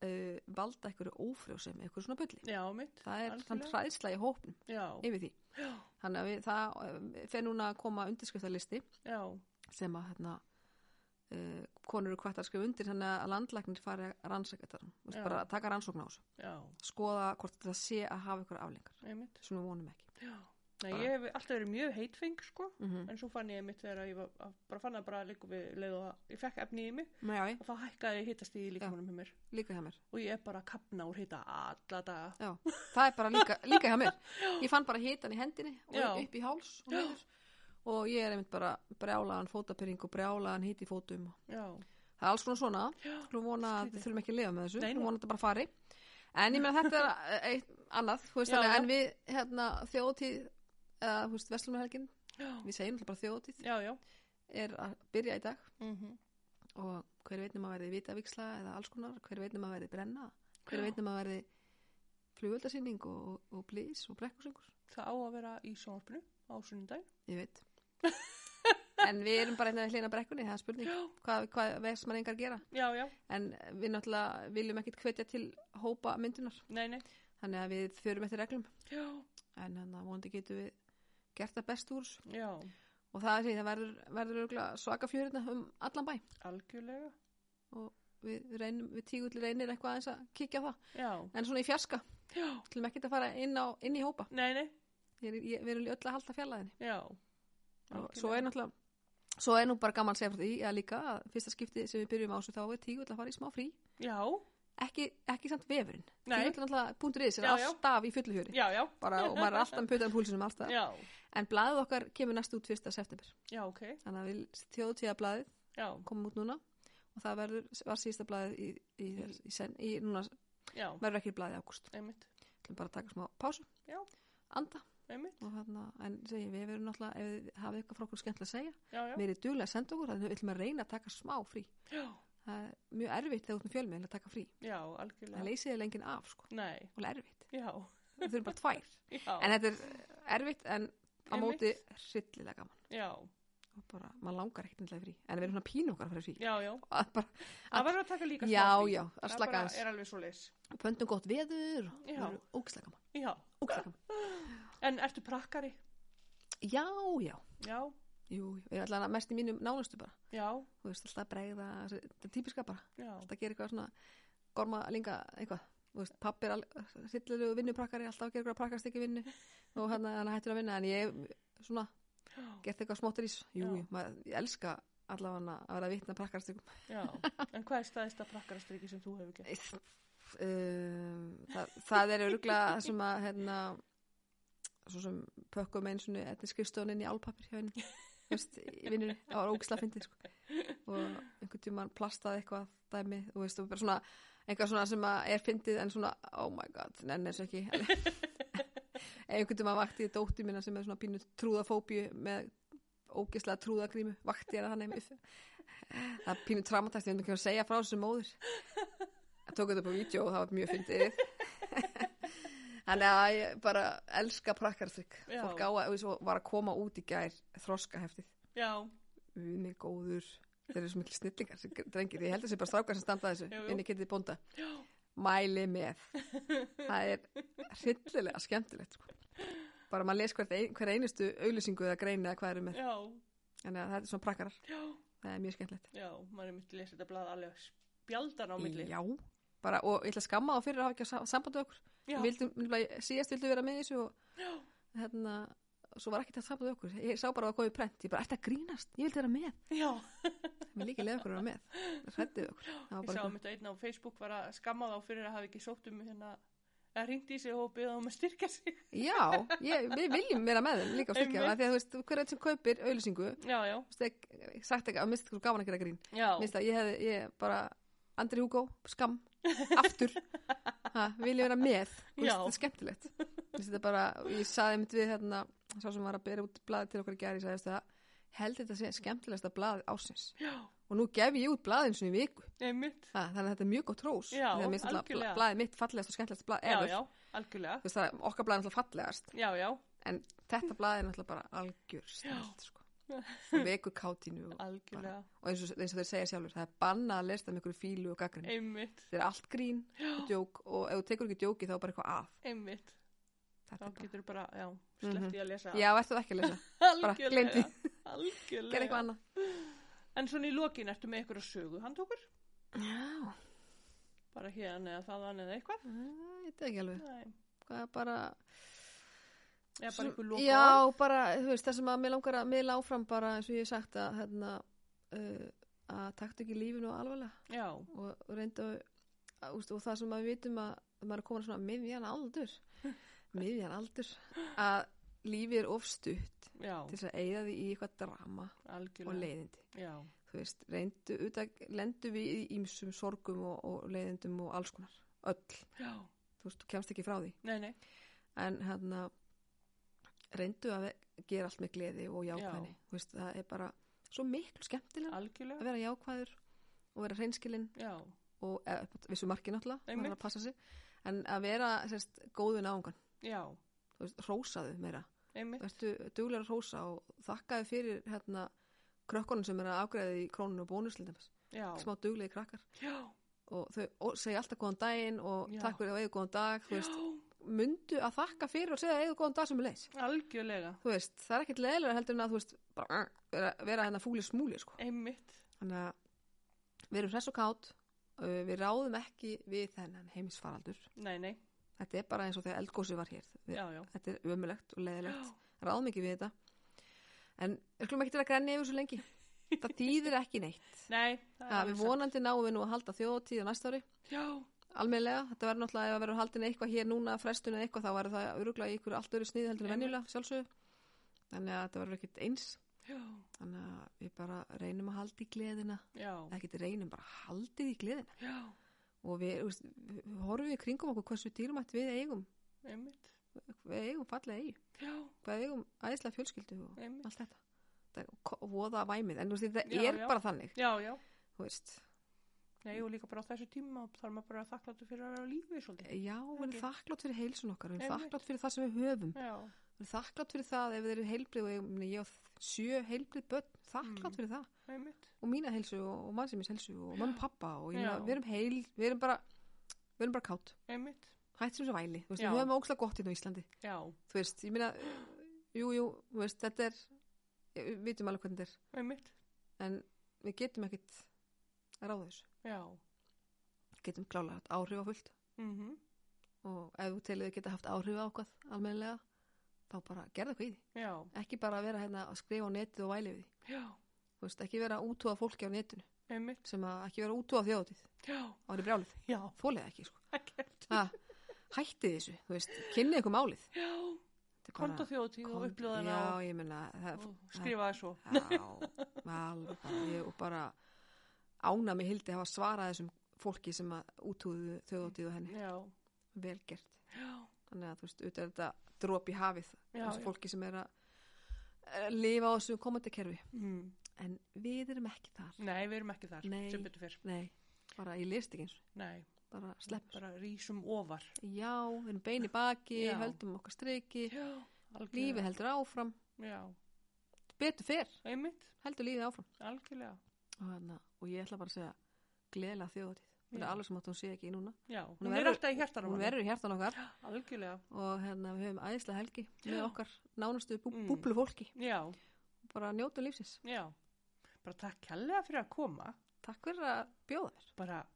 [SPEAKER 2] uh, valda einhverju ófrjósemi, einhverju svona bulli
[SPEAKER 1] Já, mitt.
[SPEAKER 2] það er þann
[SPEAKER 1] Algjörlega.
[SPEAKER 2] hræðsla í hópnum
[SPEAKER 1] Já.
[SPEAKER 2] yfir því
[SPEAKER 1] Já.
[SPEAKER 2] þannig að við, það eh, fer núna að koma undirskriftalisti
[SPEAKER 1] Já.
[SPEAKER 2] sem að hérna, uh, konur eru hvætt að skrifa undir þannig að landlæknir fari að rannsaka þetta Þú veist,
[SPEAKER 1] Já.
[SPEAKER 2] bara að taka rannsókn á þessu
[SPEAKER 1] Já.
[SPEAKER 2] skoða hvort það sé að hafa ykkur aflengar
[SPEAKER 1] Einmitt.
[SPEAKER 2] sem við vonum ekki
[SPEAKER 1] Já. Nei,
[SPEAKER 2] Bara-
[SPEAKER 1] ég hef alltaf verið mjög heitfeng, sko.
[SPEAKER 2] mm -hmm.
[SPEAKER 1] En svo fann ég mitt þegar ég var, að- bara fann að bara líka við leið og að ég fekk efni í mig
[SPEAKER 2] já,
[SPEAKER 1] og þá hækkaði hittast í líkamunum hjá mér
[SPEAKER 2] líka hjá mér
[SPEAKER 1] og ég er bara að kapna úr hitta alla daga.
[SPEAKER 2] já. það er bara líka, líka hjá mér ég fann bara hitan í hendinni og
[SPEAKER 1] Já.
[SPEAKER 2] upp í háls og, niður. og ég er einmitt bara brjálaðan fótapyrring og brjálaðan hit í fótum
[SPEAKER 1] Já.
[SPEAKER 2] það er alls konar svona
[SPEAKER 1] Já.
[SPEAKER 2] skulum vona að við þurfum ekki að lifa með
[SPEAKER 1] Nei,
[SPEAKER 2] þessu
[SPEAKER 1] nei.
[SPEAKER 2] skulum vona að þetta bara fari en ég meina þetta er eh, eitt annað þú veist,
[SPEAKER 1] Já,
[SPEAKER 2] þannig,
[SPEAKER 1] já.
[SPEAKER 2] en við hérna, þjóðtíð eða þú veist, Vestlunarhelgin
[SPEAKER 1] Já.
[SPEAKER 2] við segjum alltaf bara þjóðtíð
[SPEAKER 1] Já, já.
[SPEAKER 2] er að byrja í dag
[SPEAKER 1] Mm -hmm.
[SPEAKER 2] og hver veitnum að verði vitavíksla eða alls konar, hver veitnum að verði brenna
[SPEAKER 1] Já.
[SPEAKER 2] hver veitnum að verði flugöldasýning og, og, og blís og brekkursöngur
[SPEAKER 1] Það á að vera í sjónvarpinu á sunnundaginn.
[SPEAKER 2] ég veit en við erum bara hérna einnig að hlýna brekkunni það er spurning
[SPEAKER 1] Já.
[SPEAKER 2] hvað, hvað veist maður engar gera
[SPEAKER 1] Já, já.
[SPEAKER 2] en við náttúrulega viljum ekkit hvetja til hópa myndunar
[SPEAKER 1] Nei, nei.
[SPEAKER 2] þannig að við förum eftir reglum
[SPEAKER 1] Já.
[SPEAKER 2] en þannig að vonandi getum við gert það best úr þessu.
[SPEAKER 1] Já.
[SPEAKER 2] og það er því það verður, verður örugglega svaka fjörina um allan bæ
[SPEAKER 1] Algjörlega.
[SPEAKER 2] við, reynum, við tígulli reynir eitthvað aðeins að kíkja á það
[SPEAKER 1] Já.
[SPEAKER 2] en svona í fjarska,
[SPEAKER 1] Já.
[SPEAKER 2] til með ekkert að fara inn, á, inn í hópa
[SPEAKER 1] Nei, nei.
[SPEAKER 2] ég, er- ég, við erum öll að halda fjallaðinni
[SPEAKER 1] Já.
[SPEAKER 2] og svo er náttúrulega svo er nú bara gaman að segja frá því að líka að fyrsta skipti sem við byrjum á þessu þá er tígull að fara í smá frí
[SPEAKER 1] Já.
[SPEAKER 2] ekki, ekki samt vefurinn
[SPEAKER 1] Nei.
[SPEAKER 2] tígull er náttúrulega búndur í þessi
[SPEAKER 1] Já, já.
[SPEAKER 2] alltaf í fullu hjöri
[SPEAKER 1] Já, já.
[SPEAKER 2] bara, og maður er alltaf með putan púlsinum alltaf
[SPEAKER 1] Já.
[SPEAKER 2] en blaðið okkar kemur næst út 1. september
[SPEAKER 1] Já, ok.
[SPEAKER 2] þannig að við þjóðtíða blaðið
[SPEAKER 1] Já.
[SPEAKER 2] komum út núna og það verður, var síðasta blaðið í, í, í, í, sen, í núna
[SPEAKER 1] Já.
[SPEAKER 2] verður ekki blaðið í ágúst
[SPEAKER 1] Einmitt.
[SPEAKER 2] ætlum bara að taka smá pásu
[SPEAKER 1] Já.
[SPEAKER 2] anda
[SPEAKER 1] Einmitt.
[SPEAKER 2] og hérna, en segi, við verum náttúrulega ef þið hafið eitthvað frá okkur skemmtilega að segja
[SPEAKER 1] Já, já.
[SPEAKER 2] við erum duglega að senda okkur, þannig að við ætlum að reyna að taka smá frí
[SPEAKER 1] Já.
[SPEAKER 2] það er mjög erfitt þegar út með fjölmiðl að taka frí
[SPEAKER 1] Já,
[SPEAKER 2] það
[SPEAKER 1] algjörlega.
[SPEAKER 2] leysið er lengin af, sko,
[SPEAKER 1] Nei.
[SPEAKER 2] og erfitt
[SPEAKER 1] Já.
[SPEAKER 2] við þurfum bara tvær,
[SPEAKER 1] Já.
[SPEAKER 2] en þetta er eh, erfitt en á
[SPEAKER 1] Einmitt.
[SPEAKER 2] móti hryllilega gaman
[SPEAKER 1] Já.
[SPEAKER 2] og bara, maður langar ekkert endilega í frí en við erum svona pínu okkar að fara í frí
[SPEAKER 1] Já, já.
[SPEAKER 2] Að bara,
[SPEAKER 1] Það verður að taka líka
[SPEAKER 2] já,
[SPEAKER 1] smá frí.
[SPEAKER 2] já, að
[SPEAKER 1] Það
[SPEAKER 2] slaka
[SPEAKER 1] bara
[SPEAKER 2] aðeins
[SPEAKER 1] er alveg svo leys.
[SPEAKER 2] pöndum gott veður og
[SPEAKER 1] Já.
[SPEAKER 2] það eru ógislega gaman,
[SPEAKER 1] Já.
[SPEAKER 2] ógislega gaman
[SPEAKER 1] En ertu prakkari?
[SPEAKER 2] já, já,
[SPEAKER 1] Já.
[SPEAKER 2] jú, jú, ég er allan að mest í mínum nánustu bara
[SPEAKER 1] Já.
[SPEAKER 2] þú veist, alltaf að bregða, þetta er típiska bara
[SPEAKER 1] Já.
[SPEAKER 2] alltaf að gera eitthvað svona, gorma linga eitthvað, þú veist, pappi er sillilegu vinnuprakkari, alltaf að gera eitthvað prakkast ekki vinnu og hann, hann hættur að vinna en ég svona,
[SPEAKER 1] Já.
[SPEAKER 2] gert eitthvað smóttir ís jú,
[SPEAKER 1] Já.
[SPEAKER 2] jú, maður, ég elska allavega að vera vitna prakkarstökum
[SPEAKER 1] Já, en hvað er staðista prakkarastriki sem þú hefur gert?
[SPEAKER 2] um, það, það er örgla sem að hérna svo sem pökkum eins og þetta er skrifstofunin í álpapir hjá henni þú veist, í vinnunni, það var ógisla fyndið sko. og einhvern tímann plastaði eitthvað dæmi, þú veist, og bara svona eitthvað svona sem að er fyndið en svona oh my god, nenni þessu ekki einhvern tímann vakti ég dótti minna sem er svona pínu trúðafóbíu með ógisla trúðagrímu, vakti ég hana þannig það er pínu traumatæst, ég veit ekki að segja frá þessu móður ég tók þetta upp á vídeo og það var mjög fyndið þannig að ég bara elska prakkarstrykk
[SPEAKER 1] Já.
[SPEAKER 2] fólk á að, og svo var að koma út í gær þroskaheftið,
[SPEAKER 1] Já,
[SPEAKER 2] unni góður þeir eru svo miklu snillingar sem drengir ég held að þessi bara strákar sem standa að þessu
[SPEAKER 1] Jú, jú.
[SPEAKER 2] inni getið bónda, mæli með það er hryllilega skemmtilegt sko. bara maður les hvert ein, hver einustu auðlýsingu eða greina eða hvað eru með,
[SPEAKER 1] já,
[SPEAKER 2] þannig að þetta er svona prakkarar
[SPEAKER 1] já,
[SPEAKER 2] það er mjög skemmtilegt
[SPEAKER 1] já, maður er myndið að lesa þetta blað alveg spjaldan á milli.
[SPEAKER 2] Já, bara, og ég ætla að skamma þá fyrir að hafa ekki að sambandi okkur
[SPEAKER 1] Já.
[SPEAKER 2] Við vildum, nefnilega, síðast vildum vera með í þessu og hérna, svo var ekki þetta sambandi okkur ég sá bara að það komið prent, ég bara, ætti að grínast ég vildi vera með,
[SPEAKER 1] já,
[SPEAKER 2] mér líka leið okkur að vera með hrættið okkur Það var
[SPEAKER 1] ég sá
[SPEAKER 2] bara
[SPEAKER 1] að mynda einn á Facebook var að skamma þá fyrir að hafa ekki sótt um hérna, að ringt í sig og beða um að styrka sig.
[SPEAKER 2] Já, ég, við viljum vera með þeim líka og styrkja,
[SPEAKER 1] Einmitt.
[SPEAKER 2] af því að þú veist, hver er sem kaupir auðlýsingu,
[SPEAKER 1] Já, já,
[SPEAKER 2] þú veist, ég- sagt ekki að mista ykkur gaman að gera grín,
[SPEAKER 1] já,
[SPEAKER 2] mista, ég hefði, ég bara Andri Hugo, skam, aftur ha, vil ég vera með Þú veist,
[SPEAKER 1] Já.
[SPEAKER 2] þetta er skemmtilegt Þú veist, þetta er bara, ég saði einmitt við hérna, sá sem var að bera út blaði til okkur í gær, ég sagði það, held þetta sé skemmtilegasta blaði ásins
[SPEAKER 1] já,
[SPEAKER 2] og nú gef ég út blaðin sinni í viku
[SPEAKER 1] einmitt,
[SPEAKER 2] ha, þannig að þetta er mjög gott rós
[SPEAKER 1] Já,
[SPEAKER 2] Því að mér finnst alltaf
[SPEAKER 1] algjörlega.
[SPEAKER 2] blaðið mitt fallegast og skemmtilegast blað
[SPEAKER 1] já,
[SPEAKER 2] ever.
[SPEAKER 1] já, algjörlega,
[SPEAKER 2] Þú veist, það, er- okkar blaðið er alltaf fallegast
[SPEAKER 1] já, já,
[SPEAKER 2] en þetta blaðið er alltaf bara algjör snart, sko. og vekur kátínu og,
[SPEAKER 1] algjörlega,
[SPEAKER 2] og eins, og, eins og þeir segja sjálfur, það er bannað að lesta með einhverju fílu og gaggrinni
[SPEAKER 1] einmitt,
[SPEAKER 2] þetta er allt grín og djók og ef þú tekur ekki djóki þá er bara eitthvað að
[SPEAKER 1] einmitt, þá
[SPEAKER 2] þetta er
[SPEAKER 1] getur bara, já, sleppti ég að lesa
[SPEAKER 2] bara Mhm. já, ert þú ekki að lesa, bara
[SPEAKER 1] algjörlega,
[SPEAKER 2] gleymdi gerð eitthvað
[SPEAKER 1] algjörlega
[SPEAKER 2] annað
[SPEAKER 1] en svona í lokin ertu með ykkur að sögu handtókur
[SPEAKER 2] já,
[SPEAKER 1] bara hérna eða þaðan eða
[SPEAKER 2] Mm.
[SPEAKER 1] eitthvað
[SPEAKER 2] ég veit ekki alveg
[SPEAKER 1] Nei.
[SPEAKER 2] hvað er bara
[SPEAKER 1] eða bara
[SPEAKER 2] Svo-
[SPEAKER 1] ykkur loka
[SPEAKER 2] já, bara, þú veist, það sem að mér langar að mér láfram bara, eins og ég hef sagt að hérna, uh, að taktu ekki lífinu alvarlega
[SPEAKER 1] já,
[SPEAKER 2] og, og reyndu að, að, úst, og það sem að við vitum að að maður er komin svona miðjan aldur miðjan aldur að lífið er ofstutt
[SPEAKER 1] já,
[SPEAKER 2] til þess að eigða því í eitthvað drama og
[SPEAKER 1] algjörlega
[SPEAKER 2] leiðindi
[SPEAKER 1] já,
[SPEAKER 2] þú veist, reyndu, utak, lendu við í ímsum sorgum og, og leiðindum og alls konar, öll,
[SPEAKER 1] já,
[SPEAKER 2] þú veist, þú kemst ekki frá því
[SPEAKER 1] nei, nei
[SPEAKER 2] en hérna reyndu að ve- gera allt með gleði og jákvæðni, þú veist, það er bara svo miklu skemmtilega að
[SPEAKER 1] algjörlega,
[SPEAKER 2] vera jákvæður og vera reynskilinn
[SPEAKER 1] já,
[SPEAKER 2] og eða upp að vissu marki náttúrulega, maður
[SPEAKER 1] Einmitt.
[SPEAKER 2] verður að passa sig en að vera, sérst, góðu náungan
[SPEAKER 1] já,
[SPEAKER 2] þú veist, rósaðu meira
[SPEAKER 1] einmitt
[SPEAKER 2] verður duglega að rósa og þakkaðu fyrir, hérna krökkunum sem er að afgreða í krónunum og bónuslitum
[SPEAKER 1] já,
[SPEAKER 2] smá duglegi krakkar
[SPEAKER 1] já,
[SPEAKER 2] og þau og segja alltaf góðan daginn og
[SPEAKER 1] Já.
[SPEAKER 2] takk fyrir og eigið góðan dag þú veist, myndu að þakka fyrir og segja eigið góðan dag sem er leis
[SPEAKER 1] algjörlega
[SPEAKER 2] þú veist, það er ekkert leðilega heldur en að þú veist, bara uh, vera, vera hennar fúli smúli sko.
[SPEAKER 1] einmitt,
[SPEAKER 2] þannig að við erum hress og kátt uh, við ráðum ekki við þennan heimisfaraldur
[SPEAKER 1] nei, nei
[SPEAKER 2] þetta er bara eins og þegar eldgósi var hér við,
[SPEAKER 1] já, já,
[SPEAKER 2] þetta er ömulegt og leðilegt
[SPEAKER 1] Já.
[SPEAKER 2] ráðum ekki við þetta en við skulum ekki til að grenja yfir svo lengi það þýðir ekki neitt
[SPEAKER 1] nei, það
[SPEAKER 2] ha,
[SPEAKER 1] alveg
[SPEAKER 2] við vonandi náum við nú að halda þjóðtíð á næsta ári
[SPEAKER 1] satt. já,
[SPEAKER 2] almennilega, þetta verður náttúrulega ef að verður haldin eitthvað hér núna, frestun eða eitthvað þá verður það öruglega í ykkur allt öru snið heldur en
[SPEAKER 1] Einmitt.
[SPEAKER 2] venjulega sjálfsögðu þannig að þetta verður ekkit eins
[SPEAKER 1] já,
[SPEAKER 2] þannig að við bara reynum að halda í gleðina
[SPEAKER 1] já,
[SPEAKER 2] eða ekkit reynum bara haldið í gleðina
[SPEAKER 1] já
[SPEAKER 2] og við, þú veist, við við horfum í kringum okkur hversu dýrmætt við eigum
[SPEAKER 1] einmitt,
[SPEAKER 2] við eigum fallega eigi,
[SPEAKER 1] já,
[SPEAKER 2] við eigum æðislega fjölskyldu og
[SPEAKER 1] einmitt
[SPEAKER 2] allt þetta þetta er ko- voða væmið, en þú veist, þetta
[SPEAKER 1] Já,
[SPEAKER 2] er
[SPEAKER 1] já.
[SPEAKER 2] bara þannig
[SPEAKER 1] já, já,
[SPEAKER 2] þú veist,
[SPEAKER 1] nei og líka bara á þessu tíma þarf maður bara að þakkláttu fyrir að vera á lífi svolítið
[SPEAKER 2] já, við erum
[SPEAKER 1] Ekki.
[SPEAKER 2] þakklátt fyrir heilsun okkar, við erum
[SPEAKER 1] Einmitt.
[SPEAKER 2] þakklátt fyrir það sem við höfum
[SPEAKER 1] já,
[SPEAKER 2] Við erum þakklátt fyrir það ef þeir eru heilbrið og ég, meni, ég á þ- sjö heilbrið börn, þakklátt
[SPEAKER 1] Mm.
[SPEAKER 2] fyrir það
[SPEAKER 1] einmitt,
[SPEAKER 2] og mína heilsu og, og mann sem ég helsu og mamma og pappa og ég meina,
[SPEAKER 1] Já.
[SPEAKER 2] við erum heil, við erum bara við erum bara kátt,
[SPEAKER 1] einmitt
[SPEAKER 2] hættum þessu væli þú veist,
[SPEAKER 1] Já.
[SPEAKER 2] við höfum ókslega gott hérna á Íslandi
[SPEAKER 1] já,
[SPEAKER 2] þú veist, ég meina, jú, jú þú veist, þetta er, ég- við vitum alveg hvernig þetta
[SPEAKER 1] einmitt,
[SPEAKER 2] er en við getum ekkit að ráða þessu
[SPEAKER 1] já
[SPEAKER 2] getum klálega haft áhrif á fullt
[SPEAKER 1] mhm
[SPEAKER 2] og ef þú telur þau geta haft áhrif á okkar almennilega, þá bara gerða eitthvað í því
[SPEAKER 1] Já,
[SPEAKER 2] ekki bara að vera hérna að skrifa á netið og væli við því
[SPEAKER 1] já,
[SPEAKER 2] Þú þú veist, ekki vera að útúa fólki á netinu
[SPEAKER 1] einmitt.
[SPEAKER 2] sem að ekki vera að útúa þjóðatíð
[SPEAKER 1] Já,
[SPEAKER 2] á henni brjálið,
[SPEAKER 1] já,
[SPEAKER 2] þólið ekki sko.
[SPEAKER 1] ekkert.
[SPEAKER 2] ha, hætti þessu, þú veist, kynni ykkur málið
[SPEAKER 1] Já,
[SPEAKER 2] Þetta er bara-
[SPEAKER 1] komdu á þjóðtíð og
[SPEAKER 2] Komdu-
[SPEAKER 1] upplöða hana og,
[SPEAKER 2] já, ég meina það,
[SPEAKER 1] og skrifaði svo.
[SPEAKER 2] já, alveg bara, ég, og bara ána mig hildi að hafa svarað þessum fólki sem að útúðu þjóðatíð og henni,
[SPEAKER 1] Já,
[SPEAKER 2] vel gert
[SPEAKER 1] já,
[SPEAKER 2] þannig að þú veist, auðvitað er þetta drop í hafið
[SPEAKER 1] já.
[SPEAKER 2] þessu fólki sem er að að lifa á þessu komandakerfi
[SPEAKER 1] Mm.
[SPEAKER 2] en við erum ekki þar
[SPEAKER 1] Nei, við erum ekki þar,
[SPEAKER 2] Nei.
[SPEAKER 1] sem betur fyrr.
[SPEAKER 2] nei, bara ég list ekki eins og,
[SPEAKER 1] Nei,
[SPEAKER 2] bara sleppur
[SPEAKER 1] bara rísum ofar.
[SPEAKER 2] já, við erum bein í baki,
[SPEAKER 1] Já.
[SPEAKER 2] höldum okkar striki
[SPEAKER 1] Já, algjörlega.
[SPEAKER 2] lífið heldur áfram,
[SPEAKER 1] Já,
[SPEAKER 2] betur fyrr
[SPEAKER 1] einmitt,
[SPEAKER 2] heldur lífið áfram
[SPEAKER 1] algjörlega.
[SPEAKER 2] og, hana, og ég ætla bara að segja gleðilega þjóðatíð hún
[SPEAKER 1] Já.
[SPEAKER 2] er alveg sem að hún sé ekki í núna
[SPEAKER 1] Já, hún,
[SPEAKER 2] Hún
[SPEAKER 1] er
[SPEAKER 2] verður-
[SPEAKER 1] alltaf í hjertanum.
[SPEAKER 2] hún verður í hjertan okkar
[SPEAKER 1] Algjörlega,
[SPEAKER 2] og hérna, við höfum æðislega helgi með
[SPEAKER 1] Já.
[SPEAKER 2] okkar nánustu bú
[SPEAKER 1] Mm.
[SPEAKER 2] búblu fólki
[SPEAKER 1] já,
[SPEAKER 2] bara njóta lífsins,
[SPEAKER 1] já. Bara takk kjallega fyrir að koma.
[SPEAKER 2] takk fyrir að bjóða þér
[SPEAKER 1] Bara,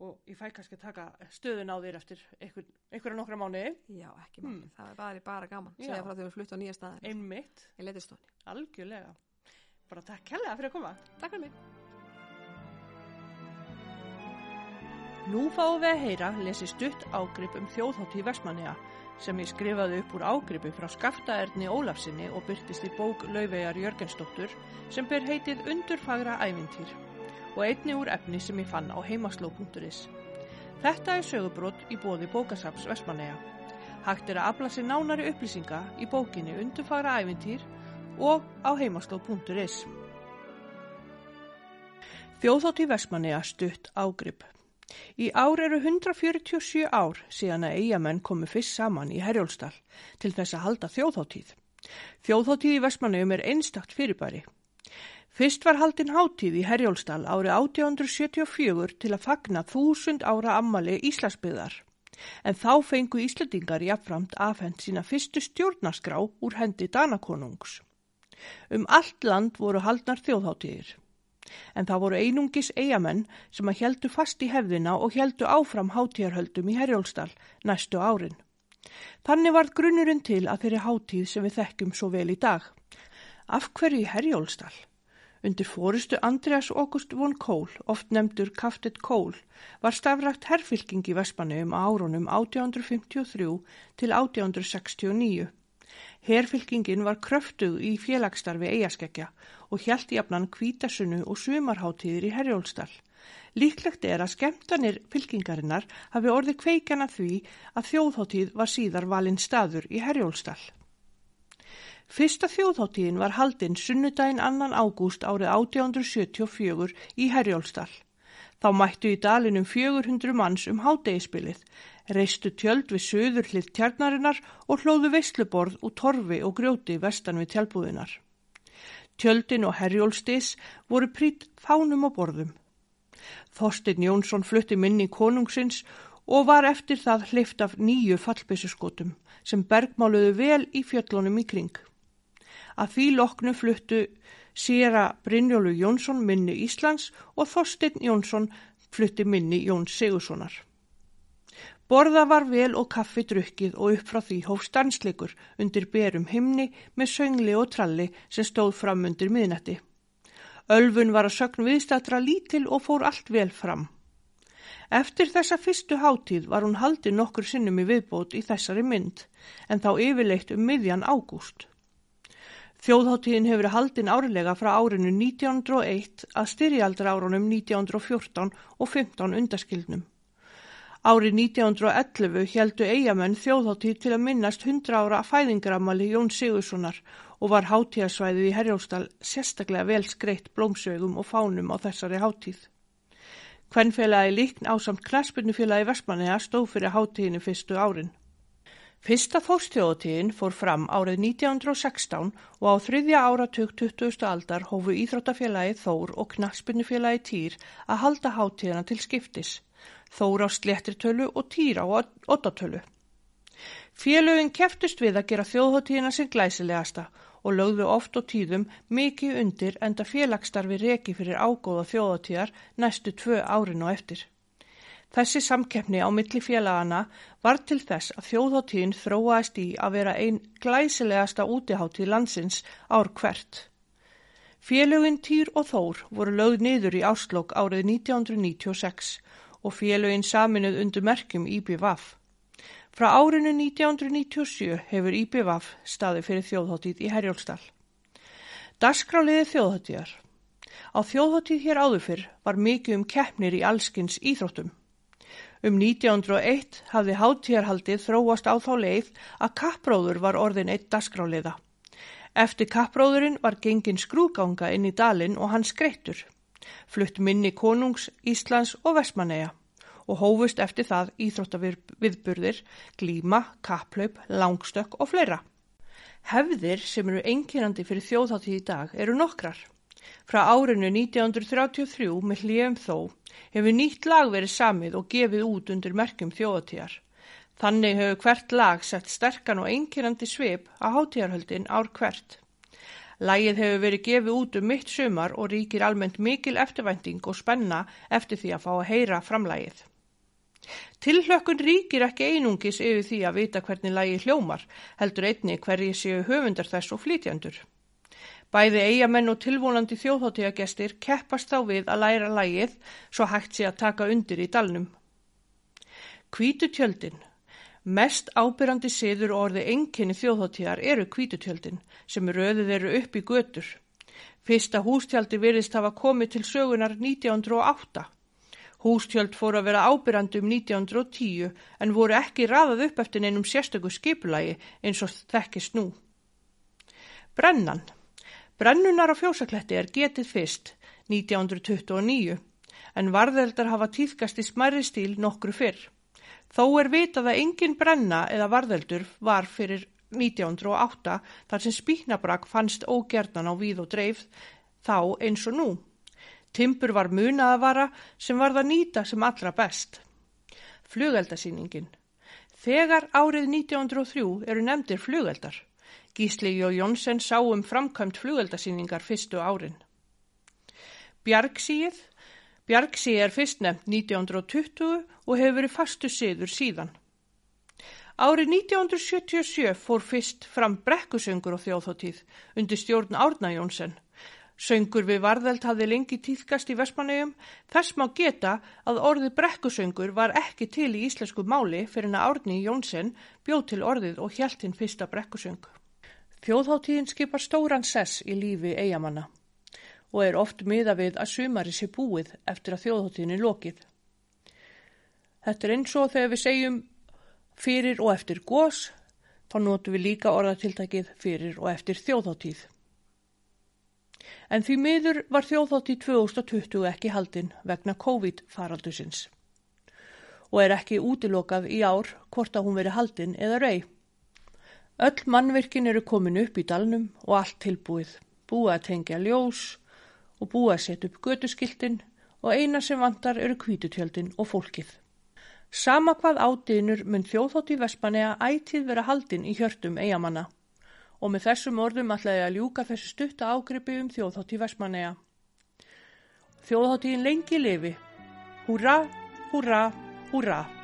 [SPEAKER 1] og ég fæ kannski að taka stöðun á þér eftir einhver, einhverja nokkra mánuði.
[SPEAKER 2] Já, ekki máli,
[SPEAKER 1] Mm.
[SPEAKER 2] það er bara, bara gaman
[SPEAKER 1] Já.
[SPEAKER 2] segja frá því að við flutt á nýja staðar
[SPEAKER 1] Einmitt,
[SPEAKER 2] í letistóni.
[SPEAKER 1] algjörlega. Bara takk kjallega fyrir að koma.
[SPEAKER 2] Takk fyrir mig
[SPEAKER 1] Nú fáum við að heyra lesi stutt ágrip um þjóðháttíð Vestmanniða sem ég skrifaði upp úr ágripi frá Skaftaerni Ólafsinni og byrtist í bók Laufeyjar Jörgensdóttur sem ber heitið Undurfagra ævintýr og einni úr efni sem ég fann á heimasló.is. Þetta er sögubrot í bóði bókasaps Vestmanniða. Hægt er að afla sér nánari upplýsinga í bókinni Undurfagra ævintýr og á heimasló.is. Þjóðháttíð Vestmanniða stutt ágrip. Í ár eru 147 ár síðan að eigamenn komu fyrst saman í Herjólsdal til þess að halda þjóðháttíð. Þjóðháttíð í Vestmannaum er einstakt fyrirbæri. Fyrst var haldin hátíð í Herjólsdal árið 1874 til að fagna þúsund ára ammali Íslandsbyðar. En þá fengu Íslandingar jafnframt afhend sína fyrstu stjórnaskrá úr hendi Danakonungs. Um allt land voru haldnar þjóðháttíðir en það voru einungis eigamenn sem að heldu fast í hefðina og heldu áfram hátíjarhöldum í Herjólsdal næstu árin. Þannig varð grunnurinn til að þeirri hátíð sem við þekkjum svo vel í dag. Af hverju í Herjólsdal? Undir fórustu Andreas August von Kohl, oft nefndur Kaftet Kohl, var stafrækt herfylking í Vespanum á árunum 1853 til 1869. Herfylkingin var kröftug í félagsstarfi eigaskeggja og hjælt jafnan hvítasunnu og sumarháttíðir í Herjólsdal. Líklegt er að skemmtanir fylkingarinnar hafi orðið kveikjana því að þjóðháttíð var síðar valinn staður í Herjólsdal. Fyrsta þjóðháttíðin var haldinn sunnudaginn 2. ágúst árið 1874 í Herjólsdal. Þá mættu í dalinum 400 manns um hádegispilið, reistu tjöld við söður hlið tjarnarinnar og hlóðu veisluborð úr torfi og grjóti vestan við tjálbúðinar. Tjöldin og herjólstis voru prýtt fánum og borðum. Þorstein Jónsson flutti minni konungsins og var eftir það hlift af nýju fallbissuskotum sem bergmáluðu vel í fjöllunum í kring. Að því loknu fluttu Sera Brynjólu Jónsson minni Íslands og Þorstein Jónsson flutti minni Jóns Sigurssonar. Borða var vel og kaffi drukkið og upp frá því hófst dansleikur undir berum himni með söngli og tralli sem stóð fram undir miðnætti. Ölfun var að sögn viðstatra lítil og fór allt vel fram. Eftir þessa fyrstu hátíð var hún haldið nokkur sinnum í viðbót í þessari mynd, en þá yfirleitt um miðjan ágúst. Þjóðháttíðin hefur verið haldin árlega frá árinu 1901 að styrjaldra árunum 1914 og 15 undaskildnum. Árið 1911 heldu eigamenn þjóðháttíð til að minnast 100 ára fæðingaramali Jón Sigurssonar og var hátíðasvæðið í Herjólsdal sérstaklega vel skreitt blómsvegum og fánum á þessari hátíð. Hvernfélagi líkn ásamt knaspunnufélagi Vestmanneja stóð fyrir hátíðinu fyrstu árin. Fyrsta fórstjóðatíðin fór fram árið 1916 og á þriðja áratug 20. aldar hófu Íþróttafélagi Þór og knaspunnufélagi Týr að halda hátíðina til skiptis. Þór á sléttirtölu og Týr á ottatölu. Félögin keftust við að gera þjóðháttíðina sinn glæsilegasta og lögðu oft og tíðum mikið undir enda félagsstarfi reki fyrir ágóða þjóðháttíðar næstu tvö árin og eftir. Þessi samkeppni á milli félagana var til þess að þjóðháttíðin þróaðist í að vera einn glæsilegasta útiháttíð landsins ár hvert. Félögin Týr og Þór voru lögð niður í áslokk árið 1996 og félögin saminuð undir merkjum IBVF. Frá árinu 1997 hefur IBVF staði fyrir þjóðhóttið í Herjólfsdal. Darskráliði þjóðhóttiðar. Á þjóðhóttið hér áður fyrr var mikið um keppnir í allskins íþróttum. Um 1901 hafði hátíjarhaldið þróast á þá leið að kappróður var orðin eitt dasgráliða. Eftir kappróðurinn var gengin skrúganga inn í dalinn og hann skreittur. Flutt minni konungs, Íslands og Vestmanneja og hófust eftir það íþróttaviðburðir, glíma, kapplaup, langstökk og fleira. Hefðir sem eru einkennandi fyrir þjóðháttíð í dag eru nokkrar. Frá árinu 1933 með hljöfum þó hefur nýtt lag verið samið og gefið út undir merkjum þjóðatíjar. Þannig hefur hvert lag sett sterkan og einkennandi svip að hátíjarhöldin ár hvert. Lagið hefur verið gefið út um mitt sumar og ríkir almennt mikil eftirvænting og spenna eftir því að fá að heyra framlagið. Tilhlökkun ríkir ekki einungis yfir því að vita hvernig lagið hljómar, heldur einni hverjir séu höfundar þess og flytjandur. Bæði eigamenn og tilvonandi þjóðháttíðagestir keppast þá við að læra lægið svo hægt sé að taka undir í dalnum. Kvítutjöldin Mest ábyrrandi siður og orði enginni þjóðháttíðar eru kvítutjöldin sem röðið eru upp í götur. Fyrsta hústjaldi virðist hafa komið til sögunar 1908. Hústjöld fóru að vera ábyrrandi um 1910 en voru ekki raðað upp eftir neinum sérstöku skipulagi eins og þekkist nú. Brennan Brennunar á fjósakletti er getið fyrst 1929 en varðeldar hafa týðkast í smæri stíl nokkru fyrr. Þó er vitað að engin brenna eða varðeldur var fyrir 1908 þar sem spíknabrak fannst ógernan á víð og dreif þá eins og nú. Timpur var munaðavara sem varð að nýta sem allra best. Flugeldasýningin Þegar árið 1903 eru nefndir flugeldar. Gísli Jó Jónsson sá um framkvæmt flugeldasýningar fyrstu árin. Bjargsíð Bjargsíð er fyrst nefnt 1920 og hefur verið fastu siður síðan. Árið 1977 fór fyrst fram brekkusöngur á þjóðhóttíð undir stjórn Árna Jónsson. Söngur við varðeld hafði lengi týðkast í Vestmannegjum, þess má geta að orðið brekkusöngur var ekki til í íslensku máli fyrir en að Árni Jónsson bjóð til orðið og hjælt hinn fyrsta brekkusöngu. Þjóðháttíðin skipar stóran sess í lífi eigamanna og er oft miða við að sumari sé búið eftir að þjóðháttíðin er lokið. Þetta er eins og þegar við segjum fyrir og eftir gos, þá notum við líka orðatiltakið fyrir og eftir þjóðháttíð. En því miður var þjóðháttíð 2020 ekki haldin vegna COVID-faraldusins og er ekki útilokað í ár hvort að hún veri haldin eða reyð. Öll mannverkin eru komin upp í dalnum og allt tilbúið, búið að tengja ljós og búið að setja upp götuskiltin og eina sem vantar eru kvítutjöldin og fólkið. Sama hvað átiðinur mun þjóðhótt í Vespanea ætið vera haldin í hjörtum eigamanna og með þessum orðum ætlaði að ljúka þessu stutta ágripi um þjóðhótt í Vespanea. Þjóðhóttiðin lengi lifi. Húra, húra, húra.